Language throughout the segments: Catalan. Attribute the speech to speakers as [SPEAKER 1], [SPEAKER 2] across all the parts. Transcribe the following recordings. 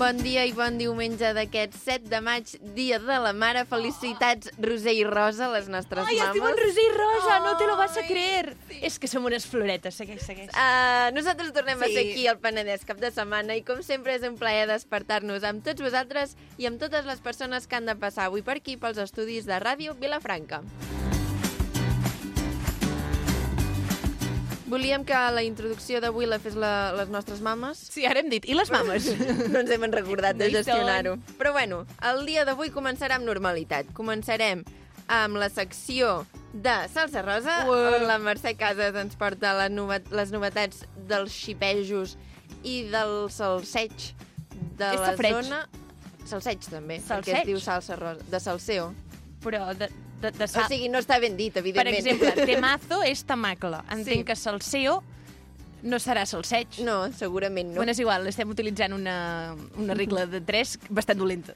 [SPEAKER 1] Bon dia i bon diumenge d'aquest 7 de maig, Dia de la Mare. Felicitats, Roser i Rosa, les nostres
[SPEAKER 2] Ay,
[SPEAKER 1] mames.
[SPEAKER 2] estic en Roser i Rosa, no te lo vas a
[SPEAKER 3] Ai,
[SPEAKER 2] creer. És que som unes floretes, segueix, segueix.
[SPEAKER 1] Uh, nosaltres tornem sí. a
[SPEAKER 3] Sí.
[SPEAKER 1] ser aquí al Penedès cap de setmana i com sempre és un plaer despertar-nos amb tots vosaltres i amb totes les persones que han de passar avui per aquí pels estudis de ràdio Vilafranca. Volíem que la introducció d'avui la fes la, les nostres mames.
[SPEAKER 3] Sí, ara hem dit, i les mames?
[SPEAKER 1] no ens hem recordat de
[SPEAKER 2] No hi són.
[SPEAKER 1] gestionar-ho. doncs. Però bueno, el dia d'avui començarà amb normalitat. Començarem amb la secció de Salsa Rosa,
[SPEAKER 3] Ué.
[SPEAKER 1] on la Mercè Casas ens porta la novet les novetats dels xipejos i del salseig de
[SPEAKER 2] És
[SPEAKER 1] la
[SPEAKER 2] safreig.
[SPEAKER 1] zona... Salseig, també, perquè
[SPEAKER 2] Salseig?
[SPEAKER 1] es diu salsa rosa, de salseo.
[SPEAKER 2] Però de, de, de
[SPEAKER 1] O
[SPEAKER 2] sa...
[SPEAKER 1] sigui, no està ben dit,
[SPEAKER 2] per
[SPEAKER 1] evidentment.
[SPEAKER 2] exemple, temazo és tamacle. Entenc
[SPEAKER 1] Sí.
[SPEAKER 2] que salseo no serà salseig.
[SPEAKER 1] No, segurament no.
[SPEAKER 2] Bueno, és igual, estem utilitzant una, una regla de tres bastant dolenta.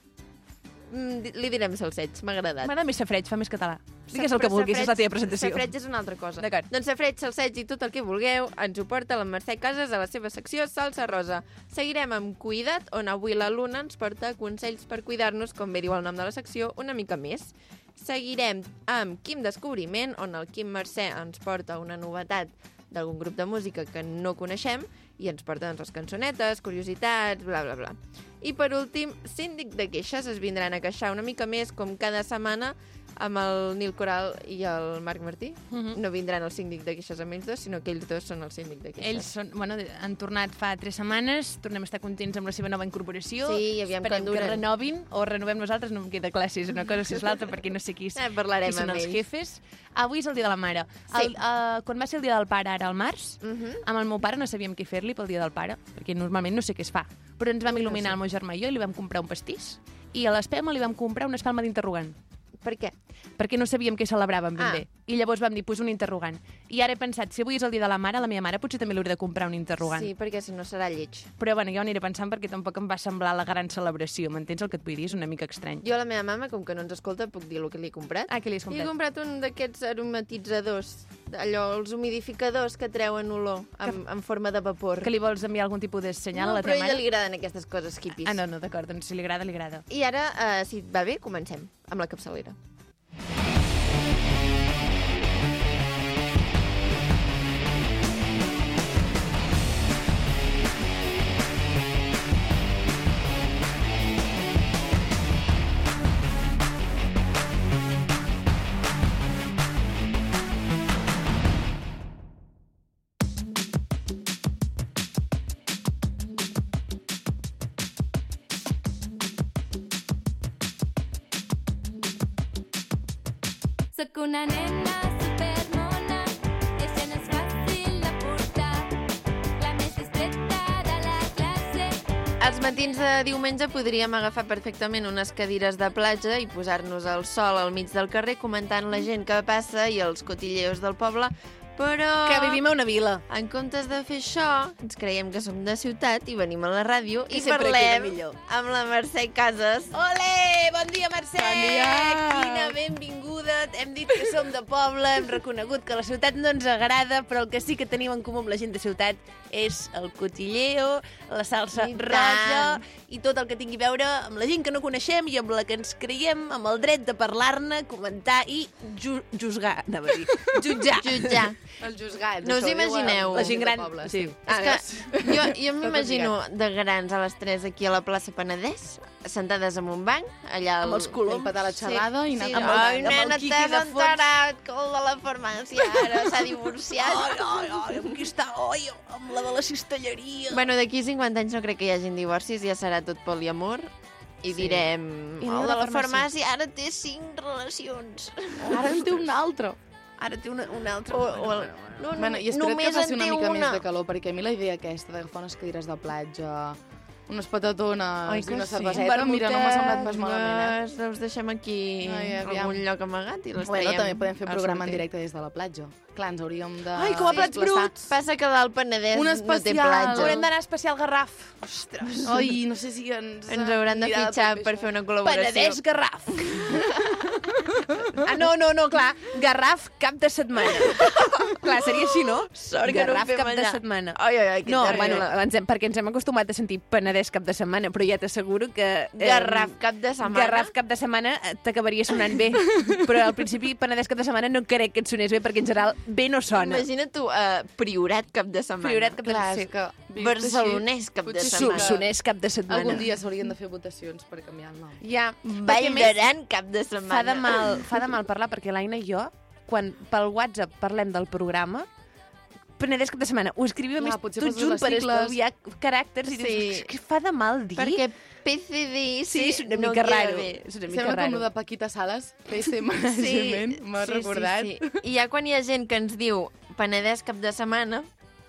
[SPEAKER 1] Mm, di- Li direm salseig, m'ha agradat.
[SPEAKER 2] M'agrada més safreig, fa més català. Digues el que
[SPEAKER 1] Però
[SPEAKER 2] vulguis, és la
[SPEAKER 1] safreig-
[SPEAKER 2] teva presentació.
[SPEAKER 1] Safreig és una altra cosa.
[SPEAKER 2] D'acord.
[SPEAKER 1] Doncs safreig, salseig i tot el que vulgueu ens ho porta la Mercè Casas a la seva secció Salsa Rosa. Seguirem amb Cuida't, on avui la Luna ens porta consells per cuidar-nos, com bé diu el nom de la secció, una mica més. Seguirem amb Quim Descobriment, on el Quim Mercè ens porta una novetat d'algun grup de música que no coneixem i ens porta doncs, les cançonetes, curiositats, bla, bla, bla. I per últim, síndic de queixes es vindran a queixar una mica més com cada setmana amb el Nil Coral i el Marc Martí.
[SPEAKER 2] Mhm.
[SPEAKER 1] No vindran el síndic de queixes amb ells dos, sinó que ells dos són el síndic de queixes.
[SPEAKER 2] Ells són, bueno, han tornat fa tres setmanes, tornem a estar contents amb la seva nova incorporació.
[SPEAKER 1] Sí, i aviam
[SPEAKER 2] Esperem
[SPEAKER 1] quan
[SPEAKER 2] que
[SPEAKER 1] duren.
[SPEAKER 2] renovin o renovem nosaltres, no em queda clar si és una cosa o si és l'altra, perquè no sé qui, és,
[SPEAKER 1] Eh, parlarem
[SPEAKER 2] qui són
[SPEAKER 1] amb
[SPEAKER 2] els
[SPEAKER 1] ells.
[SPEAKER 2] jefes. Avui és el dia de la mare.
[SPEAKER 1] Sí.
[SPEAKER 2] El, uh, quan va ser el dia del pare, ara al març,
[SPEAKER 1] Mhm.
[SPEAKER 2] amb el meu pare no sabíem què fer-li pel dia del pare, perquè normalment no sé què es fa. Però ens vam il·luminar el meu germà i jo i li vam comprar un pastís. I a l'espelma li vam comprar una espelma d'interrogant
[SPEAKER 1] Per què?
[SPEAKER 2] perquè no sabíem què celebràvem ben
[SPEAKER 1] Ah.
[SPEAKER 2] ah. bé. I llavors vam dir, pues un interrogant. I ara he pensat, si avui és el dia de la mare, a la meva mare potser també li hauré de comprar un interrogant.
[SPEAKER 1] Sí, perquè si no serà lleig.
[SPEAKER 2] Però bueno, jo ho aniré pensant perquè tampoc em va semblar la gran celebració, m'entens el que et vull dir? És una mica estrany.
[SPEAKER 1] Jo a la meva mama, com que no ens escolta, puc dir el que li he comprat.
[SPEAKER 2] Ah, que li has
[SPEAKER 1] Li he
[SPEAKER 2] comprat?
[SPEAKER 1] comprat un d'aquests aromatitzadors, allò, els humidificadors que treuen olor en, en forma de vapor.
[SPEAKER 2] Que li vols enviar algun tipus de senyal
[SPEAKER 1] no,
[SPEAKER 2] a la
[SPEAKER 1] però a
[SPEAKER 2] teva
[SPEAKER 1] ella
[SPEAKER 2] mare?
[SPEAKER 1] li agraden aquestes coses hippies.
[SPEAKER 2] Ah, no, no, d'acord, doncs si li agrada, li agrada.
[SPEAKER 1] I ara, eh, si et va bé, comencem amb la capçalera.
[SPEAKER 4] Sóc una nena supermona, això no és fàcil de portar. La més distreta de la classe,
[SPEAKER 1] Els matins de diumenge podríem agafar perfectament unes cadires de platja i posar-nos al sol al mig del carrer comentant la gent que passa i els cotilleos del poble, però...
[SPEAKER 2] Que vivim a una vila.
[SPEAKER 1] En comptes de fer això, ens creiem que som de ciutat i venim a la ràdio i
[SPEAKER 3] sempre
[SPEAKER 1] parlem
[SPEAKER 3] queda millor.
[SPEAKER 1] amb la Mercè Casas.
[SPEAKER 3] Olé! Bon dia, Mercè!
[SPEAKER 1] Bon dia!
[SPEAKER 3] Quina benvinguda! Hem dit que som de poble, hem reconegut que la ciutat no ens agrada, però el que sí que tenim en comú amb la gent de ciutat és el cotilleo, la salsa
[SPEAKER 1] I tant.
[SPEAKER 3] rosa i tot el que tingui a veure amb la gent que no coneixem i amb la que ens creiem, amb el dret de parlar-ne, comentar i ju juzgar, anava a dir, jutjar.
[SPEAKER 1] Jutjar.
[SPEAKER 3] El juzgat.
[SPEAKER 1] No us imagineu. Ah,
[SPEAKER 3] La gent gran. Sí. Ah,
[SPEAKER 1] És que jo, jo m'imagino
[SPEAKER 3] lligat.
[SPEAKER 1] de grans a les 3 aquí a la plaça Penedès, sentades en un banc, allà... Al...
[SPEAKER 3] Amb els coloms. Empatar la xerrada i anar
[SPEAKER 1] sí,
[SPEAKER 3] amb
[SPEAKER 1] amb,
[SPEAKER 3] el-
[SPEAKER 1] Ai,
[SPEAKER 3] amb el
[SPEAKER 1] nena,
[SPEAKER 3] quiqui
[SPEAKER 1] t'has
[SPEAKER 3] de fons."
[SPEAKER 1] enterat que el de la farmàcia ara s'ha divorciat.
[SPEAKER 3] Ai, ai, ai, amb qui està? Ai, amb la de la cistelleria.
[SPEAKER 1] Bueno, d'aquí 50 anys no crec que hi hagin divorcis, ja serà tot poliamor. I
[SPEAKER 2] Sí.
[SPEAKER 1] direm,
[SPEAKER 2] I
[SPEAKER 1] el de la farmàcia ara té 5 relacions.
[SPEAKER 5] Ara en té un altre.
[SPEAKER 3] Ara té una, una altra...
[SPEAKER 1] O, o el... No, no,
[SPEAKER 5] bueno, i espero
[SPEAKER 1] només
[SPEAKER 5] que faci
[SPEAKER 1] en
[SPEAKER 5] una
[SPEAKER 1] té
[SPEAKER 5] mica
[SPEAKER 1] una.
[SPEAKER 5] més de calor, perquè a mi la idea aquesta d'agafar unes cadires de platja, unes patatones
[SPEAKER 2] Oi
[SPEAKER 5] i
[SPEAKER 2] que
[SPEAKER 5] una
[SPEAKER 2] sí?
[SPEAKER 5] cerveseta,
[SPEAKER 1] Bueno,
[SPEAKER 5] mira, no m'ha semblat pas malament, eh?
[SPEAKER 1] malament, eh? Els deixem aquí
[SPEAKER 5] Ai,
[SPEAKER 1] en
[SPEAKER 5] aviam.
[SPEAKER 1] algun lloc amagat i les
[SPEAKER 5] Bueno,
[SPEAKER 1] traiem
[SPEAKER 5] també podem fer
[SPEAKER 1] al
[SPEAKER 5] programa en
[SPEAKER 1] sorteig.
[SPEAKER 5] directe des de la platja. Clar, ens hauríem de...
[SPEAKER 2] Ai, com a plats
[SPEAKER 5] desplaçar.
[SPEAKER 2] bruts!
[SPEAKER 1] Passa que dalt Penedès
[SPEAKER 5] Un
[SPEAKER 1] no té
[SPEAKER 5] especial.
[SPEAKER 1] platja.
[SPEAKER 2] Haurem d'anar a especial Garraf.
[SPEAKER 3] Ostres.
[SPEAKER 5] Ai, no sé si ens...
[SPEAKER 1] Ens hauran de
[SPEAKER 5] anirà
[SPEAKER 1] fitxar
[SPEAKER 5] tot bé
[SPEAKER 1] per
[SPEAKER 5] això.
[SPEAKER 1] fer una col·laboració.
[SPEAKER 3] Penedès Garraf.
[SPEAKER 2] Ah, no, no, no, clar. Garraf cap de setmana. Clar, seria així, no?
[SPEAKER 1] Sort que no ho
[SPEAKER 2] Garraf
[SPEAKER 1] fem
[SPEAKER 2] cap de
[SPEAKER 1] allà.
[SPEAKER 2] setmana.
[SPEAKER 1] Ai, ai, ai, que
[SPEAKER 2] No,
[SPEAKER 1] terrible.
[SPEAKER 2] bueno, ens hem, perquè ens hem acostumat a sentir Penedès cap de setmana, però ja t'asseguro que... eh,
[SPEAKER 1] Garraf cap de setmana.
[SPEAKER 2] Garraf cap de setmana eh, t'acabaria sonant bé, però al principi Penedès cap de setmana no crec que et sonés bé, perquè en general bé no sona.
[SPEAKER 1] Imagina't tu, uh, Priorat cap de setmana.
[SPEAKER 2] Priorat cap de
[SPEAKER 5] Clar, és
[SPEAKER 2] setmana.
[SPEAKER 5] que... vist
[SPEAKER 1] Barcelonès cap de
[SPEAKER 5] potser sí
[SPEAKER 1] setmana.
[SPEAKER 5] que
[SPEAKER 2] Sonés cap de setmana.
[SPEAKER 5] Algun dia s'haurien de fer votacions per canviar el nom.
[SPEAKER 2] Ja, perquè
[SPEAKER 1] Vall
[SPEAKER 2] a més-
[SPEAKER 1] d'Aran cap de setmana.
[SPEAKER 2] Fa de, mal, fa de mal parlar perquè l'Aina i jo, quan pel WhatsApp parlem del programa, Penedès cap de setmana, ho escrivim a
[SPEAKER 5] Clar,
[SPEAKER 2] més
[SPEAKER 5] potser
[SPEAKER 2] tot
[SPEAKER 5] poses
[SPEAKER 2] junt
[SPEAKER 5] les
[SPEAKER 2] per
[SPEAKER 5] sigles.
[SPEAKER 2] estalviar caràcters i dius,
[SPEAKER 1] Sí.
[SPEAKER 2] "És que fa de mal dir.
[SPEAKER 1] Perquè PCD
[SPEAKER 2] sí, és una
[SPEAKER 1] no
[SPEAKER 2] mica
[SPEAKER 1] queda
[SPEAKER 2] raro.
[SPEAKER 1] bé.
[SPEAKER 2] És una mica
[SPEAKER 5] Sembla com
[SPEAKER 2] raro.
[SPEAKER 5] el de Paquita Sales, PC Management, m'ha recordat.
[SPEAKER 1] Sí, sí. I ja quan hi ha gent que ens diu Penedès cap de setmana,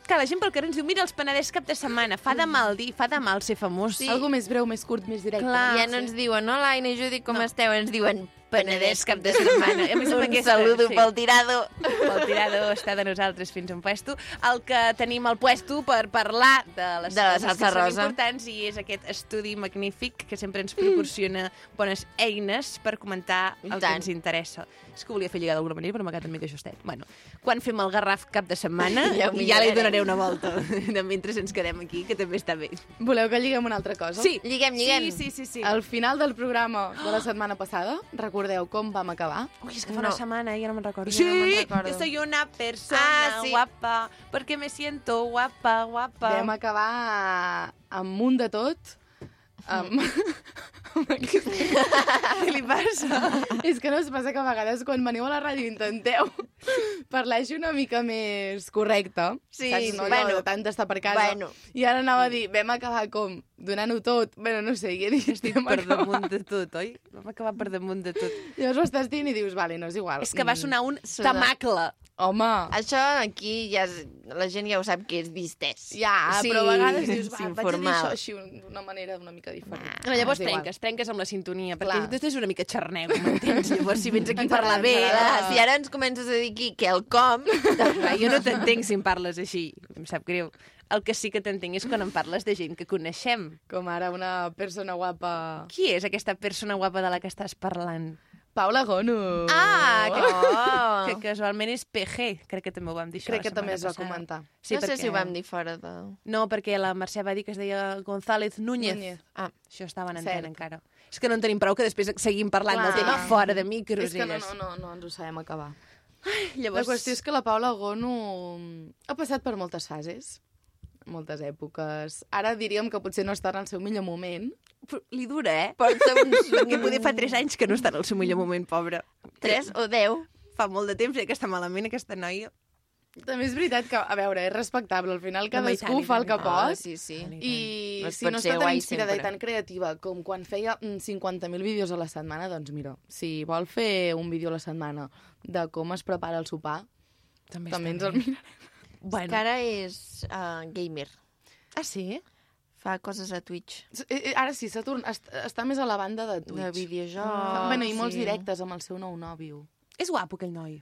[SPEAKER 2] Que la gent pel carrer ens diu, mira els Penedès cap de setmana, fa de mal dir, fa de mal ser famós.
[SPEAKER 1] Sí.
[SPEAKER 5] Algo més breu, més curt, més directe.
[SPEAKER 2] Clar. Ah,
[SPEAKER 1] ja no
[SPEAKER 2] sí.
[SPEAKER 1] ens diuen hola, Aina i Judi, com
[SPEAKER 2] No.
[SPEAKER 1] esteu? Ens diuen
[SPEAKER 2] Penedès
[SPEAKER 1] Penedès
[SPEAKER 2] cap
[SPEAKER 1] cap
[SPEAKER 2] de
[SPEAKER 1] de setmana.
[SPEAKER 2] A mi sembla
[SPEAKER 1] Un
[SPEAKER 2] que és-
[SPEAKER 1] saludo
[SPEAKER 2] sí.
[SPEAKER 1] pel tirado.
[SPEAKER 2] El tirador està de nosaltres fins a un puesto. El que tenim al puesto per parlar de les
[SPEAKER 1] De la
[SPEAKER 2] coses que
[SPEAKER 1] salsa
[SPEAKER 2] són
[SPEAKER 1] rosa.
[SPEAKER 2] importants i és aquest estudi magnífic que sempre ens proporciona bones eines per comentar
[SPEAKER 1] I
[SPEAKER 2] el que
[SPEAKER 1] tant.
[SPEAKER 2] ens interessa. És que ho volia fer lligar d'alguna manera, però m'ha quedat una mica justet. Bueno, quan fem el garraf cap de setmana,
[SPEAKER 1] Ja
[SPEAKER 2] ja, ja
[SPEAKER 1] ho
[SPEAKER 2] li
[SPEAKER 1] mirarem.
[SPEAKER 2] donaré una volta. De mentre ens quedem aquí, que també està bé.
[SPEAKER 5] Voleu que lliguem una altra cosa?
[SPEAKER 2] Sí,
[SPEAKER 1] Lliguem,
[SPEAKER 2] Sí,
[SPEAKER 1] lliguem.
[SPEAKER 2] sí, sí. sí. El...
[SPEAKER 5] Al final del programa de la setmana passada, recordeu com vam acabar?
[SPEAKER 2] Ui, és que fa no. una
[SPEAKER 1] No.
[SPEAKER 2] setmana, eh, ja no me'n recordo.
[SPEAKER 1] Jo no me'n recordo.
[SPEAKER 2] yo soy una persona
[SPEAKER 1] Ah, sí.
[SPEAKER 2] guapa, porque me siento guapa, guapa.
[SPEAKER 5] Vam acabar amb un de tot. Amb...
[SPEAKER 2] Què li passa?
[SPEAKER 5] És que no us passa que a vegades quan veniu a la ràdio intenteu parlar així una mica més correcte.
[SPEAKER 1] Sí,
[SPEAKER 5] saps, no?
[SPEAKER 1] bueno.
[SPEAKER 5] Allò de tant estar per casa.
[SPEAKER 1] Bueno.
[SPEAKER 5] I ara anava a dir, vam acabar com? Donant-ho tot? Bueno, no sé, i he dit, Estic
[SPEAKER 2] Per damunt de tot, oi? Vam acabar per damunt de tot.
[SPEAKER 5] Llavors ho estàs dient i dius, vale, no és igual.
[SPEAKER 2] És que va sonar un
[SPEAKER 1] Sonar.
[SPEAKER 2] tamacle.
[SPEAKER 5] Home,
[SPEAKER 1] Això aquí ja és, la gent ja ho sap que és distès.
[SPEAKER 5] ja,
[SPEAKER 1] Sí,
[SPEAKER 5] però a vegades dius,
[SPEAKER 1] sí,
[SPEAKER 5] va, vaig a dir
[SPEAKER 1] informal.
[SPEAKER 5] això així d'una manera una mica diferent.
[SPEAKER 2] No,
[SPEAKER 1] Ah,
[SPEAKER 2] llavors
[SPEAKER 5] És igual.
[SPEAKER 2] trenques, trenques amb la sintonia, perquè
[SPEAKER 5] Clar.
[SPEAKER 2] Clar. després és una mica xarnego, m'entens? Llavors, si vens aquí a parlar bé... eh?
[SPEAKER 1] Clar, si ara ens comences a dir aquí que el com... doncs
[SPEAKER 2] Clar, jo no t'entenc si em parles així, em sap greu. El que sí que t'entenc és quan em parles de gent que coneixem.
[SPEAKER 5] Com ara una persona guapa...
[SPEAKER 2] Qui és aquesta persona guapa de la que estàs parlant?
[SPEAKER 5] Paula Gono.
[SPEAKER 1] Ah, que...
[SPEAKER 2] Que
[SPEAKER 1] Oh.
[SPEAKER 2] casualment és PG, crec que també ho vam dir això
[SPEAKER 5] Crec
[SPEAKER 2] la
[SPEAKER 5] que també
[SPEAKER 2] setmana
[SPEAKER 5] es va
[SPEAKER 2] passada.
[SPEAKER 5] comentar.
[SPEAKER 1] Sí, no sé si ho vam dir fora de...
[SPEAKER 2] No, perquè la Mercè va dir que es deia González Núñez. Núñez.
[SPEAKER 5] Núñez.
[SPEAKER 1] Ah,
[SPEAKER 2] Això estava en
[SPEAKER 5] Cert.
[SPEAKER 2] antena encara. És que no en tenim prou, que després seguim parlant Clar.
[SPEAKER 5] Clar.
[SPEAKER 2] del tema fora de micros.
[SPEAKER 5] És que no,
[SPEAKER 2] elles.
[SPEAKER 5] no, no, no ens ho sabem acabar. La
[SPEAKER 2] Llavors,
[SPEAKER 5] qüestió és que la Paula Gono ha passat per moltes fases, moltes èpoques. Ara diríem que potser no està en el seu millor moment.
[SPEAKER 2] Però Li dura, eh?
[SPEAKER 1] porta uns...
[SPEAKER 2] Perquè poder fa 3 anys que no està en el seu millor moment, pobra.
[SPEAKER 1] 3 o 10.
[SPEAKER 2] Fa molt de temps eh, que està malament aquesta noia.
[SPEAKER 5] També és veritat que, a veure, és respectable. Al final cadascú
[SPEAKER 2] i tant,
[SPEAKER 5] fa el
[SPEAKER 2] i
[SPEAKER 5] que
[SPEAKER 2] tant.
[SPEAKER 5] pot.
[SPEAKER 1] Oh, sí, sí.
[SPEAKER 5] I
[SPEAKER 1] No es
[SPEAKER 5] si
[SPEAKER 1] pot
[SPEAKER 5] no
[SPEAKER 1] ser
[SPEAKER 5] està tan
[SPEAKER 1] guai
[SPEAKER 5] inspirada
[SPEAKER 1] sempre.
[SPEAKER 5] i tan creativa com quan feia mm, 50.000 vídeos a la setmana, doncs mira, si vol fer un vídeo a la setmana de com es prepara el sopar,
[SPEAKER 2] També,
[SPEAKER 5] també ens el mirarem.
[SPEAKER 1] Bueno. Que ara és uh, gamer.
[SPEAKER 2] Ah, sí?
[SPEAKER 1] Fa coses a Twitch.
[SPEAKER 5] Eh, eh, Ara sí, s'ha tornat, està, està més a la banda de Twitch.
[SPEAKER 1] De videojocs.
[SPEAKER 5] Ah, bueno, i molts
[SPEAKER 1] sí.
[SPEAKER 5] directes amb el seu nou nòvio.
[SPEAKER 2] És guapo, aquell noi.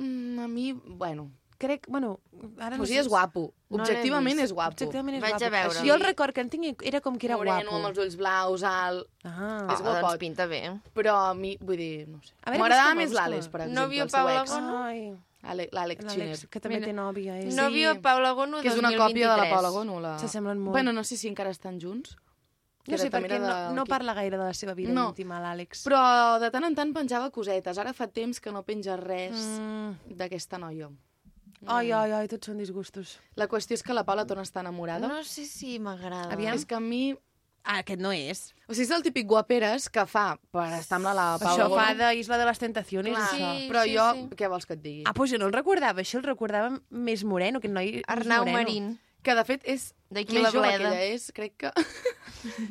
[SPEAKER 5] Mm, a mi, bueno...
[SPEAKER 2] Crec, bueno... Ara
[SPEAKER 5] O sigui, és guapo.
[SPEAKER 1] No l'he
[SPEAKER 5] Objectivament
[SPEAKER 1] vist.
[SPEAKER 5] és guapo.
[SPEAKER 2] Objectivament és
[SPEAKER 1] Vaig a
[SPEAKER 2] guapo.
[SPEAKER 1] veure-lo.
[SPEAKER 2] Així, Jo el record que en tinc era com que era
[SPEAKER 5] Moreno, amb
[SPEAKER 2] guapo.
[SPEAKER 5] els ulls blaus, alt...
[SPEAKER 2] Ah.
[SPEAKER 1] Ah,
[SPEAKER 5] És guapot.
[SPEAKER 1] doncs pinta bé.
[SPEAKER 5] Però a mi, vull dir, no ho sé.
[SPEAKER 2] A veure,
[SPEAKER 5] M'agradava
[SPEAKER 2] busca-me'l,
[SPEAKER 5] més l'Àlex,
[SPEAKER 2] busca-me'l.
[SPEAKER 5] per exemple,
[SPEAKER 1] Nòvio
[SPEAKER 5] el seu
[SPEAKER 1] Paula
[SPEAKER 5] ex.
[SPEAKER 1] Gono?
[SPEAKER 2] Ai,
[SPEAKER 5] Ale- L'Àlex Xiner.
[SPEAKER 2] l'Àlex, que també té nòvia. eh? És...
[SPEAKER 5] No,
[SPEAKER 1] Novio Paula Gono
[SPEAKER 5] Que és una
[SPEAKER 1] 2023.
[SPEAKER 5] còpia de la Paula Gono. La...
[SPEAKER 2] S'assemblen molt.
[SPEAKER 5] Bueno, no sé si encara estan junts.
[SPEAKER 2] No
[SPEAKER 5] Que
[SPEAKER 2] sé,
[SPEAKER 5] era- també
[SPEAKER 2] perquè
[SPEAKER 5] era
[SPEAKER 2] no,
[SPEAKER 5] de-
[SPEAKER 2] no parla gaire de la seva vida
[SPEAKER 5] No.
[SPEAKER 2] íntima, l'Àlex.
[SPEAKER 5] Però de tant en tant penjava cosetes. Ara fa temps que no penja res
[SPEAKER 2] Mm.
[SPEAKER 5] d'aquesta noia.
[SPEAKER 2] Ai, ai, ai, tots són disgustos.
[SPEAKER 5] La qüestió és que la Paula torna a estar enamorada.
[SPEAKER 1] No sé si m'agrada.
[SPEAKER 2] Aviam.
[SPEAKER 5] És que a mi...
[SPEAKER 2] Ah, aquest no és.
[SPEAKER 5] O sigui, és el típic guaperes que fa per estar amb la, la Paula
[SPEAKER 2] això fa
[SPEAKER 5] Gono.
[SPEAKER 2] d'Isla de les Tentaciones,
[SPEAKER 5] Clar,
[SPEAKER 2] Clar. això.
[SPEAKER 1] Sí,
[SPEAKER 5] però
[SPEAKER 1] sí,
[SPEAKER 5] jo,
[SPEAKER 1] sí.
[SPEAKER 5] què vols que et digui?
[SPEAKER 2] Ah, doncs jo no el recordava, això el recordava més moreno, aquest noi més
[SPEAKER 1] Arnau
[SPEAKER 2] moreno.
[SPEAKER 1] Marín.
[SPEAKER 5] Que, de fet, és
[SPEAKER 1] D'aquí
[SPEAKER 5] més
[SPEAKER 1] la
[SPEAKER 5] jove que
[SPEAKER 1] bleda.
[SPEAKER 5] ella és, crec que...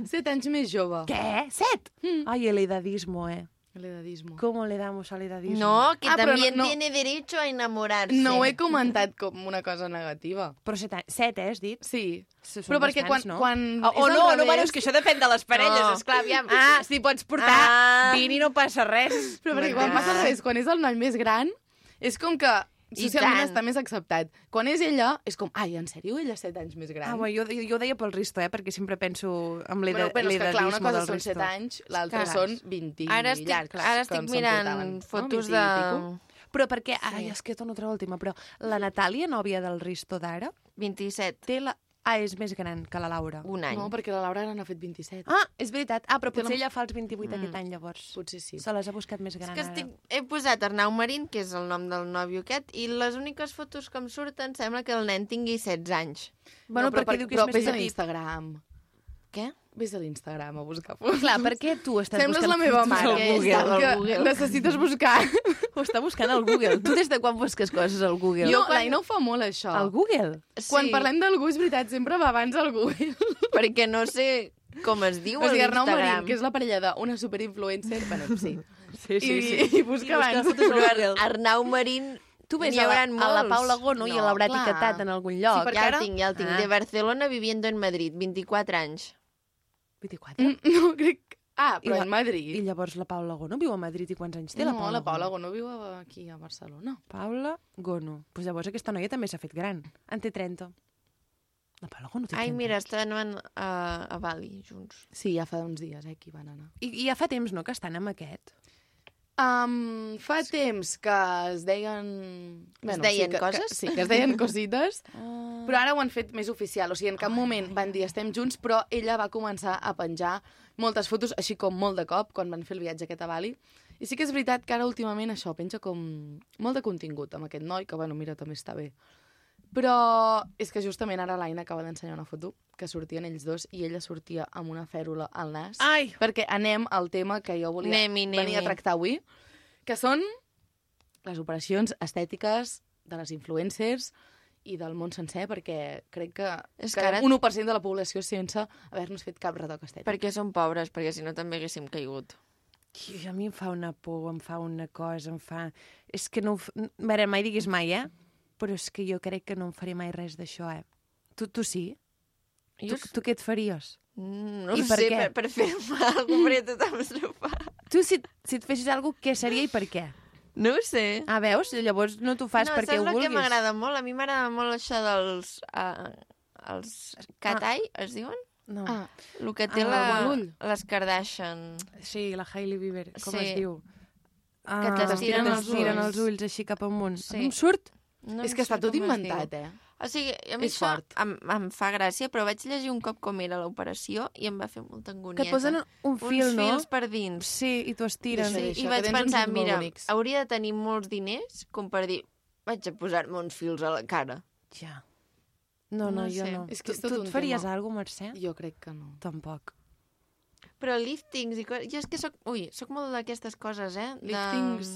[SPEAKER 5] Set anys més jove.
[SPEAKER 2] Què? Set? Mm. Ai, el edadismo, eh.
[SPEAKER 5] L'edadismo.
[SPEAKER 2] ¿Cómo le damos al edadismo?
[SPEAKER 1] No, que
[SPEAKER 5] Ah, però
[SPEAKER 1] también
[SPEAKER 5] no- no.
[SPEAKER 1] tiene derecho a enamorarse.
[SPEAKER 5] No ho he comentat com una cosa negativa.
[SPEAKER 2] Però set, anys- set eh, has dit?
[SPEAKER 5] Sí.
[SPEAKER 2] Són
[SPEAKER 5] Però perquè
[SPEAKER 2] bastants,
[SPEAKER 5] quan-
[SPEAKER 2] no?
[SPEAKER 5] quan
[SPEAKER 2] O,
[SPEAKER 5] és
[SPEAKER 2] o
[SPEAKER 5] al
[SPEAKER 2] no, no,
[SPEAKER 5] revés-
[SPEAKER 2] bueno, és que això depèn de les parelles,
[SPEAKER 1] No.
[SPEAKER 2] esclar, aviam. Ah, si pots portar
[SPEAKER 1] Ah.
[SPEAKER 2] 20 i no passa res.
[SPEAKER 5] Però perquè quan
[SPEAKER 1] M'agrada.
[SPEAKER 5] passa al revés, quan és el noi més gran, és com que
[SPEAKER 1] I
[SPEAKER 5] socialment
[SPEAKER 1] tant.
[SPEAKER 5] està més acceptat. Quan és ella, és com, ai, en sèrio, ella és 7 anys més gran?
[SPEAKER 2] Ah, bueno, jo, jo, jo ho deia pel Risto, eh, perquè sempre penso en
[SPEAKER 5] però,
[SPEAKER 2] l'eda-
[SPEAKER 5] però és que, clar, una
[SPEAKER 2] l'edadismo
[SPEAKER 5] cosa
[SPEAKER 2] del
[SPEAKER 5] són 7
[SPEAKER 2] Risto.
[SPEAKER 5] anys, l'altra
[SPEAKER 1] Clar.
[SPEAKER 5] són 20
[SPEAKER 1] Ara
[SPEAKER 5] i
[SPEAKER 1] estic,
[SPEAKER 5] llargs.
[SPEAKER 1] ara
[SPEAKER 5] que
[SPEAKER 1] estic
[SPEAKER 5] em
[SPEAKER 1] mirant
[SPEAKER 5] s'emportaven, no?
[SPEAKER 1] fotos
[SPEAKER 5] 20 i
[SPEAKER 1] de...
[SPEAKER 5] pico.
[SPEAKER 2] Però Però perquè, sí. ai, és que torno a treure el tema, però la Natàlia, nòvia del Risto d'ara,
[SPEAKER 1] 27.
[SPEAKER 2] té la... Ah, és més gran que la Laura.
[SPEAKER 1] Un any.
[SPEAKER 5] No, perquè la Laura ara n'ha fet 27.
[SPEAKER 2] Ah, és veritat. Ah, però
[SPEAKER 5] Té la-
[SPEAKER 2] potser ella fa els 28 mm. aquest any, llavors.
[SPEAKER 5] Potser sí.
[SPEAKER 2] Se les ha buscat més gran
[SPEAKER 1] És que estic... he posat Arnau Marín, que és el nom del nòvio aquest, i les úniques fotos que em surten sembla que el nen tingui 16 anys.
[SPEAKER 2] ara. Bueno, no,
[SPEAKER 5] no, però
[SPEAKER 2] perquè
[SPEAKER 5] per-
[SPEAKER 2] diu que
[SPEAKER 5] però
[SPEAKER 2] és més
[SPEAKER 5] vés a
[SPEAKER 2] petit.
[SPEAKER 5] l'Instagram.
[SPEAKER 1] Què?
[SPEAKER 5] Vés a l'Instagram a buscar fotos.
[SPEAKER 2] Clar, per què tu estàs
[SPEAKER 5] Sembles
[SPEAKER 2] buscant...
[SPEAKER 5] la meva
[SPEAKER 2] fotos
[SPEAKER 5] mare.
[SPEAKER 2] al
[SPEAKER 5] que és
[SPEAKER 2] Google?
[SPEAKER 5] el que Necessites buscar.
[SPEAKER 3] Ho està buscant al Google. Tu des de quan busques coses al Google?
[SPEAKER 5] Jo, quan... no ho fa molt, això.
[SPEAKER 2] Al Google?
[SPEAKER 1] Sí,
[SPEAKER 5] Quan parlem d'algú, és veritat, sempre va abans al Google.
[SPEAKER 1] Perquè no sé com es diu
[SPEAKER 5] O sigui, Arnau Marín,
[SPEAKER 1] l'Instagram.
[SPEAKER 5] que és la parella d'una superinfluencer, bueno, sí.
[SPEAKER 2] Sí,
[SPEAKER 5] I, i busca abans.
[SPEAKER 3] fotos al Google.
[SPEAKER 1] Arnau Marín...
[SPEAKER 2] Tu ves
[SPEAKER 1] n'hi
[SPEAKER 2] a la,
[SPEAKER 1] hauran
[SPEAKER 2] a la
[SPEAKER 1] molts.
[SPEAKER 2] Paula Gono no, i
[SPEAKER 5] No,
[SPEAKER 2] l'haurà
[SPEAKER 5] clar.
[SPEAKER 2] etiquetat en algun lloc.
[SPEAKER 5] Sí, perquè
[SPEAKER 1] Ja
[SPEAKER 5] ara-
[SPEAKER 1] el tinc, ja el tinc.
[SPEAKER 2] Ah.
[SPEAKER 1] De Barcelona viviendo en Madrid, 24 anys.
[SPEAKER 2] 24.
[SPEAKER 5] Mm, No, crec... que- Ah,
[SPEAKER 2] I
[SPEAKER 5] però
[SPEAKER 2] la-
[SPEAKER 5] en Madrid.
[SPEAKER 2] I llavors la Paula Gono viu a Madrid i quants anys té la
[SPEAKER 5] no,
[SPEAKER 2] Paula?
[SPEAKER 5] la Paula
[SPEAKER 2] Gono.
[SPEAKER 5] Gono viu a- aquí, a Barcelona.
[SPEAKER 2] Paula Gono. Pues llavors aquesta noia també s'ha fet gran. En té 30. La Paula Gono té 30.
[SPEAKER 1] Ai, mira, estaven a, a Bali junts.
[SPEAKER 5] Sí, ja fa uns dies, eh, que hi van anar.
[SPEAKER 2] I, I ja fa temps, no?, que estan amb aquest.
[SPEAKER 5] Um, fa temps que es deien...
[SPEAKER 1] deien
[SPEAKER 5] sí, que,
[SPEAKER 1] coses?
[SPEAKER 5] Que, sí, que es deien cosites,
[SPEAKER 2] Ah.
[SPEAKER 5] però ara ho han fet més oficial. O sigui, en cap moment van dir estem junts, però ella va començar a penjar moltes fotos, així com molt de cop, quan van fer el viatge aquest a Bali. I sí que és veritat que ara últimament això penja com molt de contingut amb aquest noi, que bueno, mira, també està bé. Però és que justament ara l'Aina acaba d'ensenyar una foto que sortien ells dos i ella sortia amb una fèrula al nas.
[SPEAKER 2] Ai!
[SPEAKER 5] Perquè anem al tema que jo volia
[SPEAKER 1] Anem-hi, anem-hi.
[SPEAKER 5] venir a tractar avui, que són les operacions estètiques de les influencers i del món sencer, perquè crec que
[SPEAKER 1] És que
[SPEAKER 5] quedem
[SPEAKER 1] ara-
[SPEAKER 5] un 1% de la població sense haver-nos fet cap retoc estètic.
[SPEAKER 1] Perquè són pobres, perquè si no també haguéssim caigut.
[SPEAKER 2] Qui- A mi em fa una por, em fa una cosa, em fa... És que no... ho f- n- A veure, mai diguis mai, eh? Però és que jo crec que no em faré mai res d'això, eh? Tu, tu sí? Tu,
[SPEAKER 1] Jo s-
[SPEAKER 2] tu què et faries?
[SPEAKER 1] Mm, No
[SPEAKER 2] I
[SPEAKER 1] ho
[SPEAKER 2] per
[SPEAKER 1] sé,
[SPEAKER 2] què?
[SPEAKER 1] per, per fer mal, hombre, tothom se ho fa.
[SPEAKER 2] Tu, si, si et fessis alguna cosa, què seria i per què?
[SPEAKER 1] No ho sé.
[SPEAKER 2] Ah, veus? Llavors no t'ho fas
[SPEAKER 1] no,
[SPEAKER 2] perquè ho
[SPEAKER 1] saps el
[SPEAKER 2] vulguis.
[SPEAKER 1] que m'agrada molt? A mi m'agrada molt això dels... Uh, els Katai, ah. es diuen?
[SPEAKER 2] No. Ah.
[SPEAKER 5] Ah,
[SPEAKER 1] El que té
[SPEAKER 2] Ah,
[SPEAKER 1] la,
[SPEAKER 5] l'ull.
[SPEAKER 1] les Kardashian.
[SPEAKER 2] Sí, la Hailey Bieber, com
[SPEAKER 1] Sí.
[SPEAKER 2] es diu? Ah,
[SPEAKER 1] t'estiren
[SPEAKER 2] que
[SPEAKER 1] els
[SPEAKER 2] t'estiren
[SPEAKER 1] ulls.
[SPEAKER 2] els ulls així cap amunt.
[SPEAKER 1] Sí.
[SPEAKER 2] No em surt?
[SPEAKER 1] No
[SPEAKER 5] és que està tot inventat, eh?
[SPEAKER 1] O sigui, a mi
[SPEAKER 5] És
[SPEAKER 1] això
[SPEAKER 5] fort.
[SPEAKER 1] em, em fa gràcia, però vaig llegir un cop com era l'operació i em va fer molta angonieta.
[SPEAKER 2] Que et posen un, un
[SPEAKER 1] Uns
[SPEAKER 2] fil, no?
[SPEAKER 1] fils per dins.
[SPEAKER 2] Sí, i t'ho estiren.
[SPEAKER 5] Deixa
[SPEAKER 1] Sí,
[SPEAKER 5] això,
[SPEAKER 1] I
[SPEAKER 5] que
[SPEAKER 1] vaig
[SPEAKER 5] tens uns
[SPEAKER 1] pensar,
[SPEAKER 5] ulls molt
[SPEAKER 1] mira,
[SPEAKER 5] bonics.
[SPEAKER 1] hauria de tenir molts diners com per dir, vaig a posar-me uns fils a la cara.
[SPEAKER 2] Ja. No, no,
[SPEAKER 1] No
[SPEAKER 2] jo
[SPEAKER 1] sé.
[SPEAKER 2] no.
[SPEAKER 5] És que és
[SPEAKER 2] Tu-
[SPEAKER 5] tot
[SPEAKER 2] tu
[SPEAKER 5] un
[SPEAKER 2] et faries
[SPEAKER 5] tema.
[SPEAKER 2] alguna cosa, Mercè?
[SPEAKER 5] Jo crec que no.
[SPEAKER 2] Tampoc.
[SPEAKER 1] Però líftings i coses... Jo és que soc... Ui, soc molt d'aquestes coses, eh? De...
[SPEAKER 5] Líftings.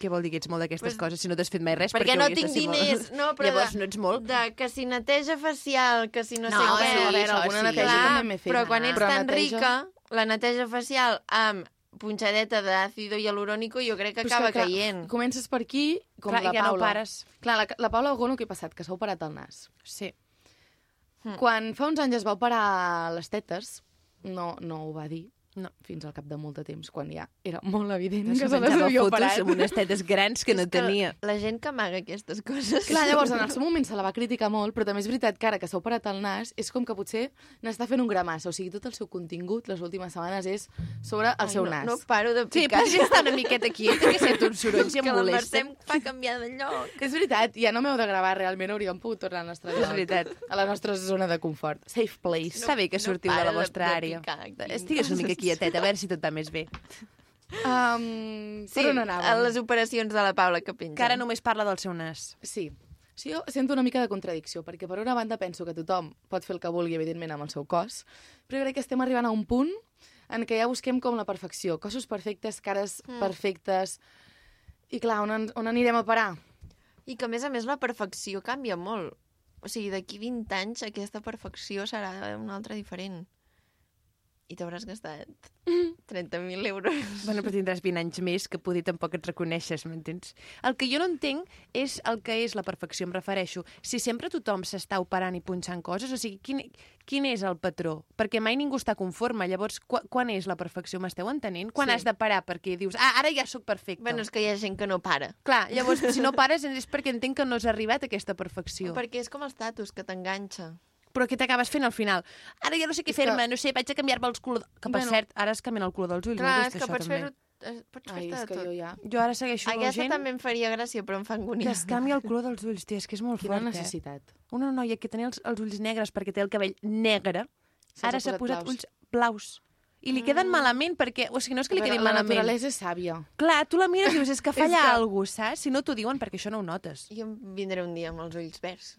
[SPEAKER 2] Què vol dir que ets molt d'aquestes
[SPEAKER 1] Pues-
[SPEAKER 2] coses si no t'has fet mai res?
[SPEAKER 1] Perquè
[SPEAKER 2] què
[SPEAKER 1] no
[SPEAKER 2] hauries de
[SPEAKER 1] tinc
[SPEAKER 2] ser molt-
[SPEAKER 1] diners. No, però
[SPEAKER 2] Llavors
[SPEAKER 1] de,
[SPEAKER 2] no ets molt...
[SPEAKER 1] De que si neteja facial, que si no, sé
[SPEAKER 5] a
[SPEAKER 1] què...
[SPEAKER 5] veure, a veure,
[SPEAKER 2] això
[SPEAKER 5] alguna
[SPEAKER 2] sí.
[SPEAKER 5] neteja
[SPEAKER 1] Clar,
[SPEAKER 5] també m'he fet.
[SPEAKER 1] però quan ets
[SPEAKER 5] Però
[SPEAKER 1] tan
[SPEAKER 5] neteja-
[SPEAKER 1] rica, la neteja facial amb punxadeta d'àcido hialurónico jo crec que
[SPEAKER 5] Però és
[SPEAKER 1] acaba
[SPEAKER 5] clar,
[SPEAKER 1] caient.
[SPEAKER 5] Comences per aquí, com
[SPEAKER 2] Clar,
[SPEAKER 5] la
[SPEAKER 2] i ja
[SPEAKER 5] Paula.
[SPEAKER 2] no pares.
[SPEAKER 5] Clar, la, la Paula Gono, què ha passat? Que s'ha operat el nas. Hm.
[SPEAKER 2] Sí. Hm.
[SPEAKER 5] Quan fa uns anys es va operar les tetes, no, no ho va dir,
[SPEAKER 2] No.
[SPEAKER 5] fins al cap de molt de temps, quan ja era molt evident
[SPEAKER 2] Que
[SPEAKER 5] que
[SPEAKER 2] se
[SPEAKER 5] se les
[SPEAKER 2] penjava
[SPEAKER 5] havia
[SPEAKER 2] fotos
[SPEAKER 5] operat.
[SPEAKER 2] amb unes tetes grans que no
[SPEAKER 1] És
[SPEAKER 2] tenia.
[SPEAKER 1] La gent que amaga aquestes coses...
[SPEAKER 5] Clar, llavors, en el seu moment se la va criticar molt, però també és veritat que ara que s'ha operat el nas, és com que potser n'està fent un gramassa, o sigui, tot el seu contingut les últimes setmanes és sobre el seu
[SPEAKER 1] no,
[SPEAKER 5] nas.
[SPEAKER 1] No paro de
[SPEAKER 2] Sí,
[SPEAKER 1] picar.
[SPEAKER 2] però si està una miqueta eh? quieta, que sento uns sorolls i em
[SPEAKER 1] que la Mercè
[SPEAKER 2] molesta.
[SPEAKER 1] em fa canviar de lloc.
[SPEAKER 5] eh? És veritat, ja no m'heu de gravar realment, hauríem pogut tornar al nostre
[SPEAKER 2] És
[SPEAKER 5] lloc,
[SPEAKER 2] veritat.
[SPEAKER 5] a la nostra zona de confort. Safe place.
[SPEAKER 2] Està bé que
[SPEAKER 1] no
[SPEAKER 2] sortiu de
[SPEAKER 1] para
[SPEAKER 2] la
[SPEAKER 1] de-
[SPEAKER 2] vostra
[SPEAKER 1] de
[SPEAKER 2] àrea.
[SPEAKER 1] picar aquí.
[SPEAKER 2] Estigues una mica quieteta, a veure si tot va més bé.
[SPEAKER 5] Um,
[SPEAKER 1] Sí,
[SPEAKER 5] per on
[SPEAKER 1] a
[SPEAKER 5] anàvem?
[SPEAKER 1] les operacions de la Paula que penja.
[SPEAKER 2] Que ara només parla del seu nas.
[SPEAKER 5] Sí. Sí, jo sento una mica de contradicció, perquè per una banda penso que tothom pot fer el que vulgui, evidentment, amb el seu cos, però crec que estem arribant a un punt en què ja busquem com la perfecció, cossos perfectes, cares mm. perfectes, i clar, on, en- on anirem a parar?
[SPEAKER 1] I que, a més a més, la perfecció canvia molt. O sigui, d'aquí 20 anys aquesta perfecció serà una altra diferent. I t'hauràs gastat 30.000 euros.
[SPEAKER 2] Bueno, però tindràs 20 anys més que poder tampoc et reconeixes, m'entens? El que jo no entenc és el que és la perfecció, em refereixo. Si sempre tothom s'està operant i punxant coses, o sigui, quin, quin és el patró? Perquè mai ningú està conforme. Llavors, qu quan és la perfecció? M'esteu entenent? Quan
[SPEAKER 5] Sí.
[SPEAKER 2] has de parar perquè dius, ah, ara ja sóc perfecte.
[SPEAKER 1] Bueno, és que hi ha gent que no para.
[SPEAKER 2] Clar, llavors, si no pares és perquè entenc que no has arribat a aquesta perfecció.
[SPEAKER 1] Perquè és com el status, que t'enganxa.
[SPEAKER 2] Però què t'acabes fent al final? Ara ja no sé què
[SPEAKER 5] És que-
[SPEAKER 2] fer-me, no sé, vaig a canviar-me els colors... Que, per
[SPEAKER 5] Bueno.
[SPEAKER 2] cert, ara es canvien el color dels ulls.
[SPEAKER 1] Clar,
[SPEAKER 2] m'he vist
[SPEAKER 1] és que
[SPEAKER 2] això,
[SPEAKER 1] pots
[SPEAKER 2] també.
[SPEAKER 1] fer-ho es- pots
[SPEAKER 5] Ai, és
[SPEAKER 1] fer-te de
[SPEAKER 5] que
[SPEAKER 1] tot.
[SPEAKER 5] jo ja...
[SPEAKER 2] Jo ara segueixo
[SPEAKER 1] Aquesta
[SPEAKER 2] gent
[SPEAKER 1] també em faria gràcia, però em fa
[SPEAKER 2] que
[SPEAKER 1] angúnia.
[SPEAKER 2] es canvia el color dels ulls, tia, és que és molt
[SPEAKER 5] Quina
[SPEAKER 2] fort, eh?
[SPEAKER 5] necessitat.
[SPEAKER 2] Una noia que tenia els, els ulls negres perquè té el cabell negre,
[SPEAKER 5] Se'ls
[SPEAKER 2] ara
[SPEAKER 5] ha
[SPEAKER 2] s'ha posat
[SPEAKER 5] posat blaus. Ah.
[SPEAKER 2] ulls blaus. I li queden malament perquè... O sigui, no és que li
[SPEAKER 5] Però
[SPEAKER 2] quedin
[SPEAKER 5] la
[SPEAKER 2] malament.
[SPEAKER 5] naturalesa és sàvia.
[SPEAKER 2] Clar, tu la mires i dius, és que falla
[SPEAKER 1] que-
[SPEAKER 2] alguna cosa, saps? Si no t'ho diuen, perquè això no ho notes.
[SPEAKER 1] Jo em vindré un dia amb els ulls verds.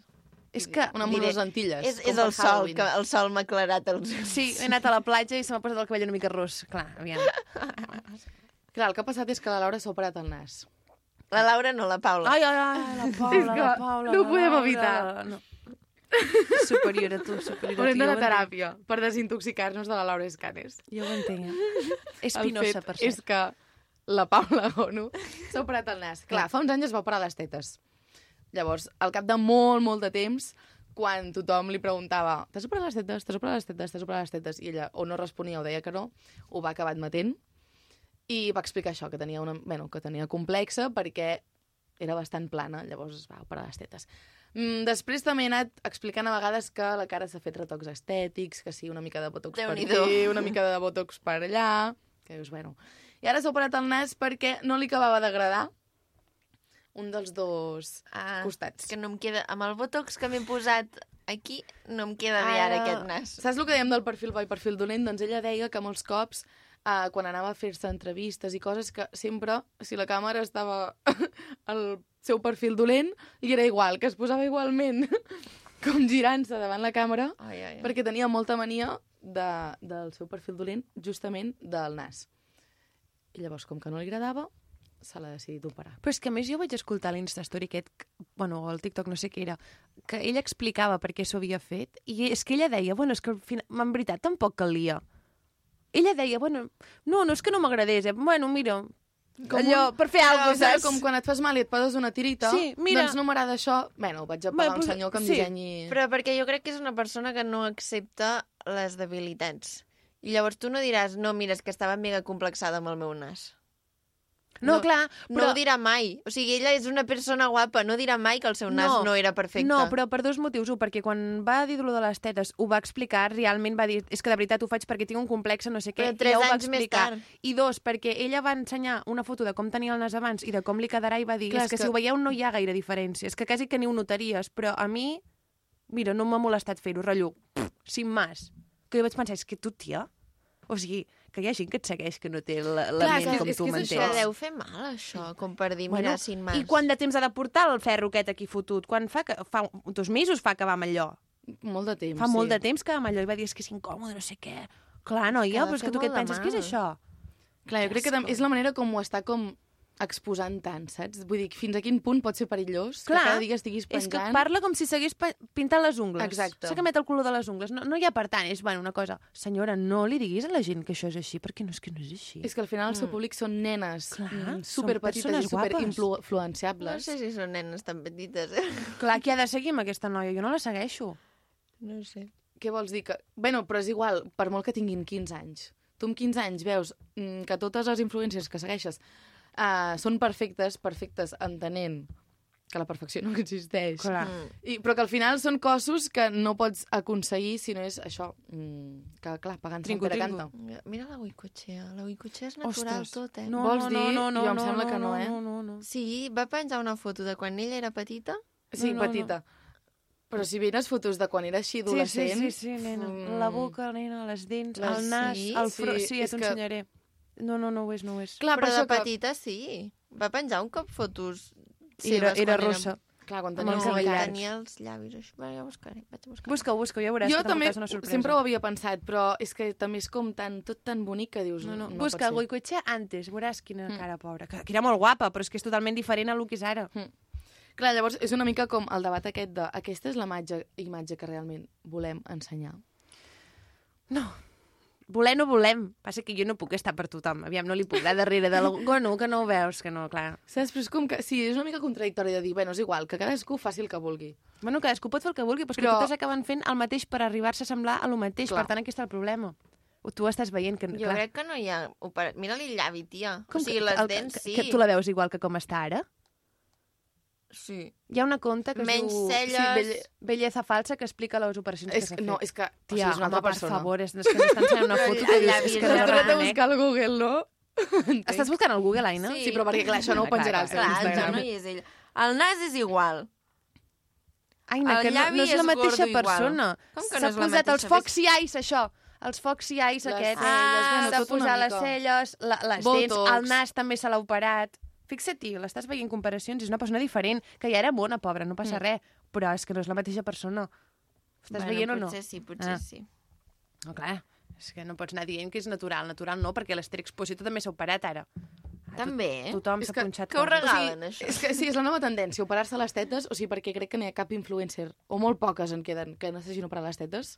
[SPEAKER 2] És que...
[SPEAKER 5] Una amb
[SPEAKER 1] Diré,
[SPEAKER 5] unes lentilles.
[SPEAKER 1] És,
[SPEAKER 5] com
[SPEAKER 1] és
[SPEAKER 5] per
[SPEAKER 1] el sol,
[SPEAKER 5] Halloween.
[SPEAKER 1] que el sol m'ha aclarat els ulls.
[SPEAKER 2] Sí, he anat a la platja i se m'ha posat el cabell una mica ros. Clar, aviam.
[SPEAKER 5] Clar, el que ha passat és que la Laura s'ha operat el nas.
[SPEAKER 1] La Laura no, la Paula.
[SPEAKER 2] Ai, ai, ai, Ah, la Paula, la Paula.
[SPEAKER 5] no ho
[SPEAKER 2] la
[SPEAKER 5] podem
[SPEAKER 2] Laura.
[SPEAKER 5] evitar.
[SPEAKER 2] No. Superior a tu, superior a tu.
[SPEAKER 5] Haurem
[SPEAKER 2] jo ho
[SPEAKER 5] d'anar a
[SPEAKER 2] entenc.
[SPEAKER 5] teràpia per desintoxicar-nos de la Laura Escanes.
[SPEAKER 2] Jo ho entenc. eh? És
[SPEAKER 5] El
[SPEAKER 2] pinosa, per
[SPEAKER 5] fet és
[SPEAKER 2] cert.
[SPEAKER 5] que la Paula Gonu s'ha operat el nas. Clar, fa uns anys es va operar les tetes. Llavors, al cap de molt, molt de temps, quan tothom li preguntava t'has operat les tetes, t'has operat les tetes, t'has operat les tetes, i ella o no responia o deia que no, ho va acabar admetent. I va explicar això, que tenia, una, bueno, que tenia complexa perquè era bastant plana, llavors es va operar les tetes. Mm, després també he anat explicant a vegades que la cara s'ha fet retocs estètics, que sí, una mica de botox per
[SPEAKER 1] Déu-n'hi-do.
[SPEAKER 5] aquí, una mica de botox per allà, que dius, bueno... I ara s'ha operat el nas perquè no li acabava d'agradar un dels dos
[SPEAKER 1] Ah,
[SPEAKER 5] costats.
[SPEAKER 1] és que no em queda... Amb el botox que m'he posat aquí, no em queda bé ara
[SPEAKER 5] Ara-
[SPEAKER 1] aquest nas.
[SPEAKER 5] Saps el que dèiem del perfil bo i perfil dolent? Doncs ella deia que molts cops, eh, quan anava a fer-se entrevistes i coses, que sempre, si la càmera estava al seu perfil dolent, li era igual, que es posava igualment com girant-se davant la càmera,
[SPEAKER 1] Ai, ai, ai.
[SPEAKER 5] perquè tenia molta mania de, del seu perfil dolent, justament del nas. I llavors, com que no li agradava, se l'ha decidit operar.
[SPEAKER 2] Però és que a més jo vaig escoltar l'Instastory aquest, que- bueno, o el TikTok, no sé què era, que ella explicava per què s'ho havia fet, i és que ella deia, bueno, és que al final, en veritat tampoc calia. Ella deia, bueno, no, no és que no m'agradés, eh? bueno, mira, com allò, un... per fer alguna cosa, saps?
[SPEAKER 5] Com quan et fas mal i et poses una tirita,
[SPEAKER 2] Sí, mira.
[SPEAKER 5] doncs no m'agrada això, bueno, vaig a
[SPEAKER 2] Bueno,
[SPEAKER 5] pagar
[SPEAKER 2] pues-
[SPEAKER 5] un senyor que em
[SPEAKER 2] sí.
[SPEAKER 5] dissenyi...
[SPEAKER 1] Però perquè jo crec que és una persona que no accepta les debilitats. I llavors tu no diràs, no, mira, és que estava mega complexada amb el meu nas.
[SPEAKER 2] No,
[SPEAKER 1] No,
[SPEAKER 2] clar,
[SPEAKER 1] No
[SPEAKER 2] però...
[SPEAKER 1] ho dirà mai. O sigui, ella és una persona guapa, no dirà mai que el seu nas
[SPEAKER 2] No,
[SPEAKER 1] no, no era perfecte.
[SPEAKER 2] No, però per dos motius. Un, perquè quan va dir lo de les tetes ho va explicar, realment va dir és que de veritat ho faig perquè tinc un complex, no sé què,
[SPEAKER 1] Però
[SPEAKER 2] i
[SPEAKER 1] tres
[SPEAKER 2] ja ho va
[SPEAKER 1] anys més
[SPEAKER 2] explicar.
[SPEAKER 1] tard.
[SPEAKER 2] I dos, perquè ella va ensenyar una foto de com tenia el nas abans i de com li quedarà i va dir,
[SPEAKER 5] Clar,
[SPEAKER 2] és que,
[SPEAKER 5] és
[SPEAKER 2] si
[SPEAKER 5] que-
[SPEAKER 2] ho veieu no hi ha gaire diferència, és que quasi que ni ho notaries, però a mi, mira, no m'ha molestat fer-ho, rotllo, pff, sin más. Que jo vaig pensar, és que tu, tia, o sigui, que hi ha gent que et segueix que no té la, la
[SPEAKER 5] Clar,
[SPEAKER 2] ment
[SPEAKER 5] és que-
[SPEAKER 2] com
[SPEAKER 5] és
[SPEAKER 2] tu
[SPEAKER 5] que és
[SPEAKER 1] Que
[SPEAKER 5] això.
[SPEAKER 2] m'entens.
[SPEAKER 1] deu fer mal, això, com per dir, bueno, mira, sin mas.
[SPEAKER 2] I quant de temps ha de portar el ferro aquest aquí fotut? Quan fa que... Fa un- dos mesos fa que va amb allò.
[SPEAKER 5] Molt de temps,
[SPEAKER 2] Fa
[SPEAKER 5] sí.
[SPEAKER 2] sí. molt de temps que amb allò i va dir és que és incòmode, no sé què. Clar, noia,
[SPEAKER 1] Que
[SPEAKER 2] però és que tu
[SPEAKER 1] va fer
[SPEAKER 2] què et
[SPEAKER 1] molt de
[SPEAKER 2] penses? Què és
[SPEAKER 1] mal.
[SPEAKER 2] això?
[SPEAKER 5] Clar, jo crec que tam- és la manera com ho està com exposant tant, saps? Vull dir, fins a quin punt pot ser perillós
[SPEAKER 2] Clar,
[SPEAKER 5] que cada dia estiguis
[SPEAKER 2] És que
[SPEAKER 5] penjant...
[SPEAKER 2] parla com si s'hagués pe- pintat les ungles.
[SPEAKER 5] Exacte.
[SPEAKER 2] S'ha canviat el color de les ungles. No, no hi ha per tant. És, bueno, una cosa. Senyora, no li diguis a la gent que això és així, perquè no és que no és així.
[SPEAKER 5] És que al final el seu públic són nenes
[SPEAKER 2] Mm. Clar,
[SPEAKER 5] mm,
[SPEAKER 2] són
[SPEAKER 5] superpetites i
[SPEAKER 2] persones guapes.
[SPEAKER 1] No
[SPEAKER 5] superinfluenciables.
[SPEAKER 1] sé si són nenes tan petites, eh?
[SPEAKER 2] Clar, qui ha de seguir amb aquesta noia? Jo no la segueixo.
[SPEAKER 1] No sé.
[SPEAKER 5] Què vols dir? Que... Bueno, però és igual, per molt que tinguin 15 anys. Tu amb 15 anys veus mm, que totes les influències que segueixes uh, són perfectes, perfectes entenent que la perfecció no existeix.
[SPEAKER 2] Clar.
[SPEAKER 5] I, però que al final són cossos que no pots aconseguir si no és això, mm, que clar, pagant-se
[SPEAKER 2] Trinco,
[SPEAKER 5] encara
[SPEAKER 2] trinco.
[SPEAKER 5] canta.
[SPEAKER 1] Mira la Wicotxea. La Wicotxea és natural
[SPEAKER 2] Ostres.
[SPEAKER 1] tot, eh?
[SPEAKER 2] No,
[SPEAKER 5] Vols
[SPEAKER 2] no,
[SPEAKER 5] dir?
[SPEAKER 2] no, no,
[SPEAKER 5] Jo em
[SPEAKER 2] no,
[SPEAKER 5] sembla
[SPEAKER 2] no,
[SPEAKER 5] que no,
[SPEAKER 2] no,
[SPEAKER 5] eh?
[SPEAKER 2] No, no, no.
[SPEAKER 1] Sí, va penjar una foto de quan ella era petita
[SPEAKER 5] Sí,
[SPEAKER 2] No, no,
[SPEAKER 5] petita. Però si venes fotos de quan era així
[SPEAKER 2] Sí, sí,
[SPEAKER 5] adolescent...
[SPEAKER 2] sí, sí, nena. Mm. La boca, nena, les dents, les... el nas,
[SPEAKER 1] Sí?
[SPEAKER 2] el front...
[SPEAKER 5] Sí,
[SPEAKER 2] Sí, ja
[SPEAKER 5] és
[SPEAKER 2] t'ho
[SPEAKER 5] que-
[SPEAKER 2] ensenyaré. No, no, no ho és, no ho és.
[SPEAKER 5] Clar,
[SPEAKER 1] però
[SPEAKER 5] per
[SPEAKER 1] de
[SPEAKER 5] això que...
[SPEAKER 1] petita sí. Va penjar un cop fotos
[SPEAKER 2] Sí, era,
[SPEAKER 1] seves
[SPEAKER 2] era
[SPEAKER 1] quan
[SPEAKER 2] rossa.
[SPEAKER 5] Clar, quan
[SPEAKER 2] Amb
[SPEAKER 5] tenia
[SPEAKER 2] els
[SPEAKER 5] cinc
[SPEAKER 2] cabells.
[SPEAKER 5] anys.
[SPEAKER 1] tenia els llavis així. Va, ja buscaré, vaig a buscar.
[SPEAKER 2] Busca-ho, busca-ho, ja veuràs
[SPEAKER 5] Jo
[SPEAKER 2] que
[SPEAKER 5] també
[SPEAKER 2] t'emportaràs una sorpresa.
[SPEAKER 5] sempre ho havia pensat, però és que també és com tan, tot tan bonic que dius...
[SPEAKER 2] No, no,
[SPEAKER 5] no
[SPEAKER 2] busca
[SPEAKER 5] pot ser.
[SPEAKER 2] Goicoechea antes, veuràs quina mm. cara pobra. Que, que era molt guapa, però és que és totalment diferent a lo que és ara.
[SPEAKER 5] Mm. Clar, llavors és una mica com el debat aquest de aquesta és la imatge, imatge que realment volem ensenyar.
[SPEAKER 2] No. Voler no volem. Passa que jo no puc estar per tothom. Aviam, no li puc anar darrere de l'algú. No, que no ho veus, que no, clar.
[SPEAKER 5] Saps? Però és com que... Sí, és una mica contradictori de dir, bueno, és igual, que cadascú faci el que vulgui.
[SPEAKER 2] Bueno, cadascú pot fer el que vulgui, però, és que
[SPEAKER 5] Però-
[SPEAKER 2] totes acaben fent el mateix per arribar-se a semblar a lo mateix.
[SPEAKER 5] Clar.
[SPEAKER 2] Per tant, aquí està el problema. O Tu estàs veient que...
[SPEAKER 1] Jo
[SPEAKER 2] clar,
[SPEAKER 1] crec que no hi ha... opera- Mira-li el llavi, tia.
[SPEAKER 2] com
[SPEAKER 1] o sigui, les
[SPEAKER 2] el-
[SPEAKER 1] dents sí.
[SPEAKER 2] Que, que tu la veus igual que com està ara?
[SPEAKER 1] Sí.
[SPEAKER 2] Hi ha una conta que
[SPEAKER 1] Menys
[SPEAKER 2] es diu...
[SPEAKER 1] celles.
[SPEAKER 2] belle- belleza falsa, que explica les operacions que
[SPEAKER 5] És,
[SPEAKER 2] s'ha
[SPEAKER 5] que-
[SPEAKER 2] fet.
[SPEAKER 5] no, és que... o
[SPEAKER 2] Tia,
[SPEAKER 5] sigui, és una
[SPEAKER 2] home,
[SPEAKER 5] altra persona.
[SPEAKER 2] per favor, és, és que s'estan fent una foto que
[SPEAKER 1] El
[SPEAKER 2] dius...
[SPEAKER 1] llavi
[SPEAKER 2] És
[SPEAKER 1] és
[SPEAKER 2] que
[SPEAKER 5] He
[SPEAKER 2] no
[SPEAKER 1] Realment.
[SPEAKER 5] tornat a
[SPEAKER 2] realment, eh?
[SPEAKER 5] buscar al Google, no? Entenc.
[SPEAKER 2] Estàs buscant al Google, Aina?
[SPEAKER 1] Sí.
[SPEAKER 5] Sí, però perquè, clar, això no ho
[SPEAKER 2] Clar,
[SPEAKER 5] penjarà al seu
[SPEAKER 1] Clar, el
[SPEAKER 5] Instagram.
[SPEAKER 1] Jano hi és ell. El nas és igual.
[SPEAKER 2] Aina,
[SPEAKER 1] El
[SPEAKER 2] que no,
[SPEAKER 1] llavi
[SPEAKER 2] no és
[SPEAKER 1] és
[SPEAKER 2] la mateixa
[SPEAKER 1] gordo igual.
[SPEAKER 2] persona.
[SPEAKER 1] Com que no
[SPEAKER 2] S'ha
[SPEAKER 1] és la
[SPEAKER 2] posat
[SPEAKER 1] mateixa?
[SPEAKER 2] els Foxy Eyes, això. Els Foxy Eyes
[SPEAKER 5] Les
[SPEAKER 2] aquests. Ah,
[SPEAKER 5] celles,
[SPEAKER 1] bueno,
[SPEAKER 2] s'ha
[SPEAKER 5] tot una
[SPEAKER 2] posat les
[SPEAKER 5] mica.
[SPEAKER 2] celles, la, les dents,
[SPEAKER 5] Botox.
[SPEAKER 2] el nas també se l'ha operat. Fixa't-hi, l'estàs veient comparacions, és una persona diferent, que ja era bona, pobra, no
[SPEAKER 1] Mm.
[SPEAKER 2] passa res, però és que no és la mateixa persona. Ho Estàs veient o no?
[SPEAKER 1] Potser sí,
[SPEAKER 2] Ah.
[SPEAKER 1] potser ah. sí.
[SPEAKER 2] No, clar, és que no pots anar dient que és natural. Natural no, perquè l'Ester Exposito també s'ha operat ara. Ah,
[SPEAKER 1] També, eh?
[SPEAKER 2] Tothom
[SPEAKER 5] És
[SPEAKER 2] s'ha
[SPEAKER 5] que-
[SPEAKER 2] punxat.
[SPEAKER 1] que ho
[SPEAKER 2] coses.
[SPEAKER 1] rega- regalen,
[SPEAKER 5] o
[SPEAKER 1] això.
[SPEAKER 5] sigui, és que, sí, és la nova tendència, operar-se les tetes, o sigui, perquè crec que no hi ha cap influencer, o molt poques en queden, que necessitin operar les tetes.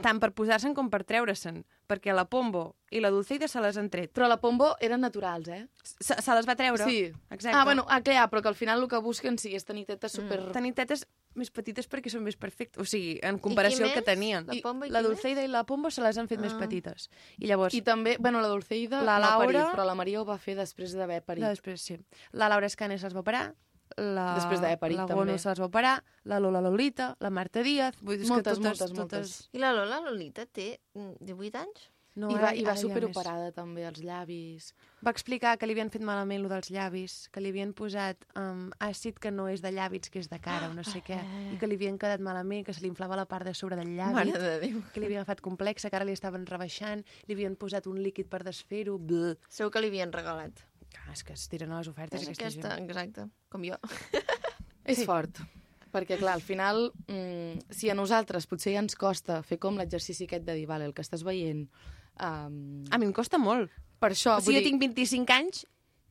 [SPEAKER 2] Tant per posar-se'n com per treure-se'n, perquè la Pombo i la Dulceida se les han tret.
[SPEAKER 5] Però la Pombo eren naturals, eh?
[SPEAKER 2] Se, se les va treure.
[SPEAKER 5] Sí.
[SPEAKER 2] Exacte.
[SPEAKER 5] Ah, bueno, ah, clar, però que al final el que busquen sí és tenir tetes super... Mm.
[SPEAKER 2] Tenir tetes més petites perquè són més perfectes. O sigui, en comparació al que
[SPEAKER 1] més?
[SPEAKER 2] tenien.
[SPEAKER 1] La Pombo i
[SPEAKER 2] la
[SPEAKER 1] qui més?
[SPEAKER 2] Dulceida i la Pombo se les han fet més petites. I llavors...
[SPEAKER 5] Ah. I també, bueno, la Dulceida
[SPEAKER 2] La
[SPEAKER 5] no ha parit,
[SPEAKER 2] Laura-
[SPEAKER 5] però la Maria ho va fer després d'haver parit.
[SPEAKER 2] La, després, sí. La Laura Escanes es va operar, la,
[SPEAKER 5] Després d'haver parit,
[SPEAKER 2] la
[SPEAKER 5] també.
[SPEAKER 2] Gono se les va operar, la Lola Lolita, la Marta Díaz... Vull dir és
[SPEAKER 5] Moltes,
[SPEAKER 2] que totes,
[SPEAKER 5] moltes,
[SPEAKER 2] totes...
[SPEAKER 5] moltes.
[SPEAKER 1] I la Lola Lolita té mm, 18 anys?
[SPEAKER 2] No,
[SPEAKER 5] I
[SPEAKER 2] ara-
[SPEAKER 5] va, i va
[SPEAKER 2] ara hi ha més.
[SPEAKER 5] superoperada, també, els llavis.
[SPEAKER 2] Va explicar que li havien fet malament lo dels llavis, que li havien posat um, àcid que no és de llàbits, que és de cara o no sé què, i que li havien quedat malament, que se li inflava la part de sobre del llavi,
[SPEAKER 1] Ah. Mare de Déu.
[SPEAKER 2] que li havia agafat complexa, que ara li estaven rebaixant, li havien posat un líquid per desfer-ho... Bleh.
[SPEAKER 1] Segur que li havien regalat.
[SPEAKER 2] Clar, És que es tiren a les ofertes
[SPEAKER 1] És
[SPEAKER 2] aquesta,
[SPEAKER 1] aquesta,
[SPEAKER 2] aquesta gent.
[SPEAKER 1] exacte, com jo.
[SPEAKER 5] És sí. fort. Perquè, clar, al final, mm, si a nosaltres potser ja ens costa fer com l'exercici aquest de dir, vale, el que estàs veient... Um,
[SPEAKER 2] A mi em costa molt.
[SPEAKER 5] per això,
[SPEAKER 2] O sigui, jo tinc 25 anys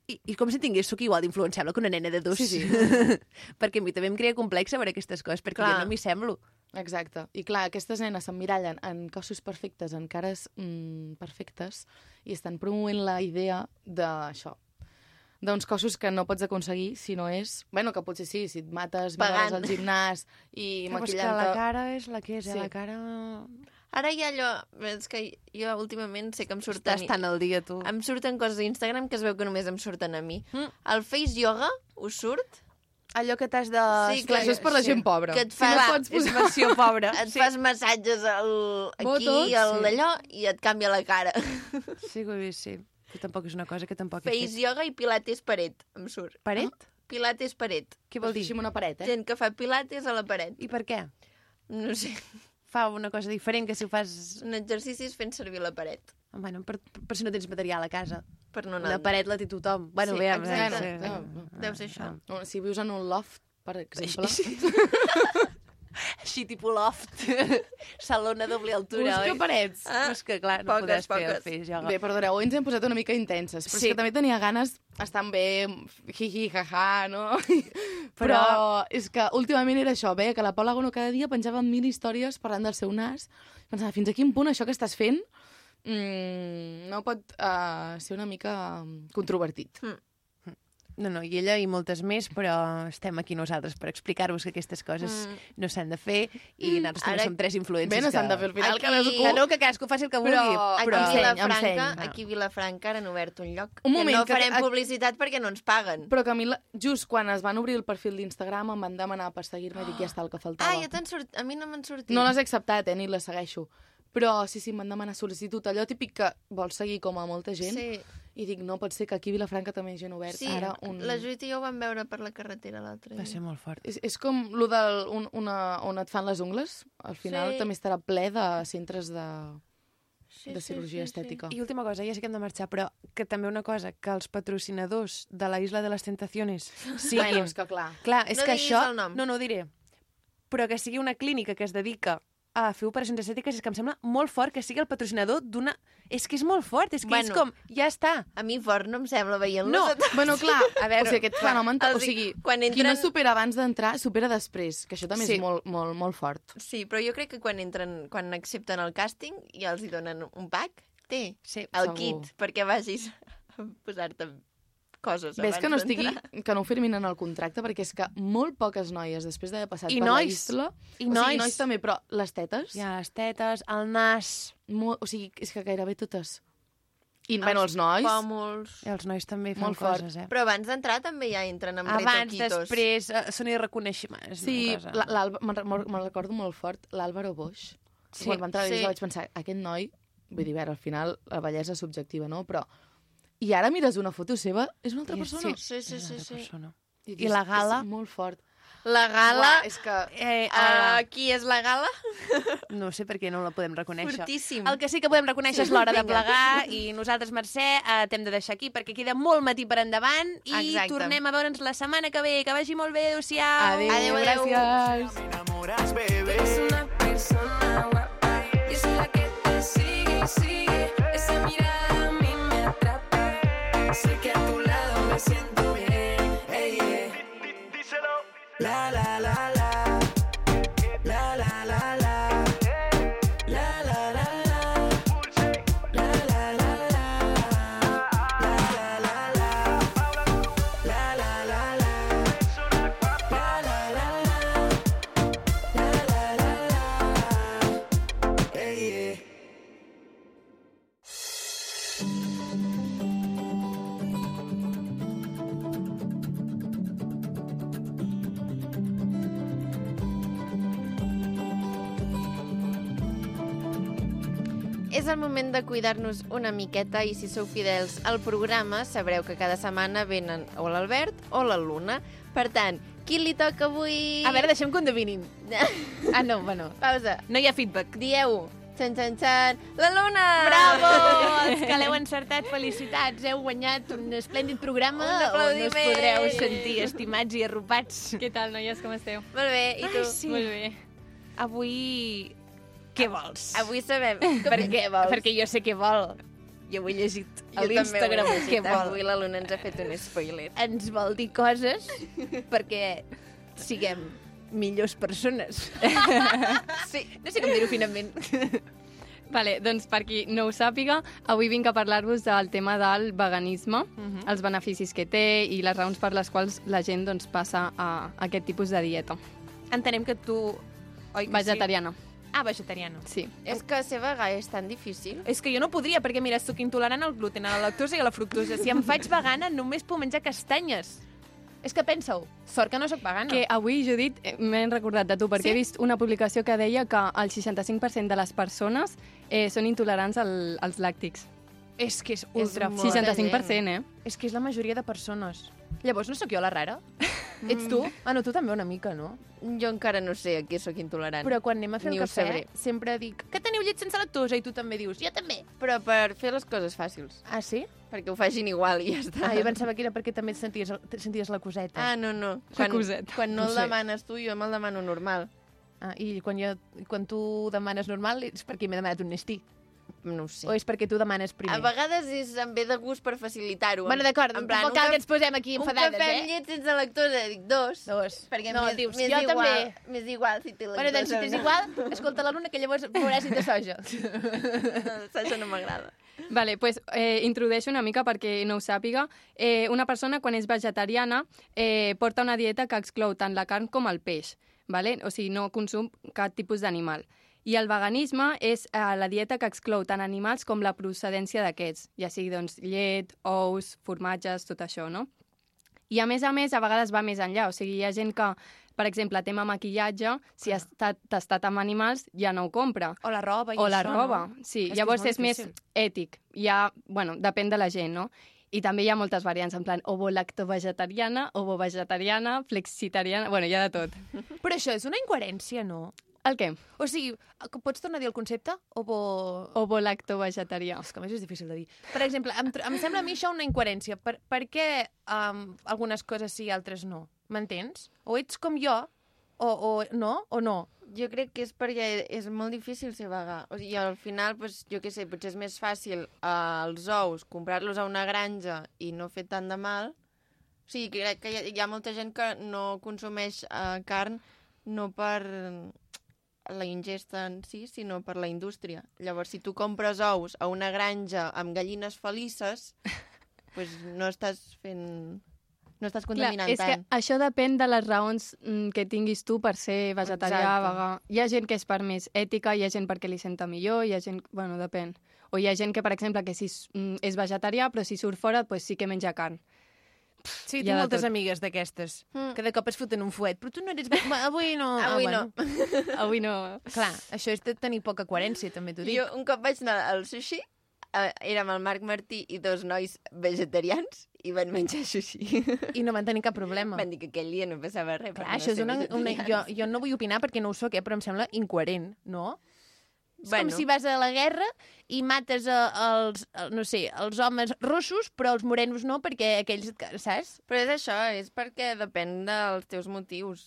[SPEAKER 2] i, i com si tingués soc igual d'influenciable que una nena de dos.
[SPEAKER 5] Sí, sí.
[SPEAKER 2] perquè a mi també em crea complexa per aquestes coses, perquè Clar.
[SPEAKER 1] Clar.
[SPEAKER 2] jo no m'hi semblo.
[SPEAKER 5] Exacte. I clar, aquestes nenes s'emmirallen en cossos perfectes, en cares mm, perfectes, i estan promovent la idea d'això. D'uns cossos que no pots aconseguir si no és... bueno, que potser sí, si et mates,
[SPEAKER 1] Pagant.
[SPEAKER 5] mires al gimnàs i
[SPEAKER 2] Clar, però és que la
[SPEAKER 5] maquillant-te...
[SPEAKER 2] cara és la que és, sí.
[SPEAKER 5] Sí.
[SPEAKER 2] la cara...
[SPEAKER 1] Ara hi ha allò... És que jo últimament sé que em surten...
[SPEAKER 2] Estàs tan al dia, tu.
[SPEAKER 1] Em surten coses d'Instagram que es veu que només em surten a mi.
[SPEAKER 2] Mm.
[SPEAKER 1] El face yoga us surt?
[SPEAKER 2] Allò que t'has de...
[SPEAKER 1] Sí,
[SPEAKER 5] Clar, això és per la
[SPEAKER 1] Sí.
[SPEAKER 5] gent pobra.
[SPEAKER 1] Que et
[SPEAKER 5] Si no
[SPEAKER 1] fa-
[SPEAKER 5] et pots
[SPEAKER 2] És
[SPEAKER 5] posar...
[SPEAKER 2] versió pobra.
[SPEAKER 1] Et sí. fas massatges al, aquí
[SPEAKER 5] Botox,
[SPEAKER 1] i al
[SPEAKER 5] sí.
[SPEAKER 1] d'allò i et canvia la cara.
[SPEAKER 2] Sí, que ho he vist, sí. Però tampoc és una cosa que tampoc he
[SPEAKER 1] Face
[SPEAKER 2] fet.
[SPEAKER 1] yoga i pilates paret, em surt.
[SPEAKER 2] Paret?
[SPEAKER 1] Pilates paret.
[SPEAKER 2] Què vol dir?
[SPEAKER 5] Fixem una paret, eh?
[SPEAKER 1] Gent que fa pilates a la paret.
[SPEAKER 2] I per què?
[SPEAKER 1] No sé,
[SPEAKER 2] Fa una cosa diferent que si ho fas...
[SPEAKER 1] són exercicis fent servir la paret.
[SPEAKER 2] Bueno, per, per si no tens material a casa.
[SPEAKER 1] Per no anar...
[SPEAKER 2] La paret la té tothom. Bueno,
[SPEAKER 1] Sí,
[SPEAKER 2] bé,
[SPEAKER 1] exacte.
[SPEAKER 5] No, no.
[SPEAKER 1] Deu ser això.
[SPEAKER 5] No, Si vius en un loft, per exemple,
[SPEAKER 2] Així, tipus loft. Salona a doble altura,
[SPEAKER 5] busca
[SPEAKER 2] oi?
[SPEAKER 5] parets.
[SPEAKER 2] Ah, és que, clar, no
[SPEAKER 1] poques,
[SPEAKER 2] podràs fer el
[SPEAKER 1] poques.
[SPEAKER 2] face yoga.
[SPEAKER 5] Bé, perdoneu, avui ens hem posat una mica intenses, però sí.
[SPEAKER 2] Sí.
[SPEAKER 5] és que també tenia ganes, estan bé, hi-hi, ha-ha, no? Però... però és que últimament era això, veia que la Paula Gono cada dia penjava mil històries parlant del seu nas. Pensava, fins a quin punt això que estàs fent mm, no pot uh, ser una mica mm, controvertit.
[SPEAKER 2] No, no, i ella i moltes més, però estem aquí nosaltres per explicar-vos que aquestes coses mm. no s'han de fer i nosaltres
[SPEAKER 1] Mm, Ara-
[SPEAKER 2] també som tres influències
[SPEAKER 5] Bé, no s'han de fer al final
[SPEAKER 1] Aquí-
[SPEAKER 5] cadascú.
[SPEAKER 2] Que no, que cadascú faci el que vulgui,
[SPEAKER 5] Però-
[SPEAKER 2] però...
[SPEAKER 1] Aquí,
[SPEAKER 5] Però-
[SPEAKER 1] a
[SPEAKER 5] Em seny, em
[SPEAKER 1] Vilafranca,
[SPEAKER 5] seny.
[SPEAKER 1] aquí a Vilafranca ara han obert un lloc
[SPEAKER 5] Un moment,
[SPEAKER 1] que no
[SPEAKER 5] que-
[SPEAKER 1] farem
[SPEAKER 5] a-
[SPEAKER 1] publicitat perquè no ens paguen.
[SPEAKER 5] Però que a mi, la- just quan es van obrir el perfil d'Instagram, em van demanar per seguir-me i dic, ja està, el que faltava.
[SPEAKER 1] Ah, ja t'han sortit. A mi no m'han sortit.
[SPEAKER 5] No les he acceptat, eh, ni les segueixo. Però sí, sí, em van demanar sol·licitud. Allò típic que vols seguir com a molta gent.
[SPEAKER 1] Sí,
[SPEAKER 5] I dic, no pot ser que aquí a Vilafranca també hi ha gent obert.
[SPEAKER 1] sí
[SPEAKER 5] Ara un...
[SPEAKER 1] la Judit i jo ho vam veure per la carretera l'altre
[SPEAKER 2] Va
[SPEAKER 1] dia.
[SPEAKER 2] ser molt fort.
[SPEAKER 5] És, és com lo del, un, una, on et fan les ungles. Al final
[SPEAKER 1] Sí.
[SPEAKER 5] sí. també estarà ple de centres de,
[SPEAKER 1] Sí,
[SPEAKER 5] de cirurgia estètica.
[SPEAKER 2] I última cosa, ja sé que hem de marxar, però que també una cosa, que els patrocinadors de la Isla de les Tentaciones
[SPEAKER 5] Sí. Bueno,
[SPEAKER 2] siguin...
[SPEAKER 5] és que clar.
[SPEAKER 2] Clar, és
[SPEAKER 1] No
[SPEAKER 2] que
[SPEAKER 1] diguis
[SPEAKER 2] això...
[SPEAKER 1] el nom.
[SPEAKER 2] No, no ho diré. Però que sigui una clínica que es dedica a fer operacions estètiques és que em sembla molt fort que sigui el patrocinador d'una... És que és molt fort, és que és
[SPEAKER 1] Bueno.
[SPEAKER 2] com... Ja està.
[SPEAKER 1] A mi fort no em sembla veient-los.
[SPEAKER 2] No,
[SPEAKER 1] a tots.
[SPEAKER 5] Bueno, clar, a veure, o sigui, aquest fenomen...
[SPEAKER 1] els
[SPEAKER 5] O
[SPEAKER 1] dic,
[SPEAKER 5] sigui,
[SPEAKER 1] quan
[SPEAKER 5] qui no
[SPEAKER 1] entren-
[SPEAKER 5] supera abans d'entrar, supera després, que això també
[SPEAKER 2] Sí.
[SPEAKER 5] és molt, molt, molt fort.
[SPEAKER 1] Sí, però jo crec que quan entren, quan accepten el càsting i ja els hi donen un pack, té
[SPEAKER 2] Sí,
[SPEAKER 1] el
[SPEAKER 5] segur.
[SPEAKER 1] kit perquè vagis a posar-te coses
[SPEAKER 5] Ves
[SPEAKER 1] abans
[SPEAKER 5] que no estigui,
[SPEAKER 1] d'entrar.
[SPEAKER 5] que no ho firmin en el contracte, perquè és que molt poques noies, després d'haver passat
[SPEAKER 2] I
[SPEAKER 5] per
[SPEAKER 2] nois.
[SPEAKER 5] la isla...
[SPEAKER 2] I
[SPEAKER 5] O sigui,
[SPEAKER 2] nois.
[SPEAKER 5] nois també, però les tetes...
[SPEAKER 2] Hi ha les tetes, el nas...
[SPEAKER 5] Mo o sigui, és que gairebé totes. I, bueno, els nois...
[SPEAKER 1] Pòmuls...
[SPEAKER 2] I els nois també fan
[SPEAKER 5] Molt fort.
[SPEAKER 2] coses, eh?
[SPEAKER 1] Però abans d'entrar també ja entren amb
[SPEAKER 2] Abans,
[SPEAKER 1] retoquitos.
[SPEAKER 2] després, eh, són irreconeixibles.
[SPEAKER 5] Sí,
[SPEAKER 2] una cosa.
[SPEAKER 5] la- l'Àlva- me'n re- me'n me'n recordo molt fort, l'Àlvaro Boix.
[SPEAKER 2] Sí,
[SPEAKER 5] Sí, Quan va entrar a la
[SPEAKER 1] sí.
[SPEAKER 5] sí. vaig pensar, aquest noi... Vull dir, a veure, al final la bellesa és subjectiva, no? Però I ara mires una foto seva, és una altra
[SPEAKER 2] I és-
[SPEAKER 5] persona.
[SPEAKER 1] Sí, sí, sí,
[SPEAKER 2] Una
[SPEAKER 1] sí.
[SPEAKER 2] persona.
[SPEAKER 5] dius,
[SPEAKER 2] la gala?
[SPEAKER 5] És molt fort.
[SPEAKER 1] La gala...
[SPEAKER 5] Uah, és que...
[SPEAKER 2] Eh,
[SPEAKER 1] Uh,
[SPEAKER 2] uh,
[SPEAKER 1] qui és la gala?
[SPEAKER 2] no sé per què no la podem reconèixer.
[SPEAKER 1] Fortíssim.
[SPEAKER 2] El que sí que podem reconèixer
[SPEAKER 1] Sí,
[SPEAKER 2] és l'hora de
[SPEAKER 1] vinga.
[SPEAKER 2] plegar i nosaltres, Mercè, eh, t'hem de deixar aquí perquè queda molt matí per endavant i
[SPEAKER 1] Exacte.
[SPEAKER 2] tornem a veure'ns la setmana que ve. Que vagi molt bé, adeu-siau.
[SPEAKER 1] Adéu, adéu.
[SPEAKER 5] gràcies.
[SPEAKER 6] Me enamoras, bebé.
[SPEAKER 4] una persona guapa. Yo soy la que te sigue y sigue. Esa mirada a mí me atrapa. Sé que a tu lado me siento bien. Ey, yeah.
[SPEAKER 6] La la la la. La la la la. La la la la. La la la la. La la la la. La la la la. La la la la. La la la la. Ey, yeah.
[SPEAKER 1] És el moment de cuidar-nos una miqueta i si sou fidels al programa sabreu que cada setmana venen o l'Albert o la Luna. Per tant, qui li toca avui?
[SPEAKER 2] A veure, deixem que ho endevinin. Ah, no, bueno.
[SPEAKER 1] Pausa.
[SPEAKER 2] No hi ha feedback.
[SPEAKER 1] Dieu. Txan, txan, txan. La Luna!
[SPEAKER 2] Bravo! Els que l'heu encertat, felicitats. Heu guanyat un esplèndid programa on
[SPEAKER 1] Un
[SPEAKER 2] us
[SPEAKER 1] aplaudiment.
[SPEAKER 2] podreu sentir estimats i arropats.
[SPEAKER 7] Què tal, noies? Com esteu?
[SPEAKER 1] Molt bé, i tu?
[SPEAKER 2] sí.
[SPEAKER 7] Molt bé.
[SPEAKER 2] Avui... Què vols?
[SPEAKER 1] Avui sabem per què vols.
[SPEAKER 2] Perquè jo sé què vol. Jo ho he llegit a
[SPEAKER 1] Jo també ho he
[SPEAKER 2] l'Instagram.
[SPEAKER 1] llegit.
[SPEAKER 2] Què vol?
[SPEAKER 1] Avui la Luna ens ha fet un spoiler.
[SPEAKER 2] Ens vol dir coses perquè siguem millors persones. sí, no sé com dir-ho finalment.
[SPEAKER 7] Vale, doncs per qui no ho sàpiga, avui vinc a parlar-vos del tema del veganisme,
[SPEAKER 2] Mhm.
[SPEAKER 7] els beneficis que té i les raons per les quals la gent doncs, passa a aquest tipus de dieta.
[SPEAKER 2] Entenem que tu... Oi que
[SPEAKER 7] Vegetariana,
[SPEAKER 2] Sí? Ah, vegetariana.
[SPEAKER 7] sí.
[SPEAKER 1] És que ser vegà és tan difícil.
[SPEAKER 2] És que jo no podria, perquè mira, sóc intolerant al gluten, a la lactosa i a la fructosa. Si em faig vegana, només puc menjar castanyes. És que pensa-ho, sort que Ah, no sóc vegana.
[SPEAKER 7] Que avui, Judit, eh, m'he recordat de tu, perquè
[SPEAKER 2] Sí?
[SPEAKER 7] he vist una publicació que deia que el 65% de les persones eh, són intolerants al, als làctics.
[SPEAKER 2] És que és ultra
[SPEAKER 1] molt.
[SPEAKER 2] fort.
[SPEAKER 7] 65%, eh?
[SPEAKER 2] És que és la majoria de persones. Llavors no sóc jo la rara?
[SPEAKER 1] Mm.
[SPEAKER 2] Ets tu? Ah, no, tu també una mica, no?
[SPEAKER 1] Jo encara no sé a què sóc intolerant.
[SPEAKER 2] Però quan anem a fer
[SPEAKER 1] Ni
[SPEAKER 2] el
[SPEAKER 1] ho
[SPEAKER 2] cafè,
[SPEAKER 1] sabré.
[SPEAKER 2] sempre dic que teniu llet sense lactosa i tu també dius, jo també.
[SPEAKER 1] Però per fer les coses fàcils.
[SPEAKER 2] Ah, sí?
[SPEAKER 1] Perquè ho facin igual i ja està.
[SPEAKER 2] Ah, jo pensava que era perquè també et senties, et senties la coseta.
[SPEAKER 1] Ah, no, no.
[SPEAKER 7] La coseta.
[SPEAKER 1] quan no
[SPEAKER 2] No
[SPEAKER 1] el
[SPEAKER 2] sé.
[SPEAKER 1] demanes tu, jo me'l demano normal.
[SPEAKER 2] Ah, I quan, jo, quan tu demanes normal és perquè m'he demanat un nestí.
[SPEAKER 1] No ho
[SPEAKER 2] Sí.
[SPEAKER 1] sé.
[SPEAKER 2] O és perquè tu demanes
[SPEAKER 1] a
[SPEAKER 2] primer?
[SPEAKER 1] vegades és, em ve de gust per facilitar-ho.
[SPEAKER 2] Bueno, d'acord, tampoc cal que ens posem aquí enfadades,
[SPEAKER 1] Un cafè amb
[SPEAKER 2] eh?
[SPEAKER 1] llet sense lactosa, dic dos.
[SPEAKER 2] Dos.
[SPEAKER 1] Perquè
[SPEAKER 2] no,
[SPEAKER 1] m'és-
[SPEAKER 2] dius,
[SPEAKER 1] m'és
[SPEAKER 2] jo
[SPEAKER 1] igual,
[SPEAKER 2] també.
[SPEAKER 1] M'és igual si té lactosa.
[SPEAKER 2] Bueno, doncs, si t'és igual, escolta la Luna, que llavors veuràs si té soja.
[SPEAKER 1] Això no m'agrada.
[SPEAKER 7] Vale, pues, eh, introdueixo una mica perquè no ho sàpiga. Eh, una persona, quan és vegetariana, eh, porta una dieta que exclou tant la carn com el peix. Vale? O sigui, no consum cap tipus d'animal. I el veganisme és eh, la dieta que exclou tant animals com la procedència d'aquests, ja sigui doncs, llet, ous, formatges, tot això, no? I a més a més, a vegades va més enllà. O sigui, hi ha gent que, per exemple, tema maquillatge, si ha estat tastat amb animals, ja no ho compra.
[SPEAKER 2] O la roba i
[SPEAKER 7] O la
[SPEAKER 2] això,
[SPEAKER 7] roba,
[SPEAKER 2] no?
[SPEAKER 7] sí.
[SPEAKER 2] És que és
[SPEAKER 7] Llavors
[SPEAKER 2] molt
[SPEAKER 7] és, més
[SPEAKER 2] difícil.
[SPEAKER 7] ètic. Hi ha, bueno, depèn de la gent, no? I també hi ha moltes variants, en plan ovo-lacto-vegetariana, ovo-vegetariana, flexitariana... Bueno, hi ha de tot.
[SPEAKER 2] Però això és una incoherència, no?
[SPEAKER 7] El què?
[SPEAKER 2] O sigui, que pots tornar a dir el concepte? O bo...
[SPEAKER 7] Ovo-lacto-vegetarià.
[SPEAKER 2] És que a més és difícil de dir. Per exemple, em, tr- em sembla a mi això una incoherència. Per, per què um, algunes coses sí i altres no? M'entens? O ets com jo, o, o no, o no.
[SPEAKER 1] Jo crec que és perquè és e, molt difícil ser vegà. O sigui, al final, doncs, jo què sé, potser és més fàcil eh, els ous, comprar-los a una granja i no fer tant de mal. O sigui, crec que hi ha, hi ha molta gent que no consumeix eh, carn no per la ingesta en si, sinó per la indústria. Llavors, si tu compres ous a una granja amb gallines felices, doncs no estàs fent... No estàs contaminant
[SPEAKER 7] és
[SPEAKER 1] tant.
[SPEAKER 7] que això depèn de les raons mm, que tinguis tu per ser vegetarià,
[SPEAKER 1] Exacte.
[SPEAKER 7] vegà. Hi ha gent que és per més ètica, hi ha gent perquè li senta millor, hi ha gent... Bueno, depèn. O hi ha gent que, per exemple, que si és, mm, és vegetarià, però si surt fora, doncs sí que menja carn. Hi
[SPEAKER 2] Sí,
[SPEAKER 7] ha
[SPEAKER 2] tinc
[SPEAKER 7] de
[SPEAKER 2] moltes
[SPEAKER 7] tot.
[SPEAKER 2] amigues d'aquestes,
[SPEAKER 1] Mm.
[SPEAKER 2] que de cop es foten un fuet. Però tu no eres... ve- Avui no... Ah,
[SPEAKER 1] Avui no.
[SPEAKER 7] Avui no...
[SPEAKER 2] Clar, això és de tenir poca coherència, també t'ho dic.
[SPEAKER 1] Jo un cop vaig anar al sushi eh, érem el Marc Martí i dos nois vegetarians i van menjar sushi.
[SPEAKER 2] I no van tenir cap problema.
[SPEAKER 1] Van dir que aquell dia no passava res.
[SPEAKER 2] Clar, això és una... una jo, jo no vull opinar perquè no ho soc, eh, però em sembla incoherent, no? És bueno. com si vas a la guerra i mates a, els, a, no sé, els homes rossos, però els morenos no, perquè aquells, saps?
[SPEAKER 1] Però és això, és perquè depèn dels teus motius.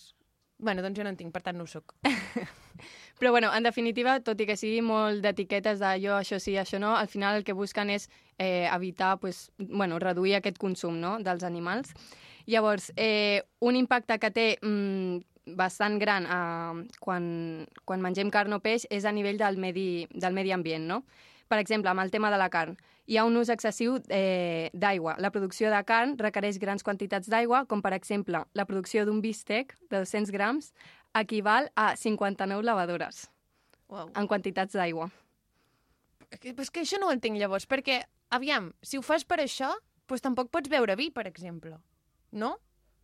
[SPEAKER 2] Bueno, doncs jo no en tinc, per tant no ho soc.
[SPEAKER 7] Però bueno, en definitiva, tot i que sigui molt d'etiquetes de jo això sí, això no, al final el que busquen és eh, evitar, pues, bueno, reduir aquest consum no? dels animals. Llavors, eh, un impacte que té mm, bastant gran eh, quan, quan mengem carn o peix és a nivell del medi, del medi ambient, no? Per exemple, amb el tema de la carn. Hi ha un ús excessiu eh, d'aigua. La producció de carn requereix grans quantitats d'aigua, com per exemple la producció d'un bistec de 200 grams equival a 59 lavadores
[SPEAKER 1] Uau.
[SPEAKER 7] en quantitats d'aigua.
[SPEAKER 2] Que- Però és que això no ho entenc llavors, perquè, aviam, si ho fas per això, doncs tampoc pots beure vi, per exemple, no?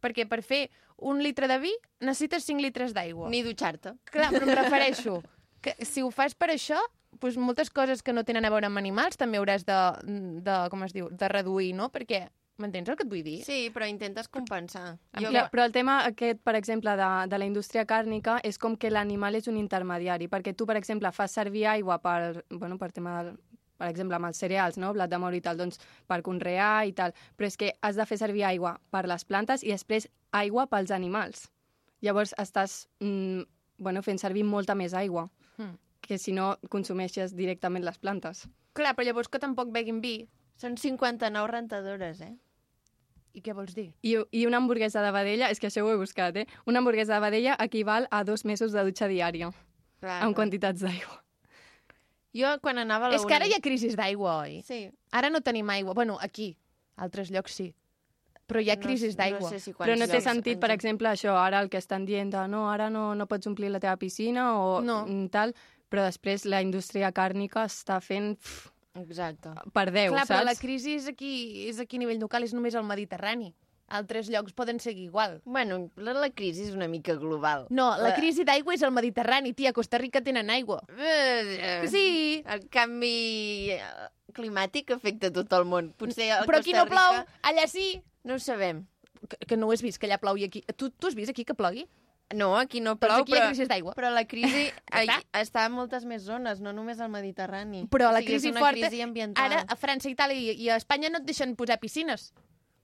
[SPEAKER 2] Perquè per fer un litre de vi necessites 5 litres d'aigua.
[SPEAKER 1] Ni dutxar-te.
[SPEAKER 2] Clar, però em refereixo que si ho fas per això, doncs moltes coses que no tenen a veure amb animals també hauràs de, de com es diu, de reduir, no? Perquè, m'entens el que et vull dir?
[SPEAKER 1] Sí, però intentes compensar. Jo,
[SPEAKER 7] Clar, però el tema aquest, per exemple, de, de la indústria càrnica és com que l'animal és un intermediari, perquè tu, per exemple, fas servir aigua per, bueno, per tema del, per exemple, amb els cereals, no? blat de moro i tal, doncs per conrear i tal, però és que has de fer servir aigua per les plantes i després aigua pels animals. Llavors estàs mm, bueno, fent servir molta més aigua
[SPEAKER 2] Mm.
[SPEAKER 7] que si no consumeixes directament les plantes.
[SPEAKER 2] Clar, però llavors que tampoc beguin vi.
[SPEAKER 1] Són 59 rentadores, eh?
[SPEAKER 2] I què vols dir?
[SPEAKER 7] I, I una hamburguesa de vedella, és que això ho he buscat, eh? Una hamburguesa de vedella equival a dos mesos de dutxa diària.
[SPEAKER 1] Clar,
[SPEAKER 7] amb quantitats d'aigua.
[SPEAKER 1] Jo, quan anava a
[SPEAKER 2] És
[SPEAKER 1] la
[SPEAKER 2] que ara hi ha
[SPEAKER 1] uni-
[SPEAKER 2] crisis d'aigua, oi?
[SPEAKER 1] Sí.
[SPEAKER 2] Ara no tenim aigua. Bueno, aquí, a altres llocs sí. Però hi ha crisis
[SPEAKER 1] no,
[SPEAKER 2] d'aigua.
[SPEAKER 1] No sé si
[SPEAKER 7] Però no té
[SPEAKER 1] quants
[SPEAKER 7] sentit,
[SPEAKER 1] en
[SPEAKER 7] per
[SPEAKER 1] gent.
[SPEAKER 7] exemple, això, ara el que estan dient de no, ara no, no pots omplir la teva piscina o
[SPEAKER 2] No.
[SPEAKER 7] mm, tal, però després la indústria càrnica està fent pff,
[SPEAKER 1] Exacte.
[SPEAKER 7] per 10,
[SPEAKER 2] Clar, però la
[SPEAKER 7] saps?
[SPEAKER 2] crisi és aquí, és aquí a nivell local, és només al Mediterrani. Altres llocs poden seguir igual.
[SPEAKER 1] Bueno, la, la crisi és una mica global.
[SPEAKER 2] No, la crisi d'aigua és al Mediterrani, tia. A Costa Rica tenen aigua.
[SPEAKER 1] Eh,
[SPEAKER 2] Sí,
[SPEAKER 1] El canvi eh, climàtic afecta tot el món. Potser a
[SPEAKER 2] però aquí
[SPEAKER 1] Costa
[SPEAKER 2] no plou,
[SPEAKER 1] Rica-
[SPEAKER 2] allà sí.
[SPEAKER 1] No ho sabem.
[SPEAKER 2] Que, que no ho has vist, que allà plou i aquí... Tu, tu has vist aquí que plogui?
[SPEAKER 1] No, aquí no
[SPEAKER 2] Doncs
[SPEAKER 1] plou,
[SPEAKER 2] aquí hi ha
[SPEAKER 1] però,
[SPEAKER 2] crisis d'aigua.
[SPEAKER 1] però la crisi ai,
[SPEAKER 2] està.
[SPEAKER 1] està a moltes més zones, no només al Mediterrani.
[SPEAKER 2] Però la
[SPEAKER 1] o sigui,
[SPEAKER 2] crisi
[SPEAKER 1] és una
[SPEAKER 2] forta...
[SPEAKER 1] crisi ambiental.
[SPEAKER 2] Ara, a França, Itàlia i, i a Espanya no et deixen posar piscines.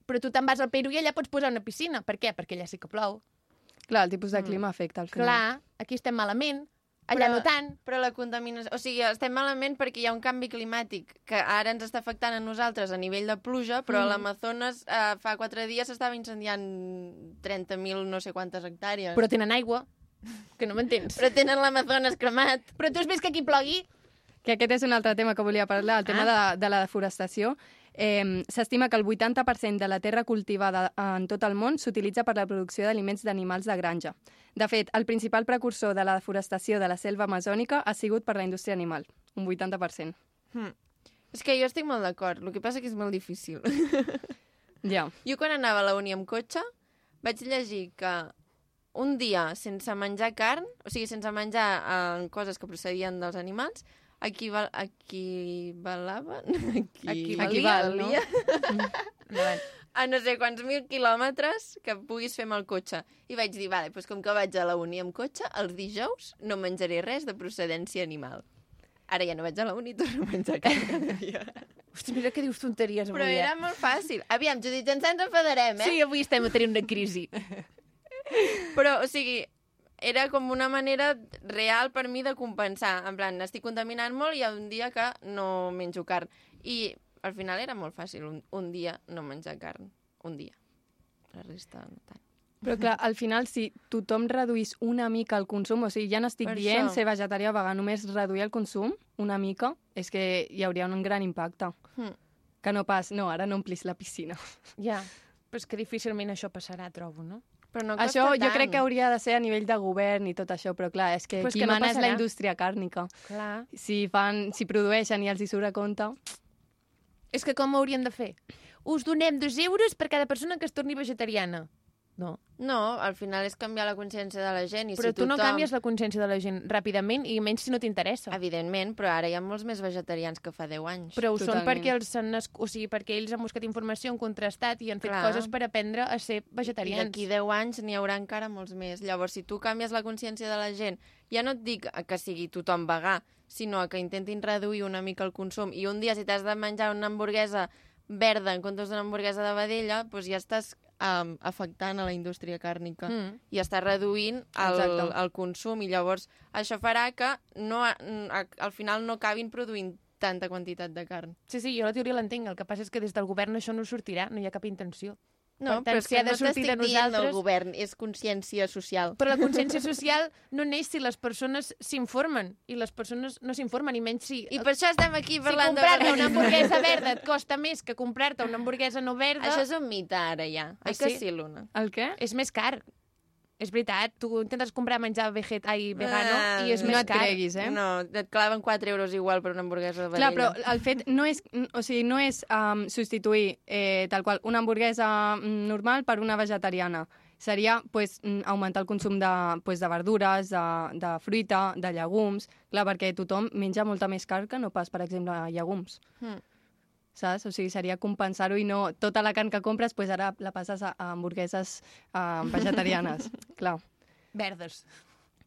[SPEAKER 2] Però tu te'n vas al Perú i allà pots posar una piscina. Per què? Perquè allà sí que plou.
[SPEAKER 7] Clar, el
[SPEAKER 1] Mm.
[SPEAKER 7] tipus de clima afecta al final.
[SPEAKER 2] Clar, aquí estem malament, allà
[SPEAKER 1] Però-
[SPEAKER 2] no tant.
[SPEAKER 1] Però la contaminació... O sigui, estem malament perquè hi ha un canvi climàtic que ara ens està afectant a nosaltres a nivell de pluja, però mm. a l'Amazones eh, fa quatre dies s'estava incendiant 30.000 no sé quantes hectàrees.
[SPEAKER 2] Però tenen aigua, que no m'entens. Però,
[SPEAKER 1] però tenen l'Amazones cremat.
[SPEAKER 2] però tu has vist que aquí plogui?
[SPEAKER 7] Que aquest és un altre tema que volia parlar, el tema ah. de, de la deforestació. Eh, S'estima que el 80% de la terra cultivada en tot el món s'utilitza per la producció d'aliments d'animals de granja. De fet, el principal precursor de la deforestació de la selva amazònica ha sigut per la indústria animal, un 80%.
[SPEAKER 1] Hmm. És que jo estic molt d'acord, el que passa que és molt difícil.
[SPEAKER 7] Ja.
[SPEAKER 1] Jo quan anava a la uni amb cotxe vaig llegir que un dia sense menjar carn, o sigui, sense menjar eh, coses que procedien dels animals, equival, equivalaven... Equi,
[SPEAKER 7] Equival, no?
[SPEAKER 1] valia a no sé quants mil quilòmetres que puguis fer amb el cotxe. I vaig dir, vale, doncs com que vaig a la uni amb cotxe, els dijous no menjaré res de procedència animal. Ara ja no vaig a la uni i torno a menjar carn cada dia.
[SPEAKER 2] Hosti, mira que dius tonteries avui.
[SPEAKER 1] Però era molt fàcil. Aviam, Judit, ens ens enfadarem,
[SPEAKER 2] Eh?
[SPEAKER 1] eh?
[SPEAKER 2] Sí, avui estem a tenir una crisi.
[SPEAKER 1] Però, o sigui, era com una manera real per mi de compensar. En plan, estic contaminant molt i hi ha un dia que no menjo carn. I al final era molt fàcil un, un dia no menjar carn. Un dia. La resta no tant.
[SPEAKER 7] Però clar, al final, si tothom reduís una mica el consum, o sigui, ja no estic
[SPEAKER 1] Per
[SPEAKER 7] per dient
[SPEAKER 1] això.
[SPEAKER 7] ser vegetarià o vegà, només reduir el consum una mica, és que hi hauria un gran impacte.
[SPEAKER 1] Hmm.
[SPEAKER 7] Que no pas, no, ara no omplis la piscina.
[SPEAKER 2] Ja, però és que difícilment això passarà, trobo, no?
[SPEAKER 1] Però no
[SPEAKER 7] Això
[SPEAKER 1] costa
[SPEAKER 7] jo
[SPEAKER 1] tant.
[SPEAKER 7] crec que hauria de ser a nivell de govern i tot això, però clar, és que
[SPEAKER 2] Però és
[SPEAKER 7] qui
[SPEAKER 2] que no
[SPEAKER 7] mana és la
[SPEAKER 2] passarà.
[SPEAKER 7] indústria càrnica.
[SPEAKER 2] Clar.
[SPEAKER 7] Si, fan, si produeixen i els hi surt a compte...
[SPEAKER 2] És que com ho hauríem de fer? Us donem dos euros per cada persona que es torni vegetariana. no?
[SPEAKER 1] No, al final és canviar la consciència de la gent. I
[SPEAKER 2] Però
[SPEAKER 1] si
[SPEAKER 2] tu no
[SPEAKER 1] tothom-
[SPEAKER 2] canvies la consciència de la gent ràpidament i menys si no t'interessa.
[SPEAKER 1] Evidentment, però ara hi ha molts més vegetarians que fa 10 anys.
[SPEAKER 2] Però ho
[SPEAKER 7] Totalment.
[SPEAKER 2] són perquè els, han, nasc- o sigui, perquè ells han buscat informació, han contrastat i han fet
[SPEAKER 1] Clar.
[SPEAKER 2] coses per aprendre a ser
[SPEAKER 1] I
[SPEAKER 2] vegetarians.
[SPEAKER 1] d'aquí 10 anys n'hi haurà encara molts més. Llavors, si tu canvies la consciència de la gent, ja no et dic que sigui tothom vegà, sinó que intentin reduir una mica el consum. I un dia, si t'has de menjar una hamburguesa verda en comptes d'una hamburguesa de vedella, doncs ja estàs um, afectant a la indústria càrnica. Mm.
[SPEAKER 2] Mm.
[SPEAKER 1] I està reduint el,
[SPEAKER 7] Exacte.
[SPEAKER 1] el consum. I llavors, això farà que no, a- a- al final no acabin produint tanta quantitat de carn.
[SPEAKER 2] Sí, sí, jo la teoria l'entenc. El que passa és que des del govern això no sortirà, no hi ha cap intenció.
[SPEAKER 1] No,
[SPEAKER 2] Per tant,
[SPEAKER 1] però és
[SPEAKER 2] si
[SPEAKER 1] que
[SPEAKER 2] ha de
[SPEAKER 1] no
[SPEAKER 2] sortir
[SPEAKER 1] t'estic
[SPEAKER 2] de
[SPEAKER 1] dient del
[SPEAKER 2] nosaltres-
[SPEAKER 1] govern, és consciència social.
[SPEAKER 2] Però la consciència social no neix si les persones s'informen, i les persones no s'informen, i menys si...
[SPEAKER 1] I per això estem aquí
[SPEAKER 2] si
[SPEAKER 1] parlant
[SPEAKER 2] comprar-te
[SPEAKER 1] de...
[SPEAKER 2] una hamburguesa verda et costa més que comprar-te una hamburguesa no verda,
[SPEAKER 1] Això és un mite, ara, ja.
[SPEAKER 2] Ah,
[SPEAKER 1] Oi que
[SPEAKER 2] sí?
[SPEAKER 1] sí, Luna?
[SPEAKER 7] El què?
[SPEAKER 2] és més car. És veritat, tu intentes comprar menjar veget... Ai, vegano
[SPEAKER 1] Ah,
[SPEAKER 2] i és
[SPEAKER 7] No
[SPEAKER 2] més
[SPEAKER 7] et
[SPEAKER 2] car.
[SPEAKER 7] creguis, eh?
[SPEAKER 1] No, et claven 4 euros igual per una hamburguesa de
[SPEAKER 7] Clar,
[SPEAKER 1] vedella.
[SPEAKER 7] però el fet no és, o sigui, no és um, substituir eh, tal qual una hamburguesa mm, normal per una vegetariana. Seria pues, mm, augmentar el consum de, pues, de verdures, de, de fruita, de llegums... Clar, perquè tothom menja molta més carn que no pas, per exemple, llegums.
[SPEAKER 1] Mm.
[SPEAKER 7] Saps? O sigui, seria compensar-ho i no tota la carn que compres, pues ara la passes a, a hamburgueses eh, vegetarianes. Clar.
[SPEAKER 2] Verdes.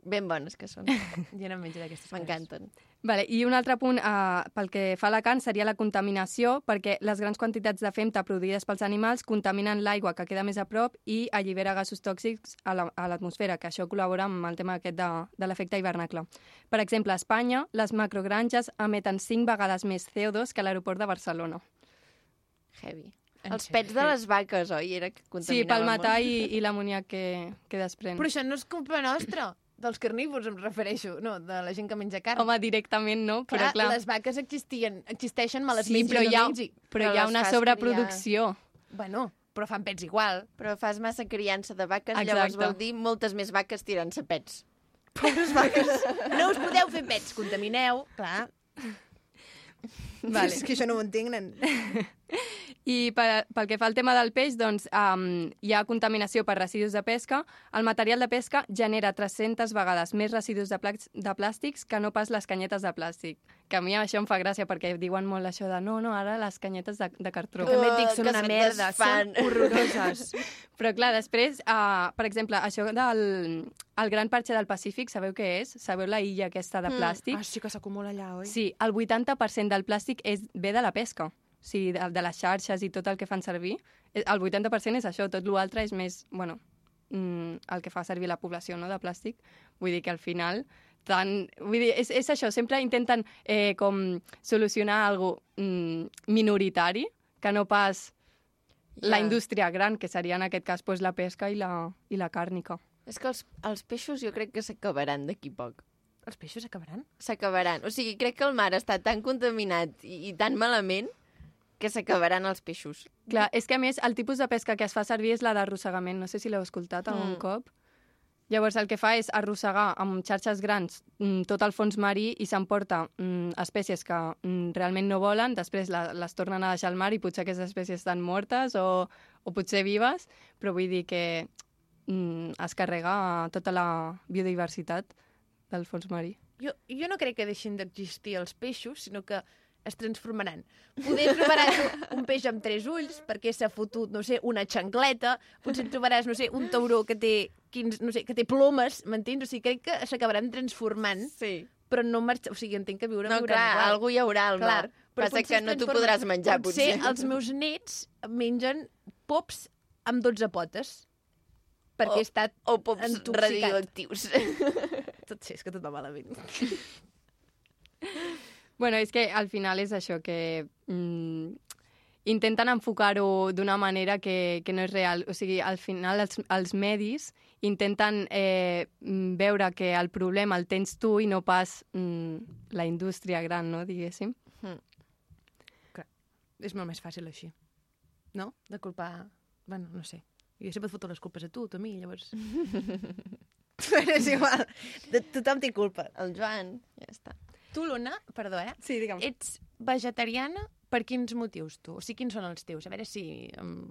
[SPEAKER 1] Ben bones que són.
[SPEAKER 2] Jo no menjo d'aquestes coses.
[SPEAKER 1] M'encanten.
[SPEAKER 7] Vale, I un altre punt eh, pel que fa a la carn seria la contaminació, perquè les grans quantitats de femta produïdes pels animals contaminen l'aigua que queda més a prop i allibera gasos tòxics a la- a l'atmosfera, que això col·labora amb el tema aquest de, de l'efecte hivernacle. Per exemple, a Espanya, les macrogranges emeten 5 vegades més CO2 que l'aeroport de Barcelona.
[SPEAKER 1] Heavy.
[SPEAKER 2] En
[SPEAKER 1] Els pets de les vaques, oi? Era que
[SPEAKER 7] Sí, pel
[SPEAKER 1] contaminaven
[SPEAKER 7] metà
[SPEAKER 1] molt.
[SPEAKER 7] i, i l'amoníac que, que desprèn.
[SPEAKER 2] Però això no és culpa nostra, dels carnívors em refereixo, no, de la gent que menja carn.
[SPEAKER 7] Home, directament no, però clar,
[SPEAKER 2] les vaques existien, existeixen, me les
[SPEAKER 7] Sí,
[SPEAKER 2] mengi
[SPEAKER 7] però
[SPEAKER 2] o no
[SPEAKER 7] hi ha-
[SPEAKER 2] mengi.
[SPEAKER 7] però
[SPEAKER 1] però
[SPEAKER 7] hi ha
[SPEAKER 1] les
[SPEAKER 7] una
[SPEAKER 1] fas
[SPEAKER 7] sobreproducció.
[SPEAKER 2] Bueno, però fan pets igual.
[SPEAKER 1] Però fas massa criança de vaques,
[SPEAKER 7] Exacte.
[SPEAKER 1] llavors vol dir moltes més vaques tirant-se pets.
[SPEAKER 2] No us podeu fer pets, contamineu. Clar.
[SPEAKER 7] Vale.
[SPEAKER 2] És que això no ho entenc, nen.
[SPEAKER 7] I pel, pel que fa al tema del peix, doncs um, hi ha contaminació per residus de pesca. El material de pesca genera 300 vegades més residus de, placs, de plàstics que no pas les canyetes de plàstic. Que a mi això em fa gràcia perquè diuen molt això de no, no, ara les canyetes de, de cartró.
[SPEAKER 2] També et dic,
[SPEAKER 1] Uh,
[SPEAKER 2] són
[SPEAKER 1] que
[SPEAKER 2] una
[SPEAKER 1] se'n
[SPEAKER 2] merda, són
[SPEAKER 1] desfan.
[SPEAKER 2] horroroses.
[SPEAKER 7] Però clar, després, uh, per exemple, això del el gran parxe del Pacífic, sabeu què és? Sabeu la illa aquesta de
[SPEAKER 1] Mm.
[SPEAKER 7] plàstic?
[SPEAKER 2] Ah, sí que s'acumula allà, oi?
[SPEAKER 7] Sí, el 80% del plàstic és, ve de la pesca. O sigui, de, de les xarxes i tot el que fan servir. Eh, El 80% és això, tot l'altre és més, bueno, mm, el que fa servir la població no, de plàstic. Vull dir que al final tant... Vull dir, és, és això, sempre intenten eh, com solucionar algo mm, minoritari que no pas la
[SPEAKER 1] Ja.
[SPEAKER 7] indústria gran, que seria en aquest cas pues, la pesca i la, i la càrnica.
[SPEAKER 1] És que els, els peixos jo crec que s'acabaran d'aquí poc.
[SPEAKER 2] Els peixos acabaran?
[SPEAKER 1] s'acabaran. O sigui, crec que el mar està tan contaminat i, i tan malament que s'acabaran els peixos.
[SPEAKER 7] Clar, és que a més el tipus de pesca que es fa servir és la d'arrossegament, no sé si l'heu escoltat algun
[SPEAKER 1] Mm.
[SPEAKER 7] cop. Llavors el que fa és arrossegar amb xarxes grans mm, tot el fons marí i s'emporta mm, espècies que mm, realment no volen, després la, les tornen a deixar al mar i potser aquestes espècies estan mortes o, o potser vives, però vull dir que mm, es carrega tota la biodiversitat del fons marí.
[SPEAKER 2] Jo, jo no crec que deixin d'existir els peixos, sinó que es transformaran. Poder trobaràs un- un peix amb tres ulls perquè s'ha fotut, no sé, una xancleta, potser et trobaràs, no sé, un tauró que té, 15, no sé, que té plomes, m'entens? O sigui, crec que s'acabaran transformant,
[SPEAKER 1] Sí.
[SPEAKER 2] però no marxa... O sigui, entenc que viure
[SPEAKER 1] No,
[SPEAKER 2] viuran
[SPEAKER 1] clar,
[SPEAKER 2] igual.
[SPEAKER 1] algú hi haurà al mar. Passa
[SPEAKER 2] potser
[SPEAKER 1] que
[SPEAKER 2] es
[SPEAKER 1] no t'ho
[SPEAKER 2] transformen.
[SPEAKER 1] podràs menjar, potser.
[SPEAKER 2] Potser els meus nets mengen pops amb 12 potes, perquè
[SPEAKER 1] O-
[SPEAKER 2] he estat...
[SPEAKER 1] O pops
[SPEAKER 2] Intoxicat.
[SPEAKER 1] radioactius.
[SPEAKER 2] Tot, sí, és que tot va malament.
[SPEAKER 7] Bueno, és que al final és això, que mm, intenten enfocar-ho d'una manera que, que no és real. O sigui, al final els, els medis intenten eh, mm, veure que el problema el tens tu i no pas mm, la indústria gran, no, diguéssim.
[SPEAKER 2] És molt més fàcil així. No? De culpar... Bueno, no sé. Jo sempre et foto les culpes a tu, tu a mi, llavors... Però és igual. De, tothom té culpa.
[SPEAKER 1] El Joan, ja està.
[SPEAKER 2] Tu, Luna, perdó, eh?
[SPEAKER 7] Sí, digue'm.
[SPEAKER 2] Ets vegetariana per quins motius, tu? O sigui, quins són els teus? A veure si... Um,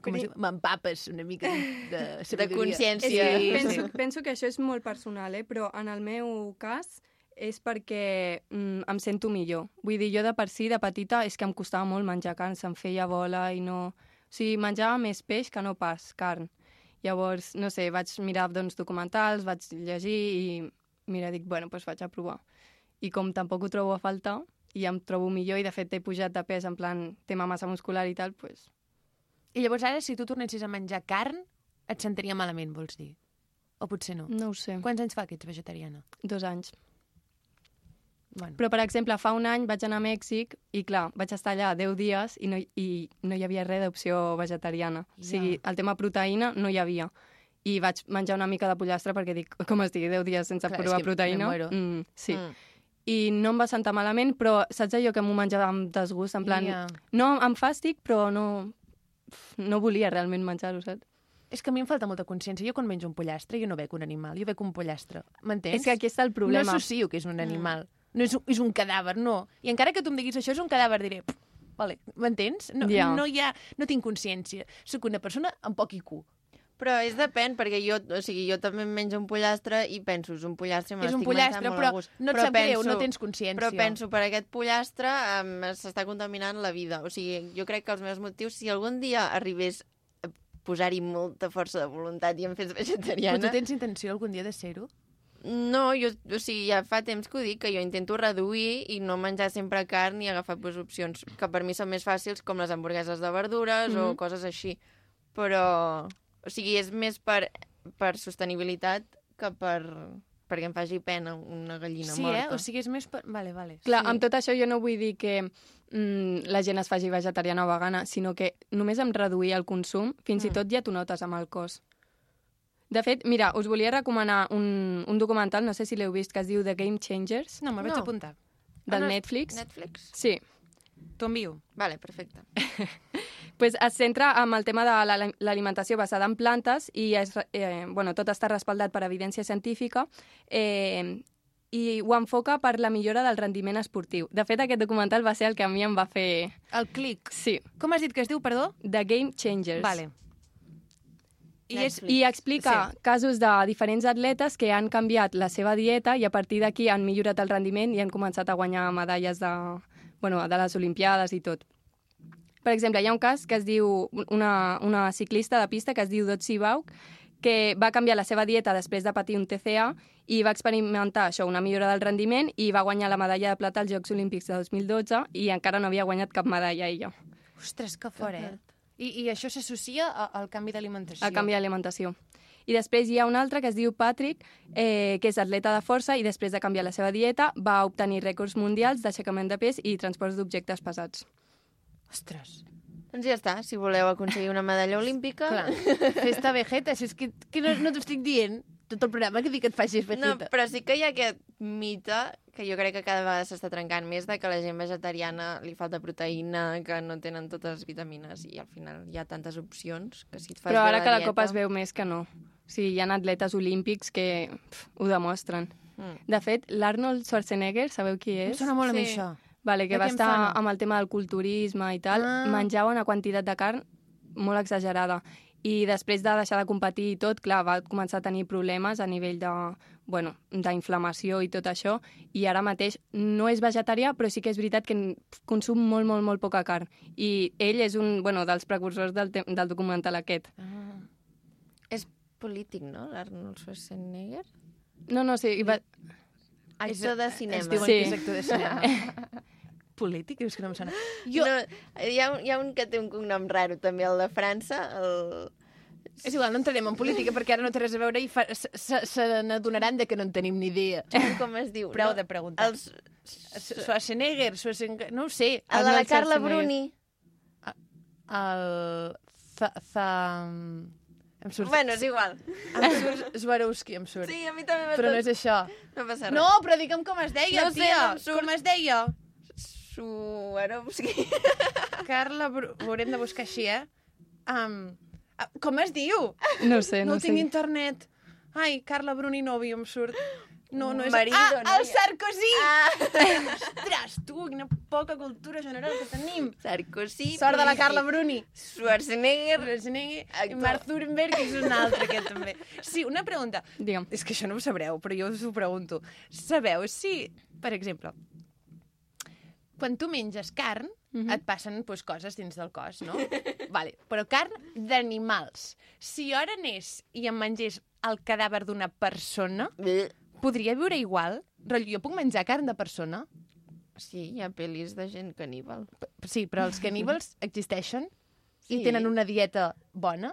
[SPEAKER 2] com es diu? M'empapes una mica de
[SPEAKER 1] de
[SPEAKER 2] sabidoria.
[SPEAKER 7] És
[SPEAKER 1] consciència.
[SPEAKER 7] que
[SPEAKER 2] Sí.
[SPEAKER 7] penso, penso que això és molt personal, eh? però en el meu cas és perquè mm, em sento millor. Vull dir, jo de per si, de petita, és que em costava molt menjar carn, se'm feia bola i no... O sigui, menjava més peix que no pas carn. Llavors, no sé, vaig mirar doncs, documentals, vaig llegir i mira, dic, bueno, doncs vaig a provar. I com tampoc ho trobo a faltar i em trobo millor i de fet he pujat de pes en plan tema massa muscular i tal, doncs
[SPEAKER 2] I llavors ara, si tu tornessis a menjar carn, et sentiria malament, vols dir? O potser no.
[SPEAKER 7] no ho sé,
[SPEAKER 2] Quants anys fa que ets vegetariana?
[SPEAKER 7] dos anys.
[SPEAKER 2] Bueno.
[SPEAKER 7] Però, per exemple, fa un any vaig anar a Mèxic i, clar, vaig estar allà 10 dies i no, i no hi havia res d'opció vegetariana. Yeah. O sigui, el tema proteïna no hi havia. I vaig menjar una mica de pollastre perquè dic, com estigui 10 dies sense
[SPEAKER 2] Clar,
[SPEAKER 7] clar,
[SPEAKER 2] és
[SPEAKER 7] provar
[SPEAKER 2] que me
[SPEAKER 7] proteïna...
[SPEAKER 2] muero.
[SPEAKER 7] Mm, sí.
[SPEAKER 1] Mm.
[SPEAKER 7] Mm. I no em va sentar malament, però saps allò que m'ho menjava amb desgust? En plan, yeah.
[SPEAKER 2] Ja.
[SPEAKER 7] no, em fàstic, però no, no volia realment menjar-ho, saps?
[SPEAKER 2] És que a mi em falta molta consciència. Jo quan menjo un pollastre, jo no bec un animal, jo bec un pollastre. M'entens?
[SPEAKER 7] És que aquí està el
[SPEAKER 2] problema.
[SPEAKER 7] problema. Ah.
[SPEAKER 2] No associo que és un animal. No és un, és un cadàver, no. I encara que tu em diguis això és un cadàver, diré... "Pff, Vale, m'entens? No,
[SPEAKER 7] Ja.
[SPEAKER 2] no, hi ha, no tinc consciència. Sóc una persona amb poc IQ.
[SPEAKER 1] Però és depèn, perquè jo, o sigui, jo també em menjo un pollastre i penso, és un pollastre, me
[SPEAKER 2] és un
[SPEAKER 1] l'estic menjant
[SPEAKER 2] pollastre,
[SPEAKER 1] molt
[SPEAKER 2] però
[SPEAKER 1] a gust.
[SPEAKER 2] no et sap greu, no tens consciència.
[SPEAKER 1] Però penso, per aquest pollastre um, s'està contaminant la vida. O sigui, jo crec que els meus motius, si algun dia arribés a posar-hi molta força de voluntat i em
[SPEAKER 2] Però
[SPEAKER 1] fes
[SPEAKER 2] tu
[SPEAKER 1] vegetariana...
[SPEAKER 2] tens intenció algun dia de ser-ho?
[SPEAKER 1] No, jo, o sigui, ja fa temps que ho dic, que jo intento reduir i no menjar sempre carn i agafar pues, opcions que per mi són més fàcils, com les hamburgueses de verdures mm
[SPEAKER 2] Mhm.
[SPEAKER 1] -hmm. o coses així. Però, o sigui, és més per, per sostenibilitat que per perquè em faci pena una gallina
[SPEAKER 2] sí,
[SPEAKER 1] morta.
[SPEAKER 2] eh? O sigui, és més... Per... Vale, vale.
[SPEAKER 7] Clar,
[SPEAKER 2] sí.
[SPEAKER 7] amb tot això jo no vull dir que mm, la gent es faci vegetariana o vegana, sinó que només amb reduir el consum, fins mm. i tot ja t'ho notes amb el cos. De fet, mira, us volia recomanar un, un documental, no sé si l'heu vist, que es diu The Game Changers,
[SPEAKER 2] No, me'l vaig
[SPEAKER 1] No.
[SPEAKER 2] apuntar. Ah,
[SPEAKER 7] del
[SPEAKER 1] no,
[SPEAKER 7] Netflix.
[SPEAKER 1] Netflix?
[SPEAKER 7] Sí.
[SPEAKER 2] T'ho envio.
[SPEAKER 1] Vale, perfecte.
[SPEAKER 7] pues es centra en el tema de la- l'alimentació basada en plantes i és, re- eh, bueno, tot està respaldat per evidència científica eh, i ho enfoca per la millora del rendiment esportiu. De fet, aquest documental va ser el que a mi em va fer...
[SPEAKER 2] El clic.
[SPEAKER 7] Sí,
[SPEAKER 2] Com has dit que es diu, perdó?
[SPEAKER 7] The Game Changers.
[SPEAKER 2] Vale.
[SPEAKER 7] I, és, I explica sí. casos de diferents atletes que han canviat la seva dieta i a partir d'aquí han millorat el rendiment i han començat a guanyar medalles de, bueno, de les Olimpiades i tot. Per exemple, hi ha un cas que es diu una, una ciclista de pista que es diu Dotsi Bauk, que va canviar la seva dieta després de patir un TCA i va experimentar això, una millora del rendiment i va guanyar la medalla de plata als Jocs Olímpics de 2012 i encara no havia guanyat cap medalla ella,
[SPEAKER 2] Ostres, que fort, eh? I, i això s'associa a- al canvi d'alimentació.
[SPEAKER 7] a canvi d'alimentació. I després hi ha un altre que es diu Patrick, eh, que és atleta de força i després de canviar la seva dieta va obtenir rècords mundials d'aixecament de pes i transports d'objectes pesats.
[SPEAKER 2] Ostres.
[SPEAKER 1] Doncs ja està, si voleu aconseguir una medalla olímpica...
[SPEAKER 2] Clar, festa vegeta, si és que, que no, no t'ho estic dient tot el programa que dic que et facis
[SPEAKER 1] No,
[SPEAKER 2] vegeta.
[SPEAKER 1] però sí que hi ha aquest mite que jo crec que cada vegada s'està trencant més de que la gent vegetariana li falta proteïna, que no tenen totes les vitamines i al final hi ha tantes opcions que si et fas
[SPEAKER 7] Però
[SPEAKER 1] bé
[SPEAKER 7] ara
[SPEAKER 1] la
[SPEAKER 7] cada
[SPEAKER 1] dieta...
[SPEAKER 7] cop es veu més que no. O sigui, hi ha atletes olímpics que pf, ho demostren.
[SPEAKER 1] Mm.
[SPEAKER 7] De fet, l'Arnold Schwarzenegger, sabeu qui
[SPEAKER 2] Em
[SPEAKER 7] és?
[SPEAKER 2] sona molt sí. a mi
[SPEAKER 1] Sí.
[SPEAKER 2] això.
[SPEAKER 7] Vale,
[SPEAKER 2] De
[SPEAKER 7] que va
[SPEAKER 2] què em
[SPEAKER 7] estar
[SPEAKER 2] sona?
[SPEAKER 7] amb el tema del culturisme i tal,
[SPEAKER 2] Ah.
[SPEAKER 7] ah. menjava una quantitat de carn molt exagerada. I després de deixar de competir i tot, clar, va començar a tenir problemes a nivell de, bueno, d'inflamació i tot això, i ara mateix no és vegetarià, però sí que és veritat que n- consum molt, molt, molt poca carn. I ell és un, bueno, dels precursors del, te- del documental aquest.
[SPEAKER 1] Ah. És polític, no, l'Arnold Schwarzenegger?
[SPEAKER 7] No, no, sí, i va...
[SPEAKER 1] Actor de cinema.
[SPEAKER 2] Ens diuen
[SPEAKER 7] Sí.
[SPEAKER 2] que és actor de cinema. Polític, és que no em sona.
[SPEAKER 1] Jo... No, hi, ha, un- hi ha un que té un cognom raro, també, el de França, el...
[SPEAKER 2] És igual, no entrarem en política perquè ara no té res a veure i fa, se, se, se n'adonaran de que no en tenim ni idea.
[SPEAKER 1] com es diu?
[SPEAKER 2] Prou
[SPEAKER 1] no?
[SPEAKER 2] de preguntar.
[SPEAKER 1] Els...
[SPEAKER 2] Schwarzenegger, Schwarzenegger, no ho sé.
[SPEAKER 1] El de la
[SPEAKER 2] Arnold
[SPEAKER 1] Carla
[SPEAKER 2] Schwarzenegger.
[SPEAKER 1] Bruni.
[SPEAKER 2] El... Fa, fa... Em surt...
[SPEAKER 1] Bueno, és igual.
[SPEAKER 2] Em surt Swarovski, em surt.
[SPEAKER 1] Sí, a mi també m'ha
[SPEAKER 2] Però no és això.
[SPEAKER 1] no passa res.
[SPEAKER 2] No, però digue'm com es deia,
[SPEAKER 1] No sé,
[SPEAKER 2] tia.
[SPEAKER 1] no em surt.
[SPEAKER 2] Com es deia?
[SPEAKER 1] Suarovski.
[SPEAKER 2] Carla, Bru- ho haurem de buscar així, eh? Um, ah, com es diu?
[SPEAKER 7] No ho sé, no,
[SPEAKER 2] No, no
[SPEAKER 7] ho
[SPEAKER 2] tinc
[SPEAKER 7] sé.
[SPEAKER 2] internet. Ai, Carla Bruni Novi, em surt. No, no és...
[SPEAKER 3] Marido,
[SPEAKER 2] ah,
[SPEAKER 3] noia.
[SPEAKER 2] el Sarkozy!
[SPEAKER 1] Ah.
[SPEAKER 2] Ostres, tu, quina poca cultura general que tenim.
[SPEAKER 1] Sarkozy...
[SPEAKER 2] Sort de la Carla Bruni.
[SPEAKER 1] Schwarzenegger...
[SPEAKER 2] Schwarzenegger,
[SPEAKER 1] Actor.
[SPEAKER 2] Mark Zuckerberg, que és un altre, aquest també. Sí, una pregunta.
[SPEAKER 7] Digue'm.
[SPEAKER 2] És que això no ho sabreu, però jo us ho pregunto. Sabeu si, per exemple, quan tu menges carn,
[SPEAKER 7] Mhm.
[SPEAKER 2] et passen pues, coses dins del cos, no? vale. Però carn d'animals. Si jo ara anés i em mengés el cadàver d'una persona, podria viure igual? Rotllo, jo puc menjar carn de persona?
[SPEAKER 1] Sí, hi ha pel·lis de gent caníbal.
[SPEAKER 2] P- Sí, però els caníbals existeixen sí. i
[SPEAKER 1] Sí.
[SPEAKER 2] tenen una dieta bona?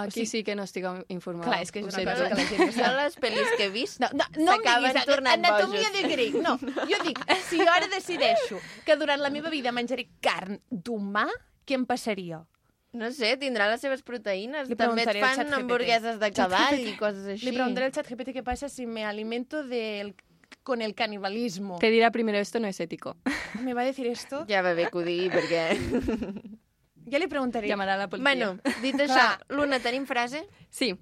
[SPEAKER 7] Aquí sí que no estic informada.
[SPEAKER 2] Clar, és que és
[SPEAKER 7] Ho
[SPEAKER 2] una
[SPEAKER 7] sento.
[SPEAKER 2] cosa que la gent no sap.
[SPEAKER 1] Jo les pel·lis que he vist...
[SPEAKER 2] No, no, no em
[SPEAKER 1] S'acaben
[SPEAKER 2] diguis a-
[SPEAKER 1] tornant
[SPEAKER 2] anatomia
[SPEAKER 1] bojos.
[SPEAKER 2] de grec. No, jo dic, si jo ara decideixo que durant la meva vida menjaré carn d'humà, què em passaria?
[SPEAKER 1] No sé, tindrà les seves proteïnes.
[SPEAKER 2] Li
[SPEAKER 1] També et
[SPEAKER 2] preguntaré al
[SPEAKER 1] fan
[SPEAKER 2] ChatGPT.
[SPEAKER 1] hamburgueses de cavall i coses així.
[SPEAKER 2] Li preguntaré al xat GPT què passa si me alimento del con el canibalismo.
[SPEAKER 7] Te dirá primero, esto no es ético.
[SPEAKER 2] Me va a decir esto?
[SPEAKER 1] Ja va bé que ho digui, perquè...
[SPEAKER 2] Ja li preguntaré.
[SPEAKER 7] Llamará a la policía.
[SPEAKER 1] Bueno, dit això, Luna, tenim frase?
[SPEAKER 7] Sí.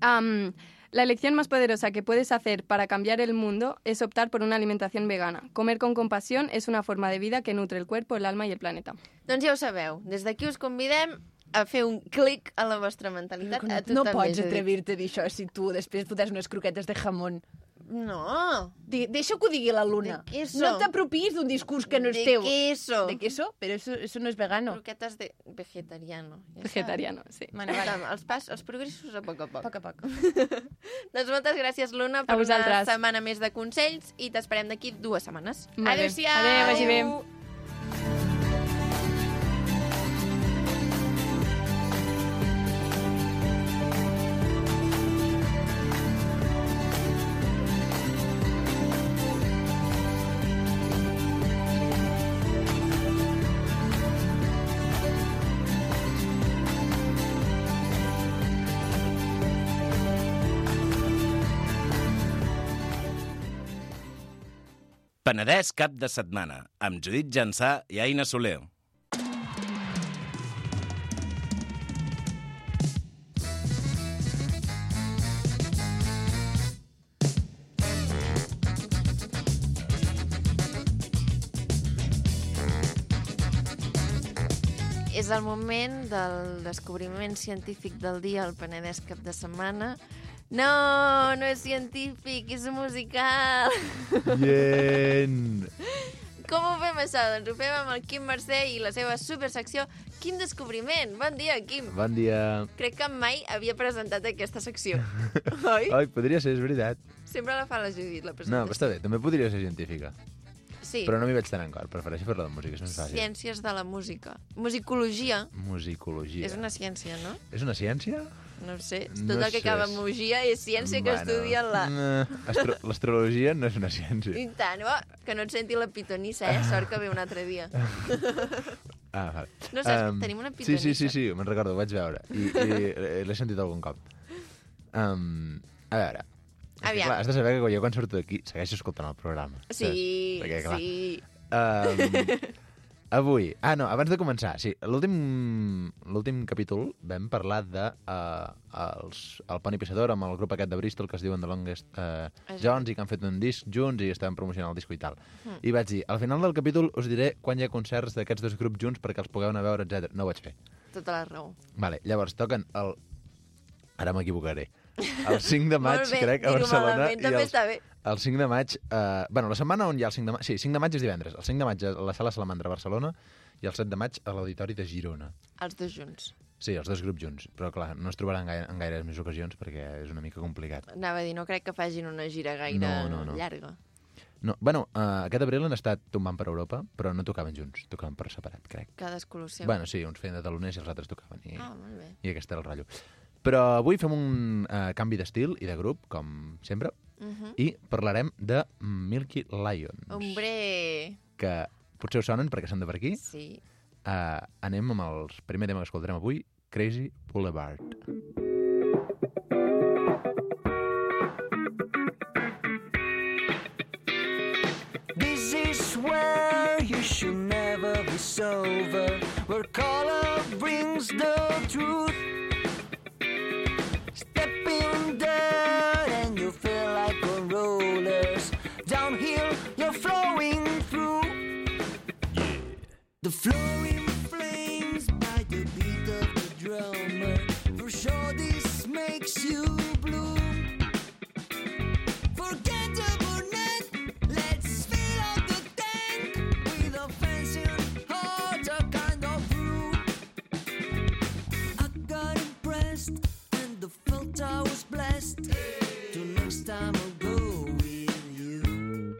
[SPEAKER 7] Am, la elección más poderosa que puedes hacer para cambiar el mundo es optar por una alimentación vegana. Comer con compasión es una forma de vida que nutre el cuerpo, el alma y el planeta.
[SPEAKER 1] Doncs ja ho sabeu, des d'aquí us convidem a fer un clic a la vostra mentalitat. a tu
[SPEAKER 2] no
[SPEAKER 1] també,
[SPEAKER 2] pots
[SPEAKER 1] Judit.
[SPEAKER 2] atrevir-te a dir això si tu després fotràs unes croquetes de jamón.
[SPEAKER 1] No,
[SPEAKER 2] De, deixa que ho digui la Luna.
[SPEAKER 1] De queso.
[SPEAKER 2] No t'apropis d'un discurs que no és
[SPEAKER 1] de
[SPEAKER 2] teu.
[SPEAKER 1] queso.
[SPEAKER 2] De queso? Però eso, eso no és vegano.
[SPEAKER 1] Croquetes de vegetariano. Ja
[SPEAKER 7] Vegetariano, sí.
[SPEAKER 2] Bueno,
[SPEAKER 1] Bueno,
[SPEAKER 2] va,
[SPEAKER 1] els, pas, els progressos a poc a poc.
[SPEAKER 2] a poc a poc.
[SPEAKER 1] Doncs moltes gràcies, Luna, per una
[SPEAKER 7] vosaltres.
[SPEAKER 1] setmana més de consells i t'esperem d'aquí dues setmanes.
[SPEAKER 7] Molt bé.
[SPEAKER 1] Adéu-siau!
[SPEAKER 7] Adéu, vagi bé.
[SPEAKER 8] Penedès cap de setmana, amb Judit Jansà i Aina Soler.
[SPEAKER 1] És el moment del descobriment científic del dia al Penedès cap de setmana. No, no és científic, és musical.
[SPEAKER 9] Bien.
[SPEAKER 1] Com ho fem, això? Doncs ho fem amb el Quim Mercè i la seva supersecció Quim Descobriment. Bon dia, Quim.
[SPEAKER 9] Bon dia.
[SPEAKER 1] Crec que mai havia presentat aquesta secció, oi?
[SPEAKER 9] Ai, podria ser, és veritat.
[SPEAKER 1] Sempre la fa la Judit, la
[SPEAKER 9] No,
[SPEAKER 1] presentació.
[SPEAKER 9] però està bé, també podria ser científica.
[SPEAKER 1] Sí, Ah,
[SPEAKER 9] Però no m'hi vaig tan en cor, prefereixo fer-la de música, és més fàcil.
[SPEAKER 1] ciències de la música. Musicologia
[SPEAKER 9] Musicologia.
[SPEAKER 1] és una ciència, no?
[SPEAKER 9] és una ciència?
[SPEAKER 1] No ho sé. Tot
[SPEAKER 9] No
[SPEAKER 1] el que
[SPEAKER 9] sé.
[SPEAKER 1] acaba amb mugia és ciència que estudia la...
[SPEAKER 9] eh, astro- L'astrologia no és una
[SPEAKER 1] I
[SPEAKER 9] ciència.
[SPEAKER 1] tant, oh, que no et senti la pitonissa, eh? Sort que ve un altre dia.
[SPEAKER 9] Ah, vale.
[SPEAKER 1] No saps,
[SPEAKER 9] Em,
[SPEAKER 1] tenim una
[SPEAKER 9] Sí, sí, sí,
[SPEAKER 1] pitonissa.
[SPEAKER 9] sí, me'n recordo, ho vaig veure. I, i eh, l'he sentit algun cop. Um, a veure... És que,
[SPEAKER 1] Aviam.
[SPEAKER 9] Clar, has de saber que jo quan surto d'aquí segueixo escoltant el programa.
[SPEAKER 1] Sí,
[SPEAKER 9] saps? Perquè, clar,
[SPEAKER 1] sí.
[SPEAKER 9] Um, avui... Ah, no, abans de començar, sí. L'últim l'últim capítol vam parlar de uh, els, el Pony Pissador amb el grup aquest de Bristol que es diuen The Longest uh,
[SPEAKER 1] Exacte.
[SPEAKER 9] Jones i que han fet un disc junts i estaven promocionant el disco i tal.
[SPEAKER 1] Mm.
[SPEAKER 9] I vaig dir, al final del capítol us diré quan hi ha concerts d'aquests dos grups junts perquè els pugueu anar a veure, etc. No ho vaig fer.
[SPEAKER 1] Tota la raó.
[SPEAKER 9] Vale, llavors toquen el... Ara m'equivocaré. El 5 de maig,
[SPEAKER 1] Molt bé,
[SPEAKER 9] crec, a
[SPEAKER 1] dir-ho
[SPEAKER 9] Barcelona.
[SPEAKER 1] malament, també
[SPEAKER 9] els,
[SPEAKER 1] està bé.
[SPEAKER 9] El 5 de maig... Eh, bueno, la setmana on hi ha el 5 de maig... Sí, 5 de maig és divendres. El 5 de maig a la Sala Salamandra a Barcelona i el 7 de maig a l'Auditori de Girona.
[SPEAKER 1] Els dos junts.
[SPEAKER 9] Sí, els dos grups junts. Però, clar, no es trobaran gaire, en gaires més ocasions perquè és una mica complicat.
[SPEAKER 1] Anava a dir, no crec que facin una gira gaire
[SPEAKER 9] No, no, no.
[SPEAKER 1] llarga.
[SPEAKER 9] No, bueno, eh, aquest abril han estat tombant per Europa, però no tocaven junts, tocaven per separat, crec.
[SPEAKER 1] Cadascú el seu.
[SPEAKER 9] Bueno, sí, uns feien de taloners i els altres tocaven. I...
[SPEAKER 1] Ah, molt bé.
[SPEAKER 9] I aquest era el rotllo. Però avui fem un eh, canvi d'estil i de grup, com sempre,
[SPEAKER 1] Mhm. Oh.
[SPEAKER 9] i parlarem de Milky Lions,
[SPEAKER 1] Hombre,
[SPEAKER 9] que potser us sonen perquè són de per aquí.
[SPEAKER 1] sí.
[SPEAKER 9] Eh, anem amb el primer tema que escoltarem avui, Crazy Boulevard.
[SPEAKER 6] This is where you should never be sober, where color brings the truth. Step in there and you feel like a rover. makes you blue. Forget the bonnet, let's fill up the tank with offensive
[SPEAKER 4] oh,
[SPEAKER 6] other kind of brew. I got impressed, and the felt I was blessed. To next time I'll go with you.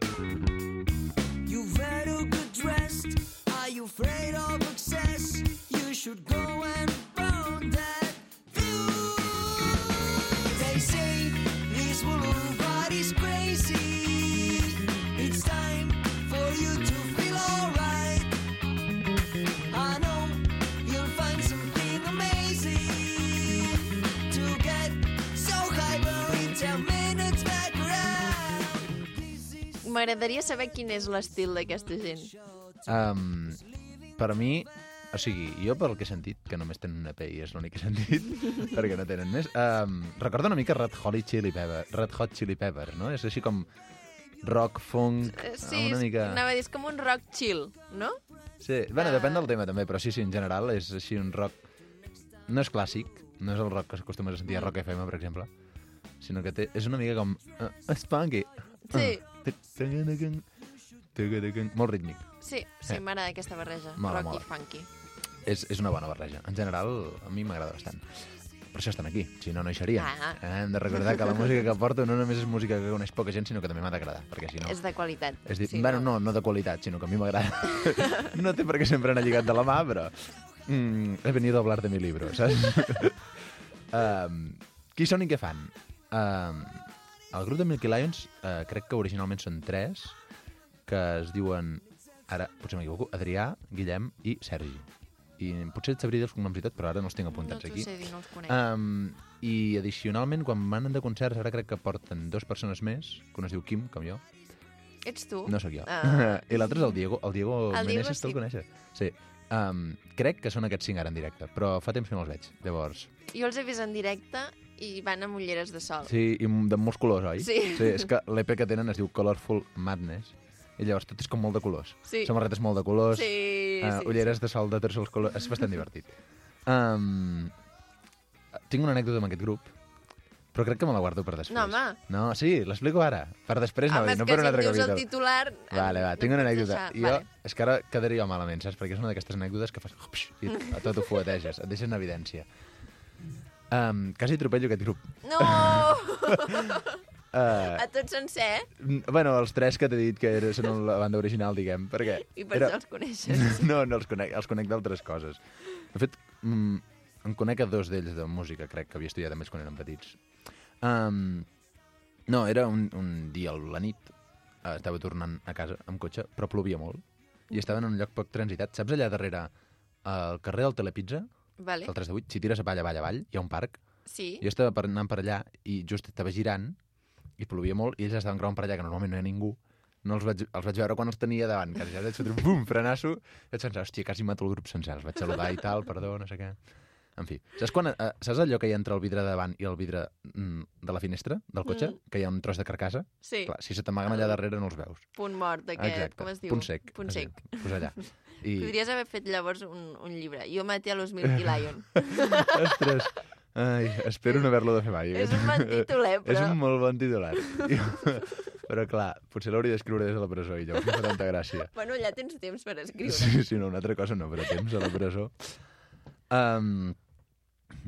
[SPEAKER 6] You very good dressed. Are you afraid of excess? You should go and burn that view. They say this boulevard is crazy. It's time for you to feel alright. I know you'll find something amazing to get so high, but in ten minutes back around.
[SPEAKER 1] M'agradaria saber quin és l'estil d'aquesta gent. Eh,
[SPEAKER 9] Um, per a mi, o sigui, jo pel que he sentit, que només tenen una P i és l'únic que he sentit, perquè no tenen més, um, recorda una mica Red Hot Chili Pepper, Red Hot Chili Pepper, no? És així com rock, funk,
[SPEAKER 1] Eh, Sí,
[SPEAKER 9] Ah, una
[SPEAKER 1] és-
[SPEAKER 9] mica...
[SPEAKER 1] anava a dir, és com un rock chill, no?
[SPEAKER 9] Sí, bueno, depèn del tema també, però sí, sí, en general és així un rock... No és clàssic, no és el rock que acostumes a sentir a Rock FM, per exemple, sinó que té, és una mica com... Uh, spunky.
[SPEAKER 1] Sí.
[SPEAKER 9] Ah, Uh, molt rítmic.
[SPEAKER 1] Sí, sí,
[SPEAKER 9] Eh.
[SPEAKER 1] m'agrada aquesta barreja,
[SPEAKER 9] Mola,
[SPEAKER 1] rock
[SPEAKER 9] mola.
[SPEAKER 1] i funky.
[SPEAKER 9] És, és una bona barreja. En general, a mi m'agrada bastant. Per això estan aquí, si no, no hi serien.
[SPEAKER 1] Ah.
[SPEAKER 9] Eh, Hem de recordar que la música que porto no només és música que coneix poca gent, sinó que també m'ha d'agradar, perquè si no...
[SPEAKER 1] És de qualitat.
[SPEAKER 9] És dir,
[SPEAKER 1] sí,
[SPEAKER 9] sí, bueno, no, no de qualitat, sinó que a mi m'agrada. no té perquè sempre anar lligat de la mà, però... Mm, he venido a hablar de mi libro, saps? um, qui són i què fan? Um, el grup de Milky Lions uh, crec que originalment són tres, que es diuen, ara potser m'equivoco, Adrià, Guillem i Sergi. I potser et sabria dir els cognoms i tot, però ara no els tinc apuntats
[SPEAKER 1] no t'ho
[SPEAKER 9] aquí.
[SPEAKER 1] sé dir, no els conec.
[SPEAKER 9] Um, I addicionalment, quan manen de concerts, ara crec que porten dues persones més, que una es diu Kim, com jo,
[SPEAKER 1] Ets tu?
[SPEAKER 9] no sóc jo.
[SPEAKER 1] Ah.
[SPEAKER 9] I l'altre és el Diego. El Diego
[SPEAKER 1] El Diego
[SPEAKER 9] Meneses, te'l
[SPEAKER 1] sí.
[SPEAKER 9] coneixes? Sí. Um, crec que són aquests cinc ara en directe, però fa temps que no els veig, llavors.
[SPEAKER 1] Jo els he vist en directe i van amb ulleres de sol.
[SPEAKER 9] Sí, i m- de molts colors, oi?
[SPEAKER 1] Sí.
[SPEAKER 9] sí és que l'EP que tenen es diu Colorful Madness, i llavors tot és com molt de colors.
[SPEAKER 1] Sí.
[SPEAKER 9] Samarretes molt de colors,
[SPEAKER 1] Sí,
[SPEAKER 9] eh,
[SPEAKER 1] sí,
[SPEAKER 9] ulleres de sol de tots els colors. És bastant divertit. Um, tinc una anècdota amb aquest grup, però crec que me la guardo per després.
[SPEAKER 1] No, home.
[SPEAKER 9] No, sí, l'explico ara. Per després, no, eh,
[SPEAKER 1] Home,
[SPEAKER 9] no
[SPEAKER 1] és que
[SPEAKER 9] per un
[SPEAKER 1] si
[SPEAKER 9] altre
[SPEAKER 1] em dius
[SPEAKER 9] capítol.
[SPEAKER 1] el titular... eh,
[SPEAKER 9] Vale, va,
[SPEAKER 1] no
[SPEAKER 9] tinc una
[SPEAKER 1] pots
[SPEAKER 9] anècdota.
[SPEAKER 1] deixar-
[SPEAKER 9] Jo,
[SPEAKER 1] Vale.
[SPEAKER 9] és que ara quedaria malament, saps? Perquè és una d'aquestes anècdotes que fas... Ups, I a tot ho fueteges, et deixes en evidència. Um, quasi atropello aquest grup.
[SPEAKER 1] No!
[SPEAKER 9] Uh,
[SPEAKER 1] a tot sencer,
[SPEAKER 9] bueno, els tres que t'he dit que era, són la banda original, diguem, perquè...
[SPEAKER 1] i per
[SPEAKER 9] era-
[SPEAKER 1] això els coneixes.
[SPEAKER 9] No, no els conec, els conec d'altres coses. De fet, mm, en conec a dos d'ells de música, crec que havia estudiat amb ells quan eren petits. Um, no, era un, un dia a la nit, eh, estava tornant a casa amb cotxe, però plovia molt, i estava en un lloc poc transitat. Saps allà darrere, al carrer del Telepizza,
[SPEAKER 1] Vale.
[SPEAKER 9] el 3 de 8, si tires avall, avall, avall, hi ha un parc,
[SPEAKER 1] Sí.
[SPEAKER 9] jo estava per, anant per allà i just estava girant i plovia molt i ells estaven creuant per allà, que normalment no hi ha ningú. No els vaig, els vaig veure quan els tenia davant, que ja vaig fotre un bum, frenasso, i vaig pensar, hòstia, quasi mato el grup sencer, els vaig saludar i tal, perdó, no sé què. En fi, saps, quan, eh, saps allò que hi ha entre el vidre de davant i el vidre mm, de la finestra del cotxe?
[SPEAKER 1] Mm.
[SPEAKER 9] Mm. Que hi ha un tros de carcassa?
[SPEAKER 1] Sí. Ah.
[SPEAKER 9] Clar, si se t'amaguen allà darrere no els veus.
[SPEAKER 1] Punt mort, aquest. Com es diu?
[SPEAKER 9] Punt sec.
[SPEAKER 1] Punt
[SPEAKER 9] es diu.
[SPEAKER 1] sec.
[SPEAKER 9] Pues allà. I...
[SPEAKER 1] Podries haver fet llavors un, un llibre. Jo maté a los Milky Lion.
[SPEAKER 9] Ostres, ai, espero no haver-lo de fer mai.
[SPEAKER 1] És un bon títol, eh, però-
[SPEAKER 9] És un molt bon titular. però clar, potser l'hauria d'escriure des de la presó i llavors no fa tanta gràcia.
[SPEAKER 1] bueno, ja tens temps per escriure.
[SPEAKER 9] Sí, sí, no, una altra cosa no, però temps a la presó. Um,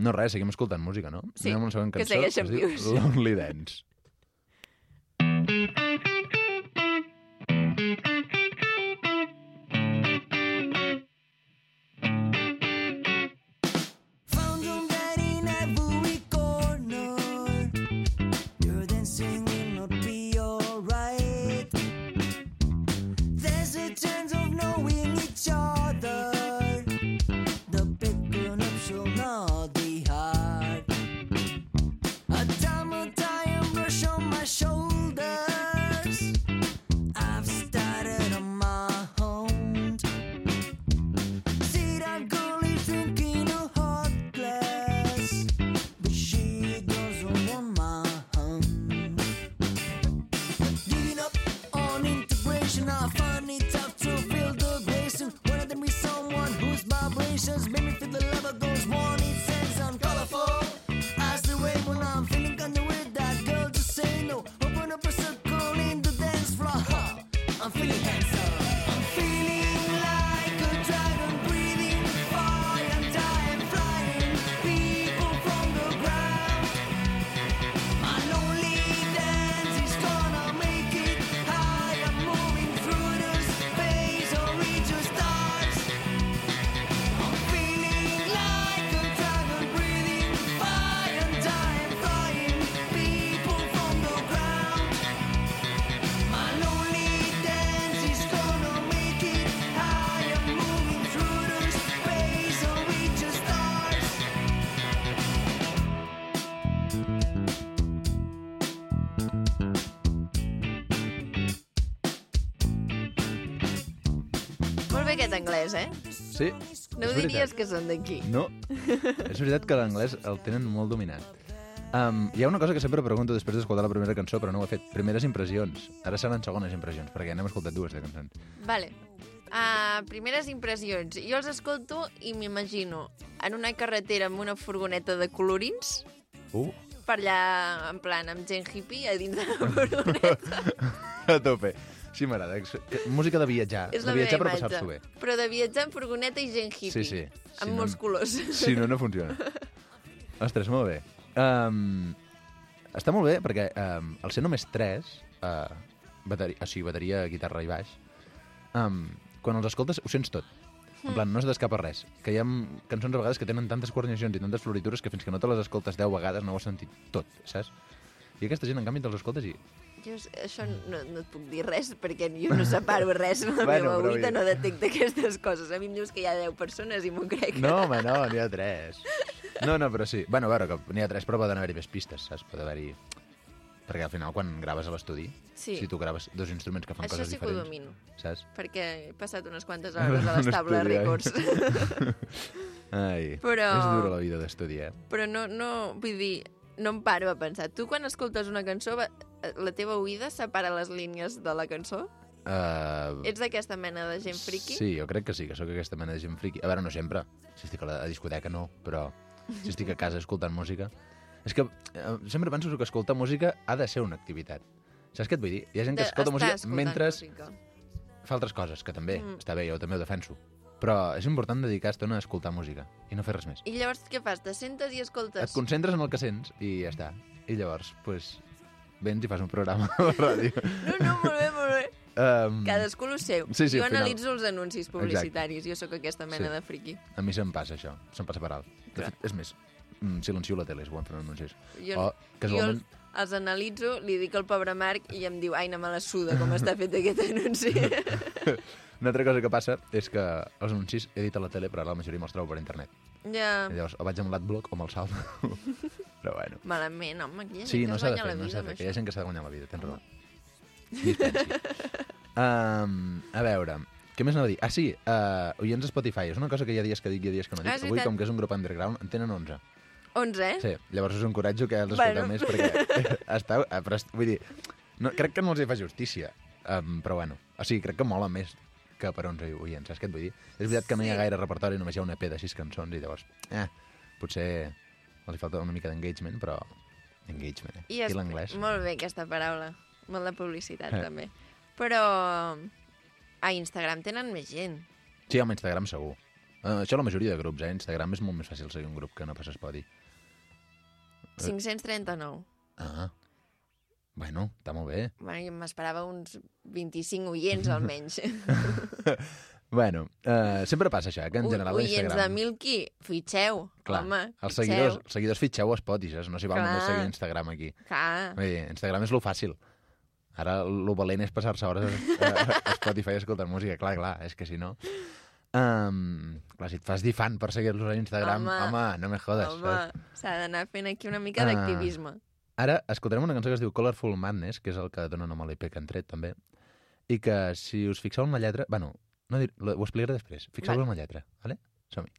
[SPEAKER 9] no res, seguim escoltant música, no?
[SPEAKER 1] Sí,
[SPEAKER 9] Anem a la següent
[SPEAKER 1] que
[SPEAKER 9] cançó, es
[SPEAKER 1] segueixen
[SPEAKER 9] diu
[SPEAKER 1] vius.
[SPEAKER 9] Lonely Dance.
[SPEAKER 6] Found room that in every corner. Your dancing will not be alright. There's a chance of knowing each other. The big grown up shall not be hard. A time, a time, brush
[SPEAKER 1] Molt bé aquest anglès, eh?
[SPEAKER 9] Sí,
[SPEAKER 1] No
[SPEAKER 9] és
[SPEAKER 1] ho diries
[SPEAKER 9] veritat.
[SPEAKER 1] que són d'aquí.
[SPEAKER 9] No, és veritat que l'anglès el tenen molt dominat. Um, hi ha una cosa que sempre pregunto després d'escoltar la primera cançó, però no ho he fet. Primeres impressions. Ara seran segones impressions, perquè n'hem escoltat dues de cançons.
[SPEAKER 1] Vale. Uh, primeres impressions. Jo els escolto i m'imagino en una carretera amb una furgoneta de colorins,
[SPEAKER 9] Uh,
[SPEAKER 1] per allà, en plan, amb gent hippie a dins de la furgoneta.
[SPEAKER 9] a tope. Sí, m'agrada. Que- Música de viatjar.
[SPEAKER 1] És
[SPEAKER 9] de
[SPEAKER 1] la
[SPEAKER 9] viatjar
[SPEAKER 1] meva
[SPEAKER 9] per
[SPEAKER 1] imatge.
[SPEAKER 9] passar-s'ho bé.
[SPEAKER 1] Però de viatjar en furgoneta i gent hippie.
[SPEAKER 9] Sí, sí.
[SPEAKER 1] Amb molts colors.
[SPEAKER 9] Si no, no funciona. Ostres, molt bé. Um, està molt bé perquè um, al ser només tres, uh, bateria, o sigui, bateria, guitarra i baix, um, quan els escoltes ho sents tot. En
[SPEAKER 1] Hmm.
[SPEAKER 9] plan, no es d'escapa res. Que hi ha cançons a vegades que tenen tantes coordinacions i tantes floritures que fins que no te les escoltes deu vegades no ho has sentit tot, saps? I aquesta gent, en canvi, te'ls escoltes i...
[SPEAKER 1] Jo és- això no, no et puc dir res, perquè jo no separo res. La
[SPEAKER 9] Bueno,
[SPEAKER 1] meva
[SPEAKER 9] però
[SPEAKER 1] oïda
[SPEAKER 9] bé.
[SPEAKER 1] no detecta aquestes coses. A mi em dius que hi ha 10 persones i m'ho crec.
[SPEAKER 9] No, home, no, n'hi ha tres. No, no, però sí. Bueno, a veure, que n'hi ha tres, però poden haver-hi més pistes, saps? Pot haver-hi... Perquè al final, quan graves a l'estudi,
[SPEAKER 1] Sí.
[SPEAKER 9] si tu graves dos instruments que fan
[SPEAKER 1] Això
[SPEAKER 9] coses
[SPEAKER 1] sí que ho
[SPEAKER 9] diferents...
[SPEAKER 1] domino.
[SPEAKER 9] Saps?
[SPEAKER 1] Perquè he passat unes quantes hores a les
[SPEAKER 9] Un
[SPEAKER 1] tables
[SPEAKER 9] estudiant.
[SPEAKER 1] records.
[SPEAKER 9] Ai,
[SPEAKER 1] Però-
[SPEAKER 9] és dura la vida d'estudi, eh?
[SPEAKER 1] Però no, no, vull dir, no em paro a pensar. Tu quan escoltes una cançó, va- la teva oïda separa les línies de la cançó?
[SPEAKER 9] Uh,
[SPEAKER 1] Ets d'aquesta mena de gent friki?
[SPEAKER 9] Sí, jo crec que sí, que sóc aquesta mena de gent friki. A veure, no sempre. Si estic a la a discoteca, no, però si estic a casa escoltant música... És que eh, sempre penso que escoltar música ha de ser una activitat. Saps què et vull dir? Hi ha gent que
[SPEAKER 1] De-
[SPEAKER 9] escolta
[SPEAKER 1] està
[SPEAKER 9] música
[SPEAKER 1] escoltant
[SPEAKER 9] mentre
[SPEAKER 1] música.
[SPEAKER 9] fa altres coses, que també
[SPEAKER 1] Mm.
[SPEAKER 9] mm. està bé, jo també ho defenso. Però és important dedicar estona a escoltar música i no fer res més.
[SPEAKER 1] I llavors què fas? Te sentes i escoltes?
[SPEAKER 9] Et concentres en el que sents i ja està. I llavors, pues, vens i fas un programa a la ràdio.
[SPEAKER 1] No, no, molt bé, molt bé.
[SPEAKER 9] Um,
[SPEAKER 1] Cadascú el seu.
[SPEAKER 9] Sí, sí,
[SPEAKER 1] jo
[SPEAKER 9] al final.
[SPEAKER 1] analitzo els anuncis publicitaris. Jo sóc aquesta mena
[SPEAKER 9] Sí.
[SPEAKER 1] de friki.
[SPEAKER 9] A mi se'm passa això, se'm passa per alt. De fet, és més, mm, silencio la tele, és quan fan anuncis.
[SPEAKER 1] Jo,
[SPEAKER 9] o, casualment,
[SPEAKER 1] jo els, els analitzo, li dic al pobre Marc i em diu, ai, no me la suda com està fet aquest anunci.
[SPEAKER 9] una altra cosa que passa és que els anuncis he dit a la tele, però ara la majoria me'ls trobo per internet.
[SPEAKER 1] ja,
[SPEAKER 9] I llavors, o vaig amb l'adblock o me'l salvo. però bueno.
[SPEAKER 1] malament, home, aquí hi ha
[SPEAKER 9] Sí,
[SPEAKER 1] gent que
[SPEAKER 9] no
[SPEAKER 1] es
[SPEAKER 9] s'ha de
[SPEAKER 1] guanya
[SPEAKER 9] fer, no
[SPEAKER 1] la vida
[SPEAKER 9] s'ha de
[SPEAKER 1] amb
[SPEAKER 9] fer, que
[SPEAKER 1] això.
[SPEAKER 9] hi ha gent que s'ha de guanyar la vida, tens raó. Um, a veure, què més anava a dir? Ah, sí, uh, oients a Spotify. És una cosa que hi ha dies que dic i hi ha dies que no dic.
[SPEAKER 1] Ah, és
[SPEAKER 9] Avui,
[SPEAKER 1] veritat.
[SPEAKER 9] com que és un grup underground, en tenen 11.
[SPEAKER 1] 11, eh?
[SPEAKER 9] Sí, llavors us encoratjo que els
[SPEAKER 1] Bueno.
[SPEAKER 9] escolteu més perquè... està, eh, però, est- vull dir, no, crec que no els hi fa justícia, um, però bueno. O sigui, crec que mola més que per 11 oients, saps què et vull dir? És veritat que no hi ha gaire repertori, només hi ha un EP de 6 cançons i llavors, eh, potser els hi falta una mica d'engagement, però engagement, eh? I,
[SPEAKER 1] es-
[SPEAKER 9] l'anglès.
[SPEAKER 1] Molt bé aquesta paraula. Molt de publicitat,
[SPEAKER 9] Eh.
[SPEAKER 1] també. Però a Instagram tenen més gent.
[SPEAKER 9] Sí, amb Instagram segur. Uh, això la majoria de grups, eh? Instagram és molt més fàcil seguir un grup que no pas Spotify. Eh.
[SPEAKER 1] 539.
[SPEAKER 9] Ah, bueno, està molt bé.
[SPEAKER 1] Bueno, jo m'esperava uns 25 oients, almenys.
[SPEAKER 9] Bueno, uh, sempre passa això, eh? que en general a
[SPEAKER 1] oients de
[SPEAKER 9] Instagram...
[SPEAKER 1] Milky, fitxeu,
[SPEAKER 9] Clar,
[SPEAKER 1] home.
[SPEAKER 9] els
[SPEAKER 1] fitxeu.
[SPEAKER 9] seguidors, els seguidors fitxeu a Spotify, saps? no s'hi val
[SPEAKER 1] Clar. Ah.
[SPEAKER 9] només seguir Instagram aquí.
[SPEAKER 1] Clar.
[SPEAKER 9] Vull dir, Instagram és lo fàcil. Ara lo valent és passar-se hores a, a, a Spotify escoltant música, clar, clar, és que si no... Um, clar, si et fas dir fan per seguir-los a Instagram,
[SPEAKER 1] Home.
[SPEAKER 9] home, no me jodes.
[SPEAKER 1] Home,
[SPEAKER 9] saps?
[SPEAKER 1] s'ha d'anar fent aquí una mica
[SPEAKER 9] Ah.
[SPEAKER 1] d'activisme.
[SPEAKER 9] Ara escoltarem una cançó que es diu Colorful Madness, que és el que dona nom a l'EP que han tret, també, i que, si us fixeu en la lletra... Bueno, no dir, ho explicaré després. Fixeu-vos en la lletra, vale? Som-hi.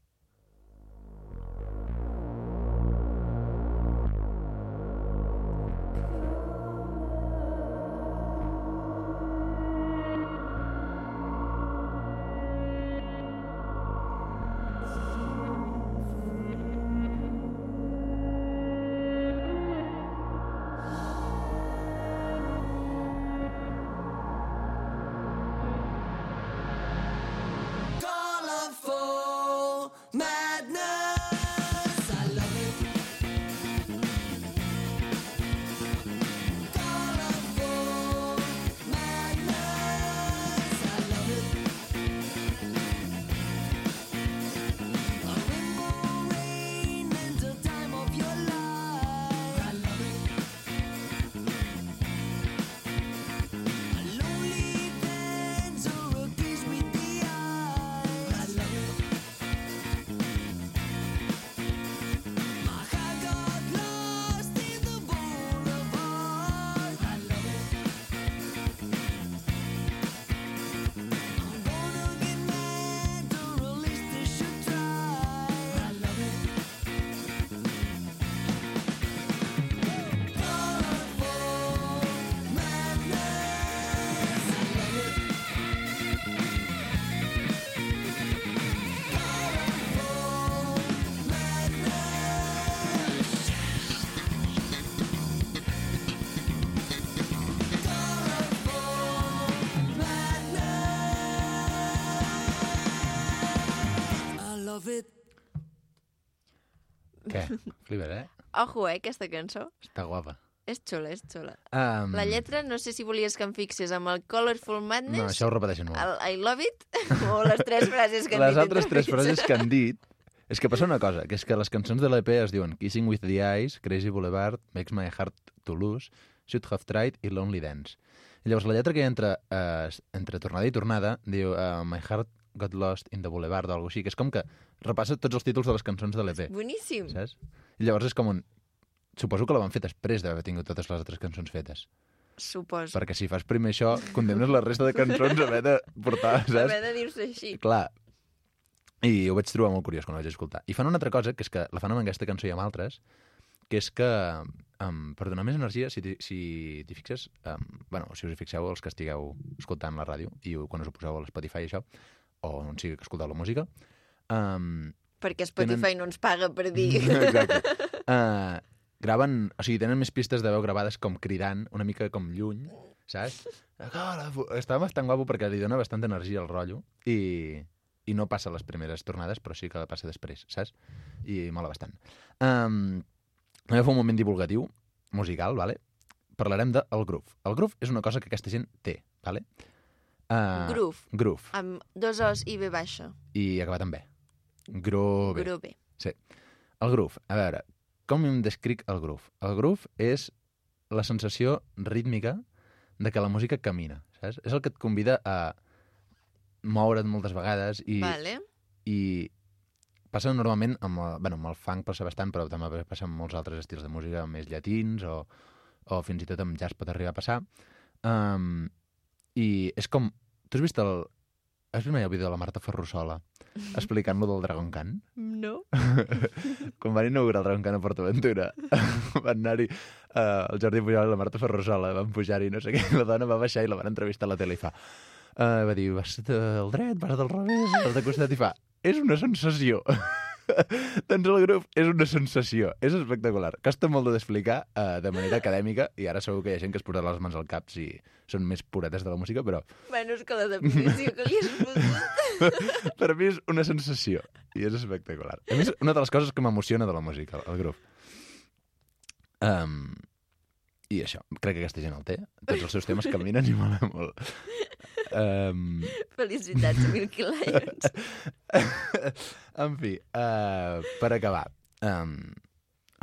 [SPEAKER 6] Colorful
[SPEAKER 9] Què? Flipes, eh?
[SPEAKER 1] Ojo, eh, aquesta cançó.
[SPEAKER 9] Està guapa.
[SPEAKER 1] És xula, és xula.
[SPEAKER 9] Um,
[SPEAKER 1] La lletra, no sé si volies que em fixés amb el Colorful Madness,
[SPEAKER 9] No, això ho repeteixen molt.
[SPEAKER 1] el I love it, o les tres frases que han
[SPEAKER 9] les
[SPEAKER 1] dit
[SPEAKER 9] altres
[SPEAKER 1] entre
[SPEAKER 9] tres
[SPEAKER 1] mig.
[SPEAKER 9] frases que han dit... És que passa una cosa, que és que les cançons de l'EP es diuen Kissing with the Eyes, Crazy Boulevard, Makes My Heart to Lose, Should Have Tried i Lonely Dance. I llavors la lletra que hi ha entre, eh, entre tornada i tornada diu uh, My Heart Got Lost in the Boulevard o alguna així, que és com que repassa tots els títols de les cançons de l'EP.
[SPEAKER 1] Boníssim.
[SPEAKER 9] Saps? I llavors és com un... Suposo que la van fer després d'haver tingut totes les altres cançons fetes.
[SPEAKER 1] Suposo.
[SPEAKER 9] Perquè si fas primer això, condemnes la resta de cançons a haver de portar, saps?
[SPEAKER 1] Haver de dir-se així.
[SPEAKER 9] Clar. I ho vaig trobar molt curiós quan ho vaig escoltar. I fan una altra cosa, que és que la fan amb aquesta cançó i amb altres, que és que, um, per donar més energia, si t'hi si t'hi fixes, um, bueno, si us hi fixeu, els que estigueu escoltant la ràdio, i ho- quan us ho poseu a l'Spotify i això, o on sigui que escolteu la música, um,
[SPEAKER 1] Perquè Spotify
[SPEAKER 9] Tenen-
[SPEAKER 1] no ens paga per dir...
[SPEAKER 9] Mm, Exacte. Uh, graven, o sigui, tenen més pistes de veu gravades com cridant, una mica com lluny, saps? Colorful. Està bastant guapo perquè li dona bastanta energia al rotllo i, i no passa les primeres tornades, però sí que passa després, saps? I mola bastant. Um, també fa un moment divulgatiu, musical, vale? Parlarem del el groove. El groove és una cosa que aquesta gent té, vale? Uh,
[SPEAKER 1] Groove.
[SPEAKER 9] Groove.
[SPEAKER 1] Amb dos os i B baixa.
[SPEAKER 9] I acabat amb B. Groove.
[SPEAKER 1] Groove.
[SPEAKER 9] Sí. El groove. A veure, com em descric el groove? El groove és la sensació rítmica de que la música camina, saps? És el que et convida a moure't moltes vegades i,
[SPEAKER 1] Vale.
[SPEAKER 9] i passa normalment amb el, bueno, amb el funk passa bastant, però també passa amb molts altres estils de música més llatins o, o fins i tot amb jazz pot arribar a passar. Um, I és com... Tu has vist el... Has vist mai el vídeo de la Marta Ferrusola explicant-lo del Dragon Khan?
[SPEAKER 1] No.
[SPEAKER 9] quan van inaugurar el Dragon Khan a Port Aventura, van anar-hi eh, el Jordi Pujol i la Marta Ferrusola, van pujar-hi, no sé què, la dona va baixar i la van entrevistar a la tele i fa... eh, va dir, vas del dret, vas del revés, vas de costat i fa... És una sensació. doncs el grup és una sensació. És espectacular. Costa molt de d'explicar eh, de manera acadèmica i ara segur que hi ha gent que es posarà les mans al cap si són més puretes de la música, però
[SPEAKER 1] Bueno, és que la definició que li has fotut...
[SPEAKER 9] per mi és una sensació i és espectacular. A mi és una de les coses que m'emociona de la música, el grup. Um, I això, crec que aquesta gent el té. Tots els seus temes caminen i mola molt. Um,
[SPEAKER 1] Felicitats, Milky Lions.
[SPEAKER 9] en fi, uh, per acabar. Um,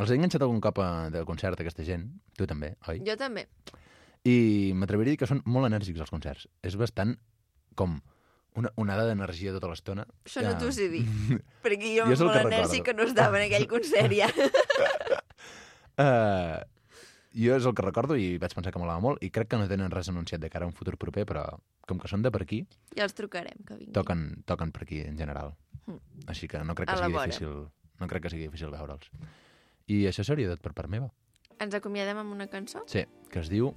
[SPEAKER 9] els he enganxat algun cop a, de concert, aquesta gent. Tu també, oi?
[SPEAKER 1] Jo també.
[SPEAKER 9] I m'atreviria a dir que són molt enèrgics els concerts. És bastant com una onada d'energia tota l'estona.
[SPEAKER 1] Això no
[SPEAKER 9] Ah.
[SPEAKER 1] t'ho sé dir. Perquè jo,
[SPEAKER 9] Jo és el
[SPEAKER 1] amb
[SPEAKER 9] que
[SPEAKER 1] la Nancy
[SPEAKER 9] recordo.
[SPEAKER 1] que no estava en aquell concert ja.
[SPEAKER 9] Uh, jo és el que recordo i vaig pensar que m'agradava molt i crec que no tenen res anunciat de cara a un futur proper, però com que són de per aquí,
[SPEAKER 1] Ja els trucarem, que Mm. vinguin.
[SPEAKER 9] toquen, toquen per aquí en general. Així que no crec
[SPEAKER 1] A
[SPEAKER 9] que
[SPEAKER 1] la
[SPEAKER 9] sigui
[SPEAKER 1] vora.
[SPEAKER 9] difícil, no crec que sigui difícil veure'ls. I això seria tot per part meva.
[SPEAKER 1] Ens acomiadem amb una cançó?
[SPEAKER 9] Sí, que es diu...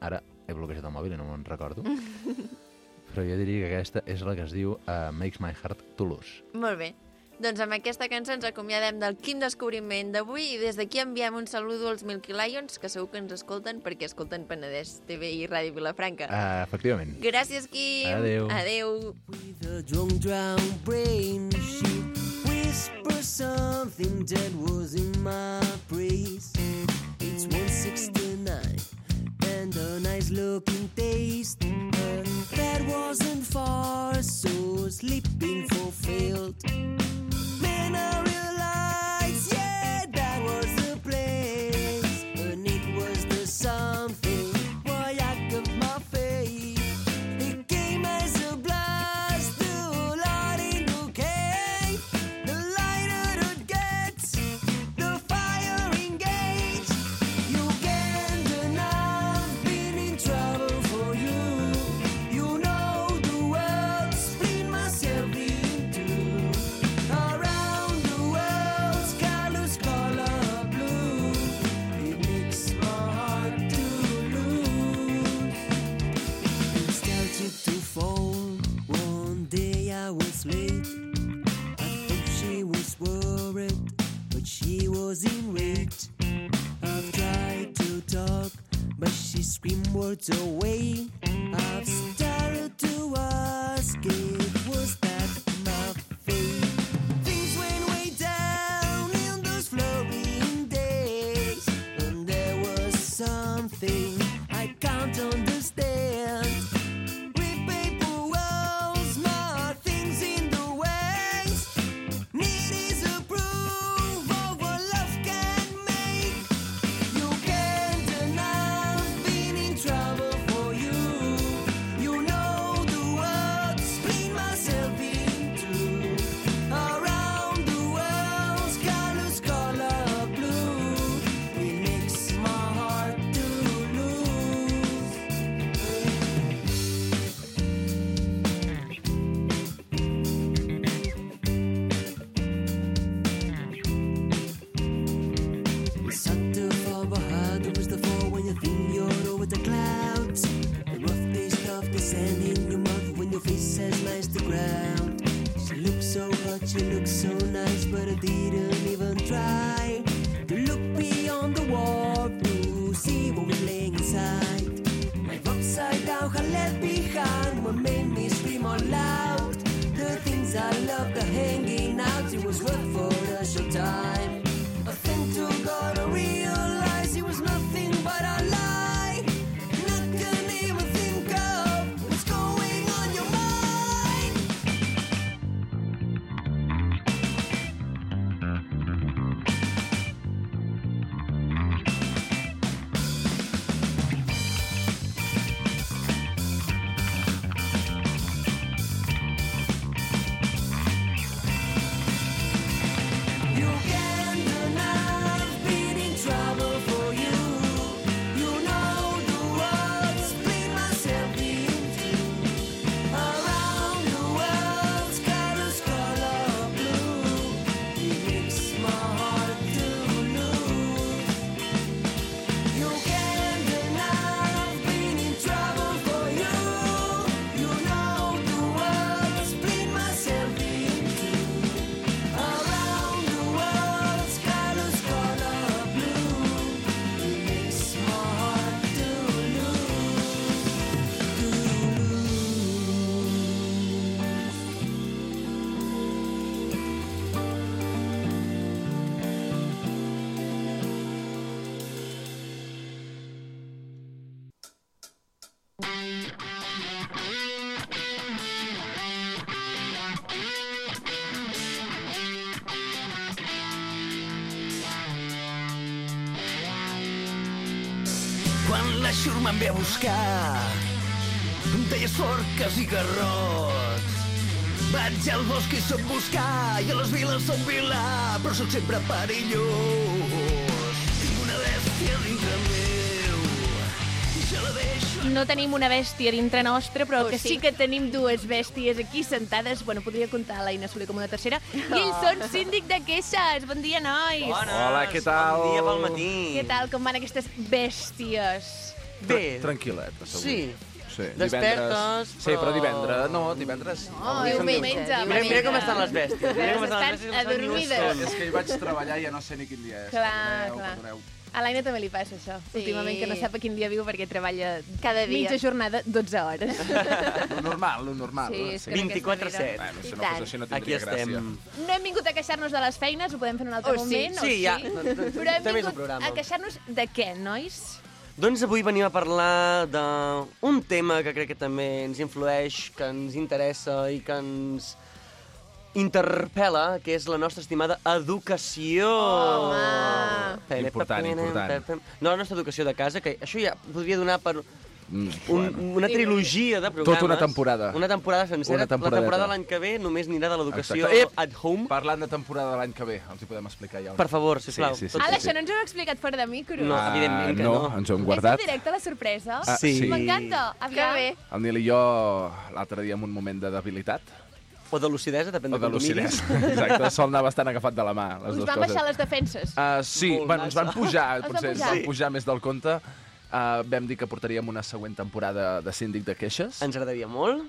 [SPEAKER 9] Ara he bloquejat el mòbil i no me'n recordo. però jo diria que aquesta és la que es diu uh, Makes My Heart Toulouse.
[SPEAKER 1] Molt bé. Doncs amb aquesta cançó ens acomiadem del Quim Descobriment d'avui i des d'aquí enviem un saludo als Milky Lions, que segur que ens escolten perquè escolten Penedès TV i Ràdio Vilafranca.
[SPEAKER 9] Uh, efectivament.
[SPEAKER 1] Gràcies, Quim.
[SPEAKER 9] Adeu.
[SPEAKER 1] Adeu.
[SPEAKER 10] The drunk drowned brain, she whispers something that was in my brace. It's 169 and a nice looking taste. Her bed wasn't far, so sleeping fulfilled. Then I realized, yeah, that was the place, and it was the something. Why I got my faith. It came as a blast, the light in the cave. The lighter it gets, the fire engaged. You can't deny I've been in trouble for you. You know the world split myself in two. Around the world, sky lose color blue. It makes my heart to lose. It started to fall. One day I was late. I thought she was worried, but she was enraged. I've tried to talk, but she screamed words away. I've started to ask it was that my fate. Things went way down in those flow
[SPEAKER 6] of a hug and push the fall when you think you're over the clouds. The rough taste of the sand in your mouth when your face has lies the ground. She looks so hot, she looks so nice, but I didn't even try to look beyond the wall to see what was laying inside. Life upside down, I left behind what made me scream all loud. The things I loved are hanging out, it was worth for the short time. A thing to go to realize it was nothing but a lie. Not gonna even think of what's going on your mind. You can deny being trouble for you. You know the world split myself in two. Around the world, sky's color blue. It makes my heart to lose. You can deny being trouble for you. You know the world split myself in two. Around the world, sky's color blue. It makes my heart to
[SPEAKER 10] quan la Xur em ve a buscar. Em deia forques i garrots. Vaig al bosc i sóc buscar, i a les viles sóc vilà, però sóc sempre perillós. Tinc una bèstia dintre meu, i se la deixo...
[SPEAKER 2] No tenim una bèstia dintre nostra, però
[SPEAKER 10] Oh,
[SPEAKER 2] que sí.
[SPEAKER 10] sí.
[SPEAKER 2] que tenim dues bèsties aquí sentades. Bueno, podria comptar l'Aina Soler com una tercera. I ells són síndic de queixes. Bon dia, nois.
[SPEAKER 11] Hola, què tal? Bon dia pel matí.
[SPEAKER 2] Què tal? Com van aquestes bèsties?
[SPEAKER 11] Bé. Tranquil·let,
[SPEAKER 2] Sí.
[SPEAKER 11] Sí,
[SPEAKER 12] Despertes,
[SPEAKER 11] divendres... Sí, però
[SPEAKER 12] però-
[SPEAKER 11] divendres... No, divendres...
[SPEAKER 2] No, diumenge, diumestan
[SPEAKER 12] Mira, mira com estan les bèsties. Mira com estan les bèsties.
[SPEAKER 2] Estan adormides.
[SPEAKER 11] És que hi vaig treballar i ja no sé ni quin dia és.
[SPEAKER 2] Clar,
[SPEAKER 11] Perdoneu,
[SPEAKER 2] clar.
[SPEAKER 11] perdoneu.
[SPEAKER 2] A l'Aina també li passa això, sí. últimament, que no sap a quin dia viu perquè treballa
[SPEAKER 1] Cada dia.
[SPEAKER 2] mitja jornada, 12 hores.
[SPEAKER 11] Lo normal, lo normal.
[SPEAKER 2] Sí, és que d'aquesta
[SPEAKER 12] 24/7.
[SPEAKER 11] set. Bueno,
[SPEAKER 12] manera-
[SPEAKER 11] si no
[SPEAKER 2] I
[SPEAKER 11] fos
[SPEAKER 2] tant.
[SPEAKER 11] així no
[SPEAKER 12] Aquí
[SPEAKER 11] tindria
[SPEAKER 12] estem.
[SPEAKER 11] gràcia.
[SPEAKER 2] No hem vingut a queixar-nos de les feines, ho podem fer en un altre
[SPEAKER 12] Oh, sí.
[SPEAKER 2] moment.
[SPEAKER 12] Sí, ja.
[SPEAKER 2] Però hem
[SPEAKER 12] També és un
[SPEAKER 2] vingut
[SPEAKER 12] programa.
[SPEAKER 2] a queixar-nos de què, nois?
[SPEAKER 12] Doncs avui venim a parlar d'un tema que crec que també ens influeix, que ens interessa i que ens interpel·la, que és la nostra estimada educació. Oh, home!
[SPEAKER 11] Important, important.
[SPEAKER 12] No, la nostra educació de casa, que això ja podria donar per
[SPEAKER 11] Mm,
[SPEAKER 12] un, una trilogia de programes.
[SPEAKER 11] Tota una temporada.
[SPEAKER 12] Una temporada sencera.
[SPEAKER 11] Una temporadeta.
[SPEAKER 12] La temporada de l'any que ve només anirà de l'educació.
[SPEAKER 11] Exacte. Ep!
[SPEAKER 12] at home.
[SPEAKER 11] Parlant de temporada de l'any que ve, els hi podem explicar ja.
[SPEAKER 12] Per favor, sisplau.
[SPEAKER 11] Sí, sí, sí,
[SPEAKER 2] Ala,
[SPEAKER 11] sí,
[SPEAKER 2] això no ens ho heu explicat fora de micro.
[SPEAKER 11] No, Ah, evidentment que no, no. ens ho hem
[SPEAKER 2] És
[SPEAKER 11] guardat.
[SPEAKER 2] en directe la sorpresa?
[SPEAKER 11] Ah, sí.
[SPEAKER 2] M'encanta. Aviam. Que bé.
[SPEAKER 11] El Nil i jo, l'altre dia, en un moment de debilitat.
[SPEAKER 12] O de lucidesa, depèn
[SPEAKER 11] o de
[SPEAKER 12] com ho miris.
[SPEAKER 11] lucidesa. Exacte, sol anar bastant agafat de la mà, les
[SPEAKER 2] Us
[SPEAKER 11] dues
[SPEAKER 2] van
[SPEAKER 11] coses.
[SPEAKER 2] baixar les defenses.
[SPEAKER 11] Uh, sí,
[SPEAKER 2] Molt
[SPEAKER 11] bueno, ens van
[SPEAKER 2] massa.
[SPEAKER 11] pujar,
[SPEAKER 2] Els van
[SPEAKER 11] potser ens
[SPEAKER 2] pujar.
[SPEAKER 11] van
[SPEAKER 2] Sí.
[SPEAKER 11] pujar més del compte. Uh, vam dir que portaríem una següent temporada de Síndic de Queixes.
[SPEAKER 12] Ens agradaria molt.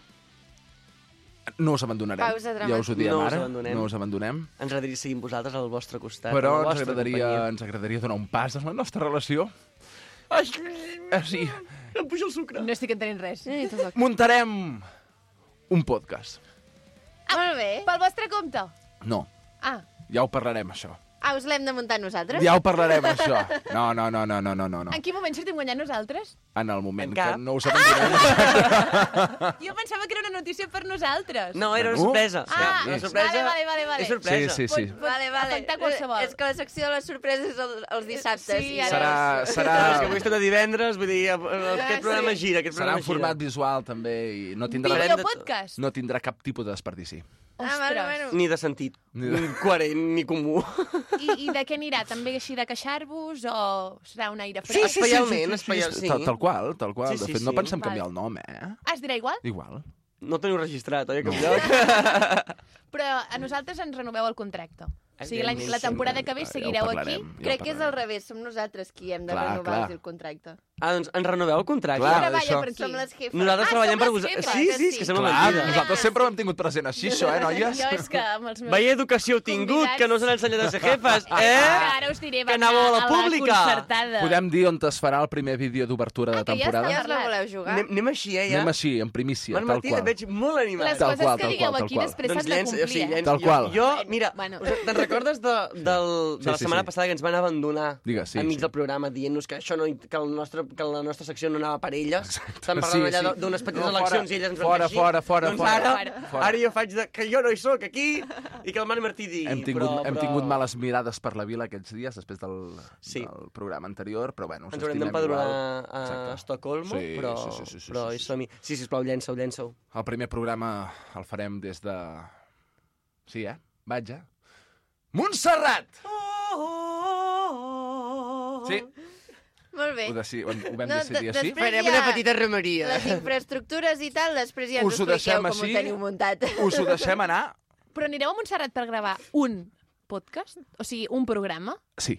[SPEAKER 11] No us abandonarem.
[SPEAKER 12] Pausa
[SPEAKER 11] ja
[SPEAKER 12] dramàtica.
[SPEAKER 11] us ho diem
[SPEAKER 12] No us
[SPEAKER 11] ara.
[SPEAKER 12] abandonem.
[SPEAKER 11] No us abandonem.
[SPEAKER 12] Ens agradaria seguir amb vosaltres al vostre costat.
[SPEAKER 11] Però
[SPEAKER 12] a la
[SPEAKER 11] ens
[SPEAKER 12] vostra
[SPEAKER 11] agradaria,
[SPEAKER 12] companyia.
[SPEAKER 11] ens agradaria donar un pas en la nostra relació.
[SPEAKER 12] Ai,
[SPEAKER 11] Ah, sí.
[SPEAKER 12] em puja el sucre.
[SPEAKER 2] No estic entenent res.
[SPEAKER 11] Muntarem un podcast.
[SPEAKER 2] Ah, Molt bé. Pel vostre compte.
[SPEAKER 11] No,
[SPEAKER 2] Ah,
[SPEAKER 11] ja ho parlarem, això.
[SPEAKER 1] Ah, us l'hem de muntar nosaltres?
[SPEAKER 11] Ja ho parlarem, això. No, no, no, no, no, no, no.
[SPEAKER 2] en quin moment sortim guanyant nosaltres?
[SPEAKER 11] En el moment en que no us
[SPEAKER 3] Ah!
[SPEAKER 11] abandonarem. Ah.
[SPEAKER 2] Jo pensava que era una notícia per nosaltres.
[SPEAKER 12] No, era una
[SPEAKER 11] No?
[SPEAKER 12] sorpresa.
[SPEAKER 11] Sí.
[SPEAKER 12] Ah,
[SPEAKER 11] Sí.
[SPEAKER 12] una sorpresa.
[SPEAKER 1] Vale, vale, vale, vale.
[SPEAKER 12] És sorpresa.
[SPEAKER 11] Sí, sí, sí. Pot-
[SPEAKER 1] Vale, vale.
[SPEAKER 2] afectar qualsevol.
[SPEAKER 1] Eh, És que la secció de les sorpreses és el, els dissabtes.
[SPEAKER 2] Sí,
[SPEAKER 1] I-
[SPEAKER 11] Serà- serà-
[SPEAKER 12] És que avui estem de divendres, vull dir, eh,
[SPEAKER 1] sí.
[SPEAKER 12] aquest programa gira, aquest
[SPEAKER 11] Serà
[SPEAKER 12] programa
[SPEAKER 11] en format visual, també, i no tindrà...
[SPEAKER 2] Videopodcast.
[SPEAKER 11] No tindrà cap tipus de desperdici.
[SPEAKER 1] Ah, bueno, bueno.
[SPEAKER 12] Ni de sentit,
[SPEAKER 11] Ni de-
[SPEAKER 12] ni coherent, ni comú.
[SPEAKER 2] I, I de què anirà? També així de queixar-vos o serà un aire Ah,
[SPEAKER 12] Sí,
[SPEAKER 2] fred?
[SPEAKER 12] sí, sí, Espaialment, sí, sí, sí. espaial- sí.
[SPEAKER 11] Tal, tal qual, tal qual.
[SPEAKER 12] Sí,
[SPEAKER 11] de
[SPEAKER 12] sí,
[SPEAKER 11] fet, no
[SPEAKER 12] sí.
[SPEAKER 11] pensem
[SPEAKER 2] Val.
[SPEAKER 11] canviar el nom, eh?
[SPEAKER 2] Ah, es dirà igual?
[SPEAKER 11] Igual.
[SPEAKER 12] No teniu registrat, oi, a cap lloc?
[SPEAKER 2] Però a nosaltres ens renoveu el contracte.
[SPEAKER 3] O sigui, l'any- la temporada que ve
[SPEAKER 12] Ja ho
[SPEAKER 3] seguireu aquí.
[SPEAKER 12] parlarem, ja ho
[SPEAKER 1] Crec que és
[SPEAKER 12] parlarem.
[SPEAKER 1] al revés, som nosaltres qui hem de
[SPEAKER 12] Clar,
[SPEAKER 1] renovar
[SPEAKER 12] clar.
[SPEAKER 1] el contracte.
[SPEAKER 12] Ah, doncs ens renoveu el contracte.
[SPEAKER 1] Clar. Treballa per aquí. Som les jefes.
[SPEAKER 12] Nosaltres
[SPEAKER 1] Ah,
[SPEAKER 12] treballem
[SPEAKER 1] som
[SPEAKER 12] per
[SPEAKER 1] les
[SPEAKER 12] vosaltres.
[SPEAKER 1] jefes,
[SPEAKER 12] Sí, sí, és
[SPEAKER 1] sí.
[SPEAKER 12] que sembla
[SPEAKER 11] Clar,
[SPEAKER 12] mentida.
[SPEAKER 11] nosaltres sempre l'hem tingut present així, això, eh, noies?
[SPEAKER 3] Jo és que amb els meus... Ah,
[SPEAKER 12] Veia educació heu tingut, que no us han ensenyat a ser jefes, eh?
[SPEAKER 3] Ara us diré, va
[SPEAKER 12] Que anàveu a la pública.
[SPEAKER 3] concertada.
[SPEAKER 11] Podem dir on es farà el primer vídeo d'obertura de
[SPEAKER 3] ah. que ja
[SPEAKER 11] temporada?
[SPEAKER 3] està parlat.
[SPEAKER 1] voleu jugar?
[SPEAKER 12] Anem, anem així, eh, ja?
[SPEAKER 11] Anem així, en primícia,
[SPEAKER 12] Bon
[SPEAKER 11] tal
[SPEAKER 12] matí,
[SPEAKER 11] qual.
[SPEAKER 12] et veig molt animat.
[SPEAKER 11] Les Tal coses qual, que tal digueu qual, tal aquí qual.
[SPEAKER 3] després s'han de
[SPEAKER 12] o sigui,
[SPEAKER 3] complir, eh?
[SPEAKER 11] Tal qual.
[SPEAKER 12] Jo, jo mira, bueno. te'n recordes de, del, de
[SPEAKER 11] Sí,
[SPEAKER 12] la
[SPEAKER 11] sí,
[SPEAKER 12] setmana
[SPEAKER 11] sí.
[SPEAKER 12] passada que ens van abandonar
[SPEAKER 11] Digues, sí,
[SPEAKER 12] a mig
[SPEAKER 11] sí.
[SPEAKER 12] del programa dient-nos que això no, hi- que, el nostre, que la nostra secció no anava per elles? Estan
[SPEAKER 11] Sí,
[SPEAKER 12] parlant allà
[SPEAKER 11] sí.
[SPEAKER 12] de- d'unes petites
[SPEAKER 11] No, fora,
[SPEAKER 12] eleccions i elles ens van
[SPEAKER 11] fora,
[SPEAKER 12] fer així.
[SPEAKER 11] fora, fora,
[SPEAKER 12] doncs
[SPEAKER 11] fora.
[SPEAKER 12] Ara,
[SPEAKER 11] Fora.
[SPEAKER 12] ara jo faig de, que jo no hi sóc aquí i que el Marc Martí digui.
[SPEAKER 11] Hem tingut,
[SPEAKER 12] però,
[SPEAKER 11] hem
[SPEAKER 12] però...
[SPEAKER 11] tingut males mirades per la vila aquests dies, després del, sí. del programa anterior, però bueno, us
[SPEAKER 12] Ens haurem
[SPEAKER 11] estimem
[SPEAKER 12] d'empadronar
[SPEAKER 11] igual.
[SPEAKER 12] a
[SPEAKER 11] Exacte.
[SPEAKER 12] Estocolmo,
[SPEAKER 11] Sí,
[SPEAKER 12] però,
[SPEAKER 11] sí, sí, sí, sí,
[SPEAKER 12] però
[SPEAKER 11] sí,
[SPEAKER 12] és som-hi. Sí, sisplau, llença-ho, llença-ho.
[SPEAKER 11] El primer programa el farem des de... Sí, eh? Vaig, eh? Montserrat! Sí,
[SPEAKER 1] Molt bé.
[SPEAKER 11] ho, deci... ho, hem- ho vam decidir
[SPEAKER 1] de-
[SPEAKER 11] així.
[SPEAKER 1] després ja Les infraestructures i tal, després ja ens
[SPEAKER 11] Us ho
[SPEAKER 1] ho expliqueu
[SPEAKER 11] deixem
[SPEAKER 1] com
[SPEAKER 11] així?
[SPEAKER 1] ho teniu muntat.
[SPEAKER 11] Us ho deixem anar?
[SPEAKER 2] Però anireu a Montserrat per gravar un podcast? O sigui, un programa?
[SPEAKER 11] Sí.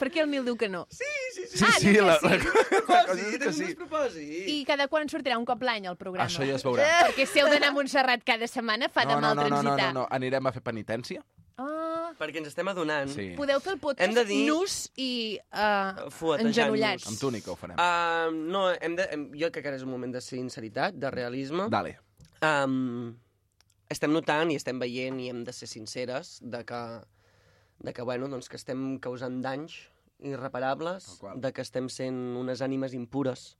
[SPEAKER 2] Per què el Nil diu que no?
[SPEAKER 12] Sí, sí,
[SPEAKER 11] Sí,
[SPEAKER 2] Ah,
[SPEAKER 11] sí, la, la, la cosa és que sí.
[SPEAKER 12] despropòsit.
[SPEAKER 2] I cada quan sortirà un cop l'any el programa?
[SPEAKER 11] Això ja es veurà.
[SPEAKER 2] Perquè si heu d'anar a Montserrat cada setmana fa de
[SPEAKER 11] no, no,
[SPEAKER 2] mal
[SPEAKER 11] no, no, no, no,
[SPEAKER 2] transitar.
[SPEAKER 11] no, anirem a fer penitència.
[SPEAKER 2] Ah,
[SPEAKER 12] Perquè ens estem adonant.
[SPEAKER 11] Sí.
[SPEAKER 2] podeu fer el
[SPEAKER 12] Hem de
[SPEAKER 2] podcast
[SPEAKER 12] dir-
[SPEAKER 2] nus i uh,
[SPEAKER 12] Fuetejant-nos.
[SPEAKER 2] engenollats.
[SPEAKER 11] Amb túnica ho farem.
[SPEAKER 2] Ah.
[SPEAKER 12] Uh, no, hem de, hem, jo crec que ara és un moment de sinceritat, de realisme.
[SPEAKER 11] Dale.
[SPEAKER 12] Um, estem notant i estem veient i hem de ser sinceres de que, de que, bueno, doncs que estem causant danys irreparables, de que estem sent unes ànimes impures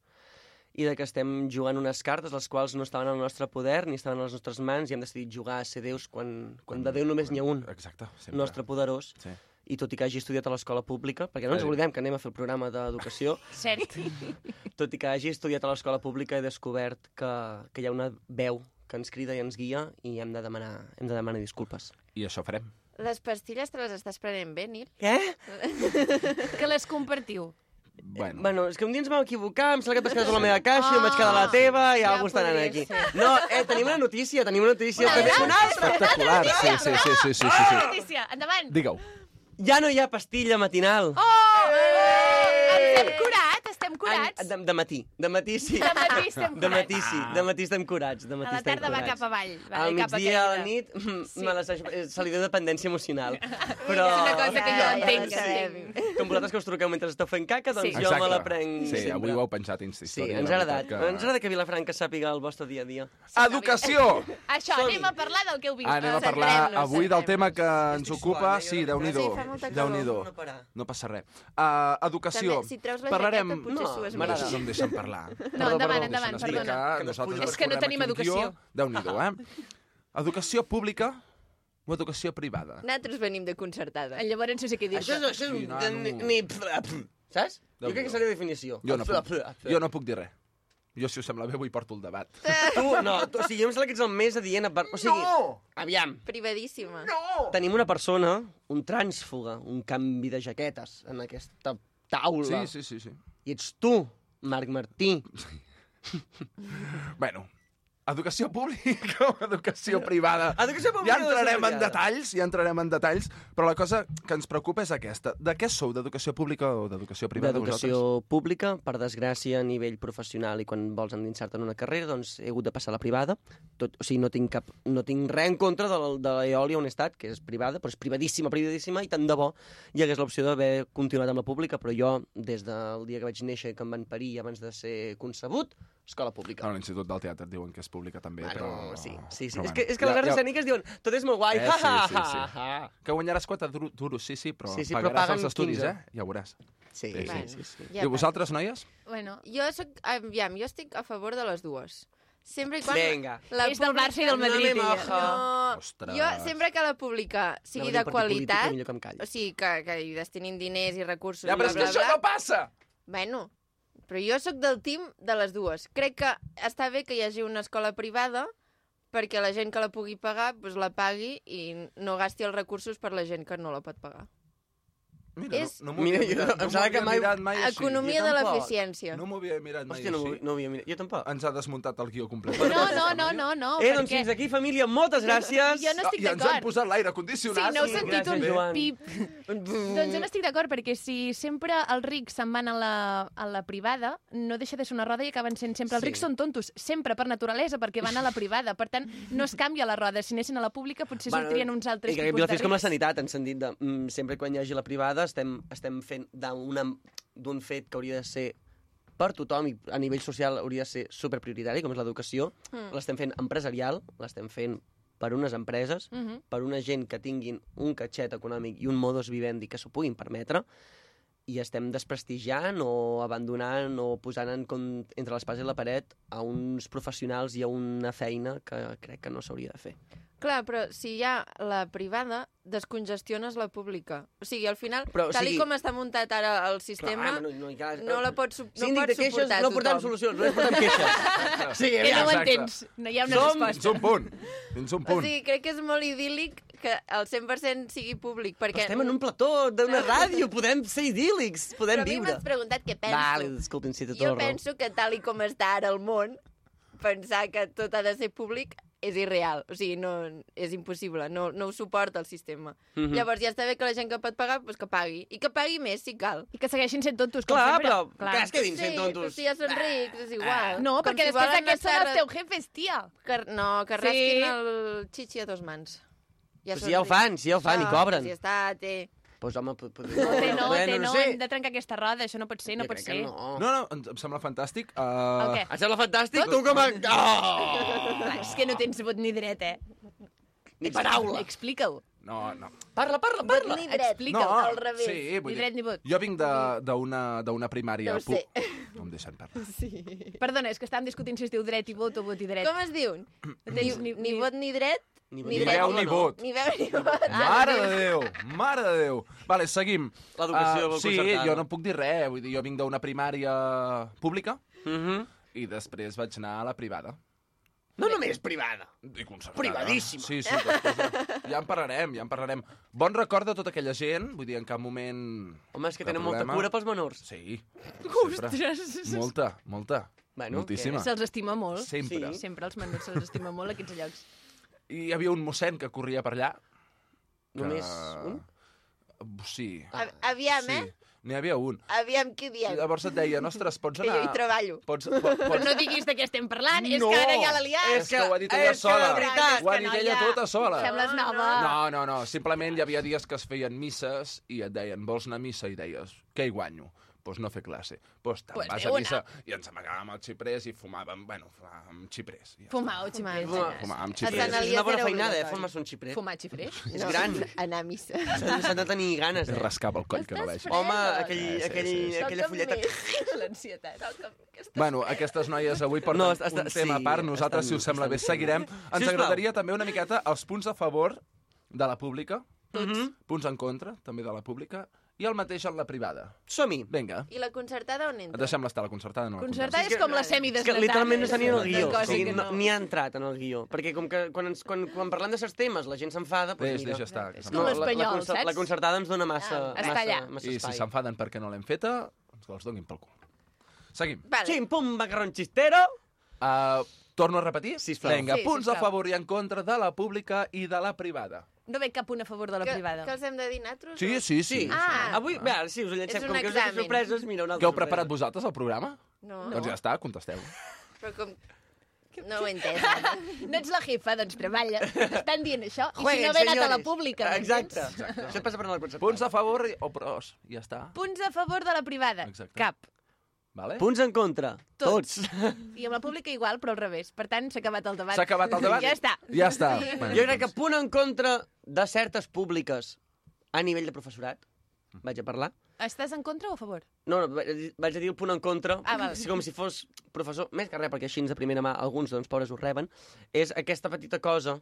[SPEAKER 12] i de que estem jugant unes cartes les quals no estaven al nostre poder ni estaven a les nostres mans i hem decidit jugar a ser déus quan, quan de Déu només n'hi ha un.
[SPEAKER 11] Exacte, sempre.
[SPEAKER 12] Nostre poderós.
[SPEAKER 11] Sí.
[SPEAKER 12] I tot i que hagi estudiat a l'escola pública, perquè no ens
[SPEAKER 11] Sí.
[SPEAKER 12] oblidem que anem a fer el programa d'educació,
[SPEAKER 2] Cert. Oh,
[SPEAKER 12] tot i que hagi estudiat a l'escola pública, he descobert que, que hi ha una veu que ens crida i ens guia i hem de demanar, hem de demanar disculpes.
[SPEAKER 11] I això farem.
[SPEAKER 1] Les pastilles te les estàs prenent bé, Nil?
[SPEAKER 12] Què?
[SPEAKER 2] Que les compartiu.
[SPEAKER 11] Bueno.
[SPEAKER 12] bueno, és que un dia ens vam equivocar, em sembla que et vas quedar tu a la meva caixa, ah, jo em vaig quedar a la teva i algú està anant aquí. No, eh, tenim una notícia, tenim una notícia.
[SPEAKER 2] Una
[SPEAKER 12] també.
[SPEAKER 2] gran
[SPEAKER 12] Una altra!
[SPEAKER 11] Espectacular, sí, sí, sí, sí, sí, sí, sí.
[SPEAKER 2] Ah, Notícia, endavant.
[SPEAKER 11] Digue-ho.
[SPEAKER 12] Ja no hi ha pastilla matinal.
[SPEAKER 2] Oh! Ens
[SPEAKER 12] Eh!
[SPEAKER 2] hem curat, estem curats.
[SPEAKER 12] De, de matí, de matí sí.
[SPEAKER 2] De matí estem
[SPEAKER 12] De matí
[SPEAKER 2] curats.
[SPEAKER 12] sí, de matí estem curats. De matí
[SPEAKER 2] A la
[SPEAKER 12] estem
[SPEAKER 2] tarda va
[SPEAKER 12] curats.
[SPEAKER 2] cap avall. Va, eh,
[SPEAKER 12] Al
[SPEAKER 2] cap
[SPEAKER 12] migdia, a la
[SPEAKER 2] caiguda.
[SPEAKER 12] nit, me la, se li deu dependència emocional. Però...
[SPEAKER 2] És una cosa que jo entenc,
[SPEAKER 1] ja la
[SPEAKER 2] sí.
[SPEAKER 12] Com vosaltres que us truqueu mentre esteu fent caca, doncs
[SPEAKER 2] Sí.
[SPEAKER 12] jo me la prenc
[SPEAKER 11] Sí,
[SPEAKER 12] sempre.
[SPEAKER 11] avui ho heu penjat a Insta
[SPEAKER 12] Sí,
[SPEAKER 11] Story,
[SPEAKER 12] ens
[SPEAKER 11] la
[SPEAKER 12] ha
[SPEAKER 11] veritat
[SPEAKER 12] agradat. Que... Ens agrada que Vilafranca sàpiga el vostre dia a dia.
[SPEAKER 11] Educació!
[SPEAKER 2] Això, anem a parlar del que heu vist.
[SPEAKER 11] Ah, Anem a parlar avui del tema que ens ocupa. Sí, Déu-n'hi-do.
[SPEAKER 2] Sí, fa molta calor.
[SPEAKER 11] Déu-n'hi-do.
[SPEAKER 2] No parar.
[SPEAKER 11] No passa res. Uh, educació.
[SPEAKER 1] També, si treus la
[SPEAKER 11] Parlarem...
[SPEAKER 1] jaqueta, potser sues
[SPEAKER 11] no,
[SPEAKER 1] més.
[SPEAKER 11] no em deixen parlar.
[SPEAKER 1] No,
[SPEAKER 11] Perdó,
[SPEAKER 2] endavant,
[SPEAKER 11] perdó,
[SPEAKER 2] endavant,
[SPEAKER 11] deixa'm explicar.
[SPEAKER 2] perdona. Que
[SPEAKER 11] Nosaltres
[SPEAKER 2] despull- És que no
[SPEAKER 11] escorrem
[SPEAKER 2] tenim
[SPEAKER 11] aquí un guió.
[SPEAKER 2] educació.
[SPEAKER 11] Déu-n'hi-do, eh? Educació pública o educació privada?
[SPEAKER 1] Nosaltres venim de concertada.
[SPEAKER 2] Llavors no sé què
[SPEAKER 12] Això és, això és
[SPEAKER 11] Sí,
[SPEAKER 12] un...
[SPEAKER 11] nano.
[SPEAKER 12] Ni, ni... Saps? Jo crec que seria definició.
[SPEAKER 11] Jo no puc, jo no puc dir res. Jo, si us sembla bé, vull porto el debat.
[SPEAKER 12] Tu, no, tu, o sigui, jo em sembla que ets el més adient a par... O sigui,
[SPEAKER 1] No!
[SPEAKER 12] aviam,
[SPEAKER 1] Privadíssima.
[SPEAKER 12] No! tenim una persona, un trànsfuga, un canvi de jaquetes en aquesta taula.
[SPEAKER 11] Sí, sí, sí. sí.
[SPEAKER 12] I ets tu, Marc Martí.
[SPEAKER 11] bueno, educació pública o educació privada?
[SPEAKER 12] Educació pública
[SPEAKER 11] ja
[SPEAKER 12] o educació
[SPEAKER 11] entrarem en
[SPEAKER 12] privada?
[SPEAKER 11] detalls, ja entrarem en detalls, però la cosa que ens preocupa és aquesta. De què sou, d'educació pública o d'educació privada?
[SPEAKER 12] D'educació
[SPEAKER 11] vosaltres?
[SPEAKER 12] pública, per desgràcia, a nivell professional i quan vols endinsar-te en una carrera, doncs he hagut de passar a la privada. Tot, o sigui, no tinc, cap, no tinc res en contra de, la- de l'Eòlia on he estat, que és privada, però és privadíssima, privadíssima, i tant de bo hi hagués l'opció d'haver continuat amb la pública, però jo, des del dia que vaig néixer i que em van parir i abans de ser concebut, escola pública.
[SPEAKER 11] Bueno, l'Institut del Teatre et diuen que és pública també,
[SPEAKER 12] Bueno,
[SPEAKER 11] però...
[SPEAKER 12] sí, sí, sí.
[SPEAKER 11] però
[SPEAKER 12] és que, és que les arts escèniques diuen, tot és molt guai,
[SPEAKER 11] Eh,
[SPEAKER 12] ha,
[SPEAKER 11] sí,
[SPEAKER 12] ha,
[SPEAKER 11] sí,
[SPEAKER 12] ha,
[SPEAKER 11] sí.
[SPEAKER 12] ha.
[SPEAKER 11] Que guanyaràs 4 dur- duros, sí, sí, però
[SPEAKER 12] Sí, sí, però
[SPEAKER 11] pagaràs
[SPEAKER 12] paguen
[SPEAKER 11] els estudis,
[SPEAKER 12] 15.
[SPEAKER 11] eh? Ja ho veuràs.
[SPEAKER 12] Sí,
[SPEAKER 1] Bueno,
[SPEAKER 11] sí, sí.
[SPEAKER 1] ja
[SPEAKER 11] I vosaltres, noies?
[SPEAKER 2] Bueno.
[SPEAKER 1] Jo, soc, aviam, jo estic a favor de les dues. Sempre i quan...
[SPEAKER 12] Vinga.
[SPEAKER 1] La
[SPEAKER 2] És del Barça i del
[SPEAKER 1] pública-
[SPEAKER 12] No
[SPEAKER 2] Madrid,
[SPEAKER 12] me
[SPEAKER 2] ella.
[SPEAKER 12] moja.
[SPEAKER 1] No,
[SPEAKER 11] Ostres.
[SPEAKER 1] jo sempre que la pública sigui
[SPEAKER 12] Anava a dir
[SPEAKER 1] de
[SPEAKER 12] un partit polític,
[SPEAKER 1] qualitat,
[SPEAKER 12] millor que em calli.
[SPEAKER 1] o sigui, que, que hi destinin diners i recursos...
[SPEAKER 11] Ja,
[SPEAKER 1] i
[SPEAKER 11] però
[SPEAKER 1] bla,
[SPEAKER 11] és que
[SPEAKER 1] bla,
[SPEAKER 11] això
[SPEAKER 1] bla.
[SPEAKER 11] no passa!
[SPEAKER 1] Bueno, però jo sóc del team de les dues. Crec que està bé que hi hagi una escola privada perquè la gent que la pugui pagar doncs la pagui i no gasti els recursos per la gent que no la pot pagar.
[SPEAKER 11] Mira,
[SPEAKER 1] és
[SPEAKER 11] no, no m'ho havia
[SPEAKER 12] Mira, jo-
[SPEAKER 11] mirat,
[SPEAKER 12] em
[SPEAKER 11] no m'ho
[SPEAKER 12] sembla
[SPEAKER 11] havia
[SPEAKER 12] que mai-
[SPEAKER 11] mirat mai així.
[SPEAKER 1] Economia
[SPEAKER 12] jo
[SPEAKER 1] de
[SPEAKER 12] tampoc.
[SPEAKER 1] l'eficiència.
[SPEAKER 11] No m'ho havia mirat mai
[SPEAKER 12] Hòstia, no m'ho-
[SPEAKER 11] així.
[SPEAKER 12] no havia mirat. Jo tampoc.
[SPEAKER 11] Ens ha desmuntat el guió complet.
[SPEAKER 1] No, no, no, no, no.
[SPEAKER 12] eh, doncs fins aquí, família. Moltes gràcies.
[SPEAKER 2] Jo no estic
[SPEAKER 11] I ens han
[SPEAKER 2] d'acord.
[SPEAKER 11] posat l'aire
[SPEAKER 2] Sí,
[SPEAKER 11] condicionat.
[SPEAKER 2] no heu sentit
[SPEAKER 12] Gràcies,
[SPEAKER 2] un
[SPEAKER 12] Joan.
[SPEAKER 2] pip. doncs jo no estic d'acord, perquè si sempre els rics se'n van a la, a la privada, no deixa de ser una roda i acaben sent sempre... Els
[SPEAKER 12] Sí.
[SPEAKER 2] rics són tontos, sempre, per naturalesa, perquè van a la privada. Per tant, no es canvia la roda. Si anessin a la pública, potser
[SPEAKER 12] Bueno,
[SPEAKER 2] sortirien uns altres
[SPEAKER 12] I que
[SPEAKER 2] tipus de
[SPEAKER 12] Vilafí és
[SPEAKER 2] rics.
[SPEAKER 12] com la sanitat, en sentit de mm, sempre quan hi hagi la privada estem, estem fent d'una- d'un fet que hauria de ser per tothom i a nivell social hauria de ser superprioritari, com és l'educació.
[SPEAKER 2] Mm.
[SPEAKER 12] Mm. L'estem fent empresarial, l'estem fent per unes empreses,
[SPEAKER 2] Mhm.
[SPEAKER 12] per una gent que tinguin un catxet econòmic i un modus vivendi que s'ho puguin permetre, i estem desprestigiant o abandonant o posant en com, entre l'espasa i la paret a uns professionals i a una feina que crec que no s'hauria de fer.
[SPEAKER 1] Clar, però si hi ha la privada, descongestiones la pública. O sigui, al final,
[SPEAKER 12] Però,
[SPEAKER 1] però,
[SPEAKER 12] o
[SPEAKER 1] tal
[SPEAKER 12] sigui-
[SPEAKER 1] i com està muntat ara el sistema,
[SPEAKER 12] Clar, ah, no, no, hi ha-
[SPEAKER 1] no la pot su- no
[SPEAKER 12] Síndic
[SPEAKER 1] pot
[SPEAKER 12] de queixes,
[SPEAKER 1] suportar
[SPEAKER 12] no portem
[SPEAKER 1] tothom.
[SPEAKER 12] solucions, només portem queixes. Sí,
[SPEAKER 2] Que no ho entens. No hi ha una
[SPEAKER 11] Som,
[SPEAKER 2] resposta.
[SPEAKER 11] Fins un punt. Fins un
[SPEAKER 1] O
[SPEAKER 11] punt.
[SPEAKER 1] sigui, crec que és molt idíl·lic que el 100% sigui públic, perquè...
[SPEAKER 12] Estem en un plató d'una ràdio, podem ser idíl·lics, podem
[SPEAKER 1] Però a mi
[SPEAKER 12] viure.
[SPEAKER 1] m'has preguntat què penso.
[SPEAKER 12] Vale, disculpin, si té tota
[SPEAKER 1] jo
[SPEAKER 12] la raó.
[SPEAKER 1] penso que tal i com està ara el món, pensar que tot ha de ser públic és irreal, o sigui, no, és impossible, no, no ho suporta el sistema. Mm
[SPEAKER 12] Mhm.
[SPEAKER 1] -hmm. Llavors ja està bé que la gent que pot pagar, doncs que pagui, i que pagui més si cal.
[SPEAKER 2] I que segueixin sent tontos,
[SPEAKER 12] com Clar, sempre. però que es quedin sent
[SPEAKER 1] sí,
[SPEAKER 12] tontos.
[SPEAKER 1] però si ja són rics, és igual.
[SPEAKER 2] No,
[SPEAKER 1] Com
[SPEAKER 2] perquè
[SPEAKER 1] si
[SPEAKER 2] després
[SPEAKER 1] volen
[SPEAKER 2] aquests són
[SPEAKER 1] anar-se
[SPEAKER 2] els teus jefes, tia.
[SPEAKER 1] Que, no, que
[SPEAKER 2] Sí.
[SPEAKER 1] rasquin el xixi a dos mans.
[SPEAKER 12] Però
[SPEAKER 1] són
[SPEAKER 12] si ja ho
[SPEAKER 1] rics.
[SPEAKER 12] fan, si ja ho fan i
[SPEAKER 1] Ah,
[SPEAKER 12] cobren.
[SPEAKER 1] Si està, té...
[SPEAKER 12] Pues home, pot, pot,
[SPEAKER 2] No, té no, té no,
[SPEAKER 12] sé.
[SPEAKER 2] hem de trencar aquesta roda, això no pot ser, no pot ser.
[SPEAKER 11] No, no, em- em sembla fantàstic. Uh...
[SPEAKER 2] El què?
[SPEAKER 12] Oh. Et sembla fantàstic?
[SPEAKER 2] Tot?
[SPEAKER 12] Tu com a... Oh!
[SPEAKER 11] Ah!
[SPEAKER 2] Clar, És que no tens vot ni dret, eh?
[SPEAKER 12] Ni paraula.
[SPEAKER 2] Explica-ho.
[SPEAKER 11] No, no.
[SPEAKER 12] Parla, parla, parla.
[SPEAKER 2] Ni dret. Explica-ho,
[SPEAKER 11] No,
[SPEAKER 2] al revés.
[SPEAKER 11] sí, vull
[SPEAKER 2] ni
[SPEAKER 11] dir-
[SPEAKER 2] dret ni vot.
[SPEAKER 11] Jo vinc de- d'una d'una primària.
[SPEAKER 2] No ho sé.
[SPEAKER 11] pu- No em deixen parlar.
[SPEAKER 1] Sí.
[SPEAKER 2] Perdona, és que estàvem discutint si es diu dret i vot o vot i dret.
[SPEAKER 1] Com es diu?
[SPEAKER 2] No tens ni,
[SPEAKER 1] Ni vot ni dret,
[SPEAKER 11] Ni
[SPEAKER 1] ni,
[SPEAKER 11] veu
[SPEAKER 1] dret,
[SPEAKER 11] ni vot.
[SPEAKER 1] Ni veu ni
[SPEAKER 2] Ah,
[SPEAKER 1] vot. Ah.
[SPEAKER 11] Mare de Déu, mare de Déu. Vale, seguim.
[SPEAKER 12] L'educació
[SPEAKER 11] Ah, Sí,
[SPEAKER 12] concertada.
[SPEAKER 11] jo no puc dir res. Vull dir, jo vinc d'una primària pública
[SPEAKER 12] Mhm.
[SPEAKER 11] i després vaig anar a la privada.
[SPEAKER 12] No només privada.
[SPEAKER 11] I concertada.
[SPEAKER 12] Privadíssima.
[SPEAKER 11] Sí, sí, després, de- ja en parlarem, ja en parlarem. Bon record de tota aquella gent, vull dir, en cap moment...
[SPEAKER 12] Home, és que tenen molta cura pels menors.
[SPEAKER 11] Sí. sempre.
[SPEAKER 2] Ostres.
[SPEAKER 11] Molta, molta.
[SPEAKER 12] Bueno,
[SPEAKER 11] Moltíssima.
[SPEAKER 2] Se'ls estima molt.
[SPEAKER 11] Sempre.
[SPEAKER 2] Sí. Sempre els menors se'ls estima molt, aquests llocs.
[SPEAKER 11] I hi havia un mossèn que corria per allà.
[SPEAKER 12] Només un?
[SPEAKER 11] Sí.
[SPEAKER 2] Ah.
[SPEAKER 1] A- aviam,
[SPEAKER 11] sí.
[SPEAKER 1] eh?
[SPEAKER 11] N'hi havia un.
[SPEAKER 1] Aviam què
[SPEAKER 11] I
[SPEAKER 1] diem.
[SPEAKER 11] llavors et deien, ostres, pots
[SPEAKER 1] Que
[SPEAKER 11] anar...
[SPEAKER 1] jo hi treballo.
[SPEAKER 11] Pots, po,
[SPEAKER 2] Però
[SPEAKER 11] pots...
[SPEAKER 2] no diguis de què estem parlant, és que ara ja la liat.
[SPEAKER 11] És que, ho ha dit ella
[SPEAKER 12] és que la
[SPEAKER 11] sola.
[SPEAKER 12] veritat,
[SPEAKER 11] ho ha
[SPEAKER 12] que
[SPEAKER 11] dit
[SPEAKER 12] no,
[SPEAKER 11] ella
[SPEAKER 12] ja.
[SPEAKER 11] tota sola.
[SPEAKER 2] Sembles Eh, nova.
[SPEAKER 11] No, no, no. Simplement hi havia dies que es feien misses i et deien, vols anar a missa? I deies, què hi guanyo? Doncs pues no fer classe. Doncs pues te'n
[SPEAKER 2] Pues
[SPEAKER 11] pues vas
[SPEAKER 2] de
[SPEAKER 11] a
[SPEAKER 2] una.
[SPEAKER 11] missa. I ens amagàvem al xiprés i fumàvem, bueno, fumàvem xiprés. I ja
[SPEAKER 2] Fumar o xiprer.
[SPEAKER 12] Fumar.
[SPEAKER 11] Fumar amb
[SPEAKER 12] És
[SPEAKER 11] xiprés.
[SPEAKER 12] una bona feinada, eh? Fumar un xiprer.
[SPEAKER 2] Fumar xiprer.
[SPEAKER 12] És gran.
[SPEAKER 1] Anar a missa.
[SPEAKER 12] S'han de tenir ganes,
[SPEAKER 11] Es
[SPEAKER 12] eh?
[SPEAKER 11] rascava el coll que no vegi.
[SPEAKER 12] Home,
[SPEAKER 2] eh?
[SPEAKER 12] aquell,
[SPEAKER 11] Sí, sí,
[SPEAKER 12] aquell,
[SPEAKER 11] sí, sí.
[SPEAKER 12] aquella fulleta...
[SPEAKER 2] L'ansietat.
[SPEAKER 11] Bueno, aquestes noies avui porten
[SPEAKER 12] No,
[SPEAKER 11] no,
[SPEAKER 12] està-
[SPEAKER 11] un
[SPEAKER 12] sí,
[SPEAKER 11] tema a part. Nosaltres,
[SPEAKER 12] estan-
[SPEAKER 11] si us sembla bé,
[SPEAKER 12] estan-
[SPEAKER 11] seguirem. Ens
[SPEAKER 12] Sisplau.
[SPEAKER 11] agradaria també una miqueta els punts a favor de la pública, Mm-hmm. punts en contra, també de la pública, i el mateix en la privada.
[SPEAKER 12] Som-hi.
[SPEAKER 11] Vinga,
[SPEAKER 1] I la concertada on entra?
[SPEAKER 11] et deixem l'estar a la concertada. No a la
[SPEAKER 2] Concertada és com la
[SPEAKER 12] És que
[SPEAKER 2] semidesnatada.
[SPEAKER 12] literalment no està ni en el guió.
[SPEAKER 2] Una cosa
[SPEAKER 12] O sigui,
[SPEAKER 2] que
[SPEAKER 12] no, ni ha entrat en el guió. Perquè com que quan, ens, quan, quan parlem de certs temes la gent s'enfada... Doncs
[SPEAKER 11] Deix,
[SPEAKER 12] mira.
[SPEAKER 11] deixa estar, que
[SPEAKER 12] És
[SPEAKER 11] se'n
[SPEAKER 12] com
[SPEAKER 11] va.
[SPEAKER 12] l'espanyol,
[SPEAKER 2] La- la
[SPEAKER 12] la,
[SPEAKER 2] concert-
[SPEAKER 12] la, la concertada ens dona massa,
[SPEAKER 2] Ah, està
[SPEAKER 12] massa,
[SPEAKER 2] allà.
[SPEAKER 12] massa
[SPEAKER 11] I si
[SPEAKER 12] espai.
[SPEAKER 11] s'enfaden perquè no l'hem feta, doncs que els donin pel cul. Seguim.
[SPEAKER 1] Vale.
[SPEAKER 12] Xim, pum, macarrón chistero.
[SPEAKER 11] Uh, torno a repetir?
[SPEAKER 12] Sisplau.
[SPEAKER 11] Vinga,
[SPEAKER 2] Sí,
[SPEAKER 11] punts a
[SPEAKER 2] sisplau.
[SPEAKER 11] favor i en contra de la pública i de la privada.
[SPEAKER 2] No veig cap punt a favor de la
[SPEAKER 1] que,
[SPEAKER 2] privada.
[SPEAKER 1] que els hem de dir natros?
[SPEAKER 11] Sí, sí, sí.
[SPEAKER 12] Sí.
[SPEAKER 1] Ah.
[SPEAKER 12] Avui, bé, ara sí, us ho
[SPEAKER 1] És
[SPEAKER 12] llencem.
[SPEAKER 1] un
[SPEAKER 12] Com que us heu
[SPEAKER 1] examen.
[SPEAKER 12] fet sorpreses, mira una
[SPEAKER 11] Que
[SPEAKER 12] altra
[SPEAKER 11] heu preparat vosaltres, el programa?
[SPEAKER 12] Oh.
[SPEAKER 1] No,
[SPEAKER 11] Doncs ja està, contesteu.
[SPEAKER 1] però com... No ho he entès.
[SPEAKER 2] No ets la jefa, doncs treballa. Estan dient això. I si
[SPEAKER 12] Jueguen,
[SPEAKER 2] no haver anat a la
[SPEAKER 12] senyores.
[SPEAKER 2] pública. m'entens?
[SPEAKER 12] Exacte. Exacte. Això et passa per anar al concert.
[SPEAKER 11] Punts a favor i- o pros, ja està.
[SPEAKER 2] Punts a favor de la privada.
[SPEAKER 11] Exacte.
[SPEAKER 2] Cap.
[SPEAKER 11] Vale?
[SPEAKER 12] Punts en contra. Tots.
[SPEAKER 2] I amb la pública igual, però al revés. Per tant, s'ha acabat el debat.
[SPEAKER 11] S'ha acabat el debat?
[SPEAKER 2] Ja està.
[SPEAKER 11] Ja està.
[SPEAKER 12] Jo crec que punt en contra de certes públiques a nivell de professorat, vaig a parlar,
[SPEAKER 2] Estàs en contra o a favor?
[SPEAKER 12] No, no, vaig a dir- vaig a dir el punt en contra,
[SPEAKER 2] Ah, val.
[SPEAKER 12] si com si fos professor, més que res, perquè així de primera mà alguns, doncs, pobres, ho reben, és aquesta petita cosa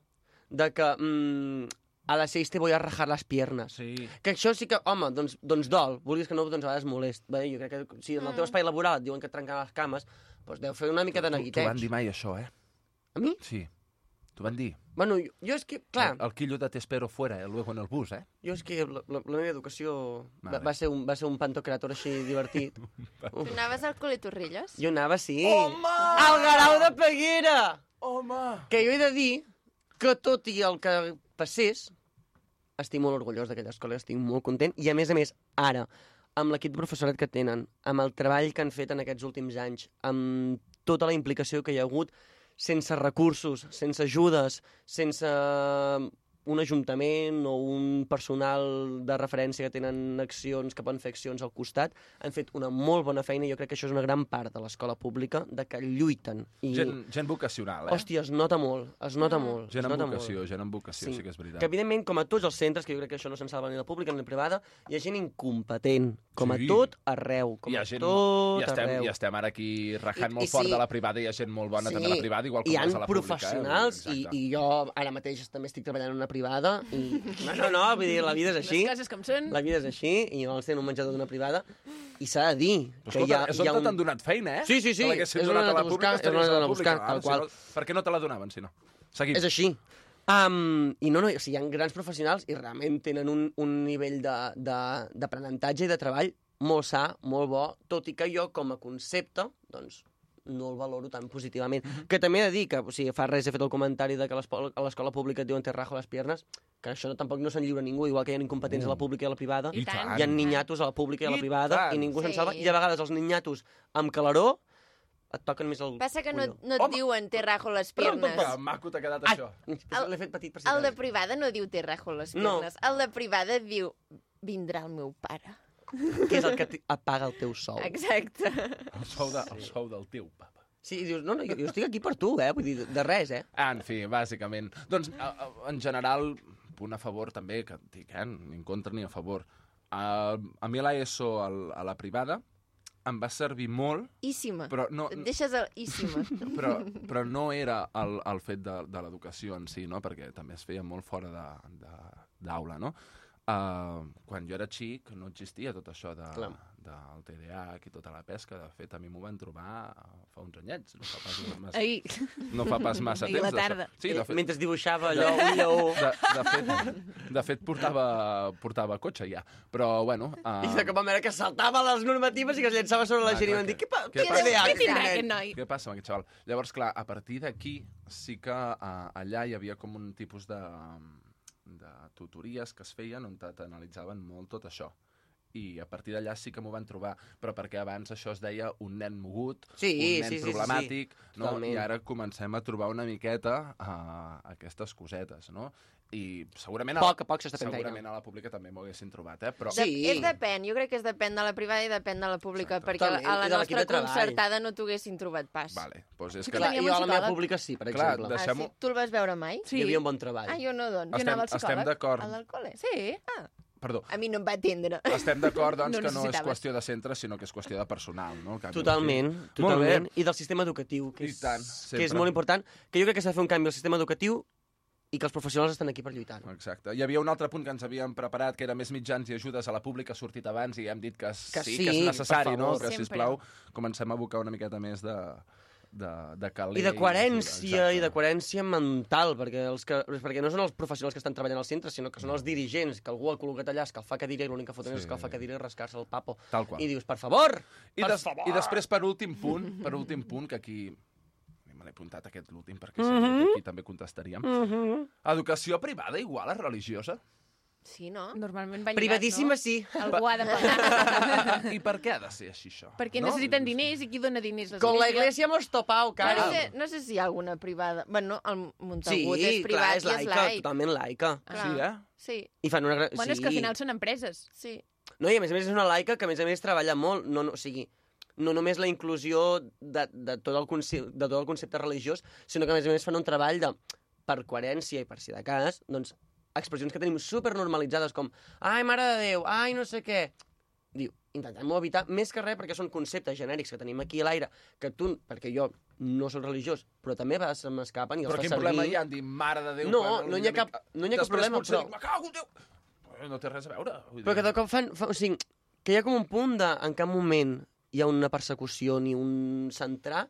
[SPEAKER 12] de que mm, a les 6 te voy a rajar les piernas.
[SPEAKER 11] Sí.
[SPEAKER 12] Que això sí que, home, doncs, doncs dol, vulguis que no, doncs a vegades molest. Bé, jo crec que si en
[SPEAKER 2] Mm.
[SPEAKER 12] el teu espai laboral et diuen que et trenquen les cames, doncs deu fer una mica de
[SPEAKER 11] T'ho t'ho van
[SPEAKER 12] neguiteig.
[SPEAKER 11] dir mai, això, eh?
[SPEAKER 12] A mi?
[SPEAKER 11] Sí. T'ho T'ho van dir.
[SPEAKER 12] Bueno, jo, jo és que, clar,
[SPEAKER 11] El, el quillo de te espero fuera, eh, luego en el bus, eh?
[SPEAKER 12] jo és que la, la, la meva educació va,
[SPEAKER 11] Vale.
[SPEAKER 12] va, ser un, va ser un pantocrator així divertit.
[SPEAKER 1] Tu
[SPEAKER 12] Uf.
[SPEAKER 1] anaves al col·le Torrillos?
[SPEAKER 12] Jo anava, sí. Home! Al Garau de Peguera!
[SPEAKER 11] Home!
[SPEAKER 12] Que jo he de dir que tot i el que passés, estic molt orgullós d'aquella escola, estic molt content, i a més a més, ara, amb l'equip de professorat que tenen, amb el treball que han fet en aquests últims anys, amb tota la implicació que hi ha hagut, sense recursos, sense ajudes, sense un ajuntament o un personal de referència que tenen accions, que poden fer accions al costat, han fet una molt bona feina i jo crec que això és una gran part de l'escola pública, de que lluiten.
[SPEAKER 11] I...
[SPEAKER 12] I...
[SPEAKER 11] Gent, gent vocacional, eh?
[SPEAKER 12] Hòstia, es nota molt, es nota
[SPEAKER 2] Mm.
[SPEAKER 12] molt.
[SPEAKER 11] Gent
[SPEAKER 12] es
[SPEAKER 11] amb
[SPEAKER 12] nota
[SPEAKER 11] vocació,
[SPEAKER 12] molt.
[SPEAKER 11] gent amb vocació, sí que és veritat.
[SPEAKER 12] Que evidentment, com a tots els centres, que jo crec que això no se'n salva ni la pública ni la privada, hi ha gent incompetent, com
[SPEAKER 11] Sí.
[SPEAKER 12] a tot arreu, com
[SPEAKER 11] hi ha
[SPEAKER 12] a
[SPEAKER 11] gent,
[SPEAKER 12] tot
[SPEAKER 11] i estem,
[SPEAKER 12] arreu.
[SPEAKER 11] I estem ara aquí rajant
[SPEAKER 12] I-
[SPEAKER 11] I, molt
[SPEAKER 12] i
[SPEAKER 11] i fort
[SPEAKER 12] sí.
[SPEAKER 11] de la privada, hi ha gent molt bona
[SPEAKER 12] Sí,
[SPEAKER 11] també a la privada, igual com
[SPEAKER 12] hi ha
[SPEAKER 11] és a la eh?
[SPEAKER 12] professionals
[SPEAKER 11] pública. Eh?
[SPEAKER 12] i, i jo ara mateix també estic treballant en una privada i... No, no, no, vull dir, la vida és així.
[SPEAKER 2] Les coses com són.
[SPEAKER 12] La vida és així i jo estic en un menjador d'una privada i s'ha de dir
[SPEAKER 11] Però escolta, és on t'han donat feina, eh?
[SPEAKER 12] Sí, sí, sí.
[SPEAKER 11] Te l'haguessin
[SPEAKER 12] és on
[SPEAKER 11] donat
[SPEAKER 12] he
[SPEAKER 11] a
[SPEAKER 12] anat
[SPEAKER 11] la
[SPEAKER 12] a buscar,
[SPEAKER 11] pública,
[SPEAKER 12] és on he
[SPEAKER 11] estaries a
[SPEAKER 12] anat
[SPEAKER 11] la
[SPEAKER 12] a buscar,
[SPEAKER 11] pública,
[SPEAKER 12] tal
[SPEAKER 11] ara, si
[SPEAKER 12] qual.
[SPEAKER 11] no- Per què no te la donaven, si no? Seguim.
[SPEAKER 12] És així. Um, I no, no, o sigui, hi ha grans professionals i realment tenen un, un nivell de- de- d'aprenentatge i de treball molt sa, molt bo, tot i que jo, com a concepte, doncs, no el valoro tan positivament.
[SPEAKER 11] Mhm.
[SPEAKER 12] Que també he de dir que, o sigui, fa res he fet el comentari de que a l'espo- a l'escola pública et diuen te rajo les piernas, que això no, tampoc no se'n lliura ningú, igual que hi ha incompetents a la pública i a la privada,
[SPEAKER 11] Mm. I tant.
[SPEAKER 12] hi ha ninyatos a la pública i a la
[SPEAKER 11] I
[SPEAKER 12] privada, i,
[SPEAKER 11] tant.
[SPEAKER 12] ningú se'n
[SPEAKER 1] Sí.
[SPEAKER 12] salva, i a vegades els ninyatos amb calaró et toquen més el...
[SPEAKER 1] Passa que no,
[SPEAKER 12] colló.
[SPEAKER 1] no et diuen te rajo les piernas. Ah,
[SPEAKER 12] Que
[SPEAKER 11] maco t'ha quedat
[SPEAKER 12] això. L'he fet petit per si
[SPEAKER 1] El de privada no diu te rajo les
[SPEAKER 12] No.
[SPEAKER 1] piernas. El de privada diu vindrà el meu pare.
[SPEAKER 12] que és el que t- apaga el teu sou.
[SPEAKER 1] Exacte.
[SPEAKER 11] El sou, de, el sou del teu papa.
[SPEAKER 12] Sí, i dius, no, no, jo, jo estic aquí per tu, eh? Vull dir, de res, eh?
[SPEAKER 11] Ah, En fi, bàsicament. Doncs, a, a, en general, punt a favor també, que dic, eh, ni en contra ni a favor. A, a mi a l'ESO, a, l- a la privada, em va servir molt,
[SPEAKER 1] Íssima.
[SPEAKER 11] Però no-
[SPEAKER 1] Et deixes el íssima.
[SPEAKER 11] però, però no era el, el fet de, de l'educació en si, no? perquè també es feia molt fora de- de- d'aula, no? Uh, quan jo era xic no existia tot això de,
[SPEAKER 12] Clar.
[SPEAKER 11] del TDAH i tota la pesca. De fet, a mi m'ho van trobar eh, fa uns anyets. No fa pas massa,
[SPEAKER 2] Ahir.
[SPEAKER 11] no fa pas massa
[SPEAKER 2] Ahir
[SPEAKER 11] temps.
[SPEAKER 2] a la
[SPEAKER 11] d'això.
[SPEAKER 2] tarda.
[SPEAKER 11] Sí, de fet,
[SPEAKER 12] Mentre es dibuixava allò, un lleó...
[SPEAKER 11] de, de, fet, eh? de fet, portava, portava cotxe ja. Però, bueno... Uh,
[SPEAKER 12] I de cop vam veure que saltava les normatives i que es llançava sobre la
[SPEAKER 11] Ah,
[SPEAKER 12] gent i
[SPEAKER 11] clar
[SPEAKER 12] van dir,
[SPEAKER 11] que-
[SPEAKER 12] què, pa,
[SPEAKER 11] què
[SPEAKER 12] què,
[SPEAKER 11] passa?
[SPEAKER 12] TDAH,
[SPEAKER 11] Què tindrà
[SPEAKER 12] nen?"
[SPEAKER 11] aquest Què passa amb aquest xaval? Llavors, clar, a partir d'aquí sí que eh, allà hi havia com un tipus de, de tutories que es feien on t'analitzaven molt tot això. I a partir d'allà sí que m'ho van trobar, però perquè abans això es deia un nen mogut,
[SPEAKER 12] Sí,
[SPEAKER 11] un
[SPEAKER 12] sí,
[SPEAKER 11] nen
[SPEAKER 12] sí, sí,
[SPEAKER 11] problemàtic,
[SPEAKER 12] sí.
[SPEAKER 11] no?
[SPEAKER 12] Totalment.
[SPEAKER 11] i ara comencem a trobar una miqueta uh, aquestes cosetes, no? I segurament...
[SPEAKER 12] A poc a poc s'està fent feina.
[SPEAKER 11] Segurament a la pública també m'ho haguessin trobat, eh? Però...
[SPEAKER 1] De, és depèn, jo crec que és depèn de la privada i depèn de la pública, Exacte. perquè
[SPEAKER 12] Totalment,
[SPEAKER 1] a la
[SPEAKER 12] i de l'equip
[SPEAKER 1] nostra
[SPEAKER 12] de treball.
[SPEAKER 1] concertada no t'haguessin trobat pas.
[SPEAKER 11] Vale, doncs és
[SPEAKER 12] Sí,
[SPEAKER 11] que...
[SPEAKER 12] clar, jo a la meva pública sí, per
[SPEAKER 11] Clar,
[SPEAKER 12] exemple.
[SPEAKER 1] Ah, sí?
[SPEAKER 11] deixem-ho...
[SPEAKER 1] Tu el vas veure mai?
[SPEAKER 12] Hi havia un bon treball.
[SPEAKER 1] Ah, jo no, doncs.
[SPEAKER 11] Estem- estem d'acord.
[SPEAKER 1] A l'alcohol? Sí. Ah,
[SPEAKER 11] Perdó.
[SPEAKER 1] a mi no em va atendre.
[SPEAKER 11] Estem d'acord, doncs,
[SPEAKER 1] No
[SPEAKER 11] no que no és
[SPEAKER 1] necessitaves.
[SPEAKER 11] qüestió de centre, sinó que és qüestió de personal, no? Al cap i a la fi.
[SPEAKER 12] Totalment, totalment. I del sistema educatiu, que
[SPEAKER 11] I
[SPEAKER 12] és,
[SPEAKER 11] tant,
[SPEAKER 12] que és
[SPEAKER 11] sempre.
[SPEAKER 12] molt important, que jo crec que s'ha de fer un canvi al sistema educatiu i que els professionals estan aquí per lluitar.
[SPEAKER 11] Exacte. Hi havia un altre punt que ens havíem preparat, que era més mitjans i ajudes a la pública, ha sortit abans i hem dit que sí, que,
[SPEAKER 12] Que
[SPEAKER 11] sí,
[SPEAKER 12] sí,
[SPEAKER 11] que és necessari,
[SPEAKER 12] per
[SPEAKER 11] no?
[SPEAKER 12] favor.
[SPEAKER 11] Que,
[SPEAKER 12] Sempre.
[SPEAKER 11] sisplau, comencem a abocar una miqueta més de, de, de caler.
[SPEAKER 12] I de coherència, i de coherència mental, perquè, els que, perquè no són els professionals que estan treballant al centre, sinó que són els dirigents, que algú ha col·locat allà, escalfar cadira, i l'únic que foten sí. és escalfar cadira i rascar-se el papo.
[SPEAKER 11] Tal qual.
[SPEAKER 12] I dius, per favor,
[SPEAKER 11] I,
[SPEAKER 12] per
[SPEAKER 11] des,
[SPEAKER 12] favor.
[SPEAKER 11] I després, per últim punt, per últim punt, que aquí... a mi Me l'he apuntat aquest l'últim, perquè
[SPEAKER 12] Mhm.
[SPEAKER 11] mm -hmm. aquí també contestaríem. Mm
[SPEAKER 12] Mhm.
[SPEAKER 11] -hmm. Educació privada igual a religiosa?
[SPEAKER 1] Mm-hmm. Sí, no?
[SPEAKER 2] Normalment va lligat,
[SPEAKER 12] Privadíssima,
[SPEAKER 2] no?
[SPEAKER 12] sí.
[SPEAKER 2] Algú ha de pagar.
[SPEAKER 11] I per què ha de ser així, això?
[SPEAKER 2] Perquè
[SPEAKER 11] no?
[SPEAKER 2] necessiten diners i qui dona diners?
[SPEAKER 12] Con la iglesia hemos topado,
[SPEAKER 1] Però
[SPEAKER 12] cara.
[SPEAKER 1] No sé, no sé si hi ha alguna privada. Bueno, el
[SPEAKER 12] Sí,
[SPEAKER 1] Montagut és
[SPEAKER 12] clar,
[SPEAKER 1] privat
[SPEAKER 12] és laica,
[SPEAKER 1] i és laic.
[SPEAKER 12] totalment laica.
[SPEAKER 1] Ah. Sí, eh? Sí.
[SPEAKER 12] I fan una... gra-
[SPEAKER 2] Bueno,
[SPEAKER 12] sí.
[SPEAKER 2] és que al final són empreses.
[SPEAKER 1] Sí.
[SPEAKER 12] No, i a més a més és una laica que a més a més treballa molt, no, no, o sigui, no només la inclusió de, de, tot el conce- de tot el concepte religiós, sinó que a més a més fan un treball de, per coherència i per si de cas, doncs, expressions que tenim supernormalitzades com ai, mare de Déu, ai, no sé què. Diu, intentem-ho evitar, més que res perquè són conceptes genèrics que tenim aquí a l'aire, que tu, perquè jo no sóc religiós, però també va, se m'escapen i els
[SPEAKER 11] Però
[SPEAKER 12] fa
[SPEAKER 11] quin
[SPEAKER 12] servir.
[SPEAKER 11] problema hi ha en dir, mare de Déu...
[SPEAKER 12] No,
[SPEAKER 11] quan una
[SPEAKER 12] no hi ha
[SPEAKER 11] mica-
[SPEAKER 12] cap- no hi ha cap
[SPEAKER 11] Després
[SPEAKER 12] problema,
[SPEAKER 11] potser
[SPEAKER 12] però-
[SPEAKER 11] dic, Me cago en Déu! No té res a veure. Vull
[SPEAKER 12] Però que de cop fan... fa- O sigui, que hi ha com un punt de... En cap moment hi ha una persecució ni un centrar,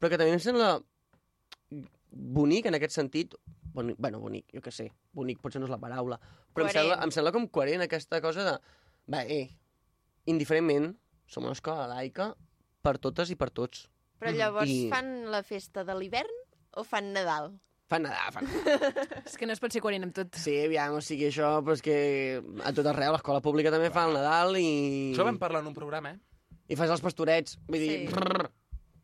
[SPEAKER 12] però que també em sembla bonic en aquest sentit, bonic, bueno, bonic, jo què sé, bonic potser no és la paraula, però em
[SPEAKER 13] Coherent.
[SPEAKER 12] sembla, em sembla com coherent aquesta cosa de, va, eh, indiferentment, som una escola laica per totes i per tots. Mm.
[SPEAKER 1] Però llavors
[SPEAKER 12] I
[SPEAKER 1] fan la festa de l'hivern o fan Nadal?
[SPEAKER 12] Fan nedar, fan nedar.
[SPEAKER 2] És que no es pot ser coherent amb tot.
[SPEAKER 12] Sí, aviam, o sigui, això, però és que a tot arreu, l'escola pública també fa el Nadal i...
[SPEAKER 11] Això vam parlar en un programa, eh?
[SPEAKER 12] I fas els pastorets, vull dir...
[SPEAKER 11] Sí.
[SPEAKER 12] brrr,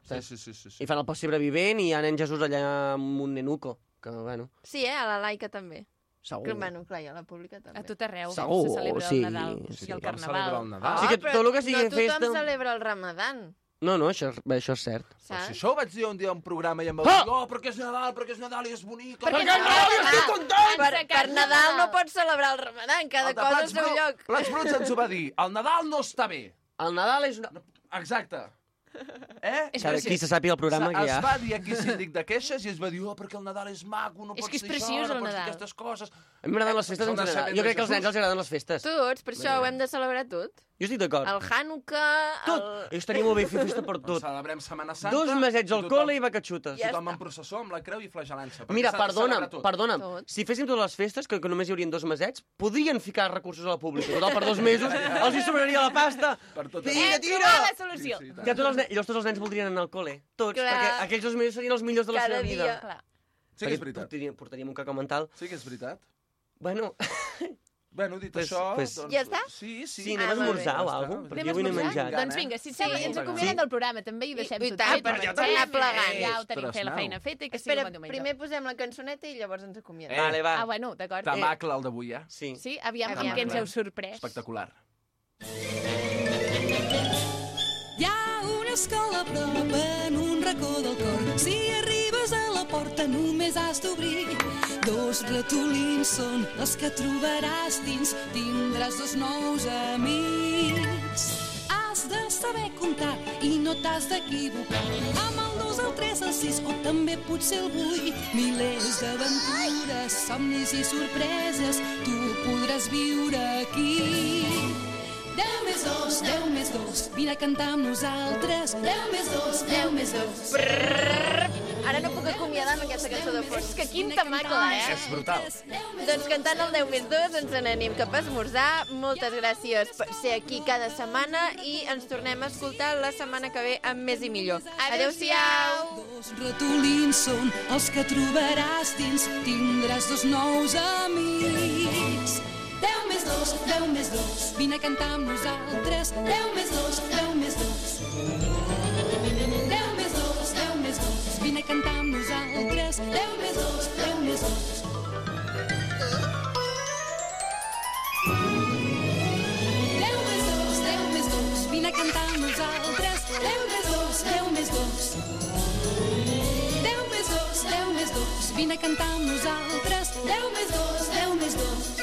[SPEAKER 11] Sí,
[SPEAKER 12] saps?
[SPEAKER 11] sí, sí, sí, sí.
[SPEAKER 12] I fan el possible vivent i hi ha nen Jesús allà amb un nenuco, que, bueno,
[SPEAKER 1] Sí, eh? A la laica també.
[SPEAKER 12] Segur.
[SPEAKER 1] Que, bueno, clar, i a la pública també. A tot
[SPEAKER 2] arreu
[SPEAKER 12] Segur, se celebra el sí, Nadal sí. i el Carnaval. O sigui que tot el que sigui
[SPEAKER 1] no tothom
[SPEAKER 12] festa-
[SPEAKER 1] celebra el ramadan,
[SPEAKER 12] No, no, això, és- això és cert.
[SPEAKER 1] saps?
[SPEAKER 11] Si això ho vaig dir un dia a un programa i em vau
[SPEAKER 12] Ah!
[SPEAKER 11] dir, oh, perquè és Nadal, perquè és Nadal i és bonic.
[SPEAKER 1] Perquè
[SPEAKER 11] és Nadal i estic content!
[SPEAKER 1] Per, per Nadal no pots celebrar el ramadan, cada
[SPEAKER 11] El de
[SPEAKER 1] cosa al
[SPEAKER 11] Plats
[SPEAKER 1] seu
[SPEAKER 11] Bru-
[SPEAKER 1] lloc.
[SPEAKER 11] Plats Bruts ens ho va dir. El Nadal no està bé.
[SPEAKER 12] El Nadal és una...
[SPEAKER 11] Exacte. Eh?
[SPEAKER 12] És Cada preciós. qui se sàpiga el programa
[SPEAKER 11] Se-
[SPEAKER 12] que hi ha.
[SPEAKER 11] Es va dir aquí síndic de queixes i es va dir oh, perquè el Nadal és maco, no
[SPEAKER 1] És
[SPEAKER 11] pots
[SPEAKER 1] que és
[SPEAKER 11] dir
[SPEAKER 1] preciós,
[SPEAKER 11] això,
[SPEAKER 1] el
[SPEAKER 11] no pots dir
[SPEAKER 1] Nadal.
[SPEAKER 11] aquestes coses.
[SPEAKER 12] A mi m'agraden les festes
[SPEAKER 11] El
[SPEAKER 12] en general.
[SPEAKER 11] naixement de
[SPEAKER 12] Jo crec que als nens
[SPEAKER 11] Jesús.
[SPEAKER 12] els agraden les festes.
[SPEAKER 1] Tots, per això ho hem de celebrar tot.
[SPEAKER 12] Jo estic d'acord.
[SPEAKER 1] El Hanukkah... Tot! El...
[SPEAKER 12] Ells tenim bé fer festa per tot.
[SPEAKER 11] Doncs Celebrem Setmana Santa.
[SPEAKER 12] Dos mesets al
[SPEAKER 11] i tothom-
[SPEAKER 12] col·le i bacatxutes.
[SPEAKER 11] Ja tothom en processó amb la creu i flagelant-se. perquè
[SPEAKER 12] Mira,
[SPEAKER 11] s'ha de
[SPEAKER 12] perdona'm,
[SPEAKER 11] celebrar tot.
[SPEAKER 12] perdona'm. Si féssim totes les festes, que, que només hi haurien dos mesets, podrien ficar recursos a la pública. Total, per dos mesos els hi sobraria la pasta.
[SPEAKER 11] Per tot
[SPEAKER 12] Tira,
[SPEAKER 11] arreu.
[SPEAKER 12] tira!
[SPEAKER 11] Hem trobat la solució. Sí, sí, i tant.
[SPEAKER 12] Ja tots els nens, llavors tots els nens voldrien anar al col·le. Tots,
[SPEAKER 11] Clar.
[SPEAKER 12] perquè aquells dos mesos serien els millors de la
[SPEAKER 11] Cada
[SPEAKER 12] seva vida.
[SPEAKER 11] dia. Clar. Sí que és veritat.
[SPEAKER 12] Portaríem, portaríem un caca mental.
[SPEAKER 11] Sí que és veritat.
[SPEAKER 12] Bueno...
[SPEAKER 11] Bueno, dit això, doncs-
[SPEAKER 13] Ja està?
[SPEAKER 11] Sí, sí.
[SPEAKER 12] Sí, anem a esmorzar o alguna cosa, perquè jo avui no he menjat.
[SPEAKER 13] Doncs vinga, si sí, ens acomiadem del programa també i ho deixem
[SPEAKER 2] eh?
[SPEAKER 13] tot
[SPEAKER 1] tant,
[SPEAKER 13] fet.
[SPEAKER 2] Doncs
[SPEAKER 1] per ja tornar plegant.
[SPEAKER 13] Ja ho tenim
[SPEAKER 11] Ostres,
[SPEAKER 13] fer la
[SPEAKER 11] nau.
[SPEAKER 13] feina feta i que sigui
[SPEAKER 1] Espera,
[SPEAKER 13] un bon diumenge.
[SPEAKER 1] primer posem la cançoneta i llavors ens
[SPEAKER 12] Eh.
[SPEAKER 1] acomiadem.
[SPEAKER 11] Vale, va.
[SPEAKER 13] Ah, bueno, d'acord.
[SPEAKER 11] eh. Tamacle, el d'avui, eh?
[SPEAKER 12] Sí.
[SPEAKER 13] Sí, aviam, aviam
[SPEAKER 11] Tamacle.
[SPEAKER 13] què ens heu sorprès.
[SPEAKER 11] Espectacular.
[SPEAKER 14] Hi ha una escola a prop en un racó del cor. Si arribes a la porta només has d'obrir. Dos ratolins són els que trobaràs dins. Tindràs dos nous amics. Has de saber comptar i no t'has d'equivocar. Amb el 2, el 3, el 6 o també potser el 8. Milers d'aventures, somnis i sorpreses tu podràs viure aquí. 10 més 2, 10 més 2, vine a cantar amb nosaltres. 10 més 2, 10 més 2.
[SPEAKER 1] Ara no puc acomiadar amb aquesta cançó de fons. És que quin tamacle, eh?
[SPEAKER 11] És brutal.
[SPEAKER 1] Doncs cantant el 10 més 2 ens n'anem cap a esmorzar. Moltes gràcies per ser aquí cada setmana i ens tornem a escoltar la setmana que ve amb més i millor. Adéu-siau!
[SPEAKER 14] Dos ratolins són els que trobaràs dins, tindràs dos nous amics. 10 més 2, 10 més 2, vine a cantar amb nosaltres. 10 més 2, 10 més 2. 10 més 2, 10 més 2, vine a cantar amb nosaltres. 10 més 2, 10 més 2. Déu més dos, Déu més dos, vine a cantar amb nosaltres. Déu més dos, Déu més dos. Déu més dos, Déu més dos, vine a cantar amb nosaltres. Déu més dos, Déu més dos.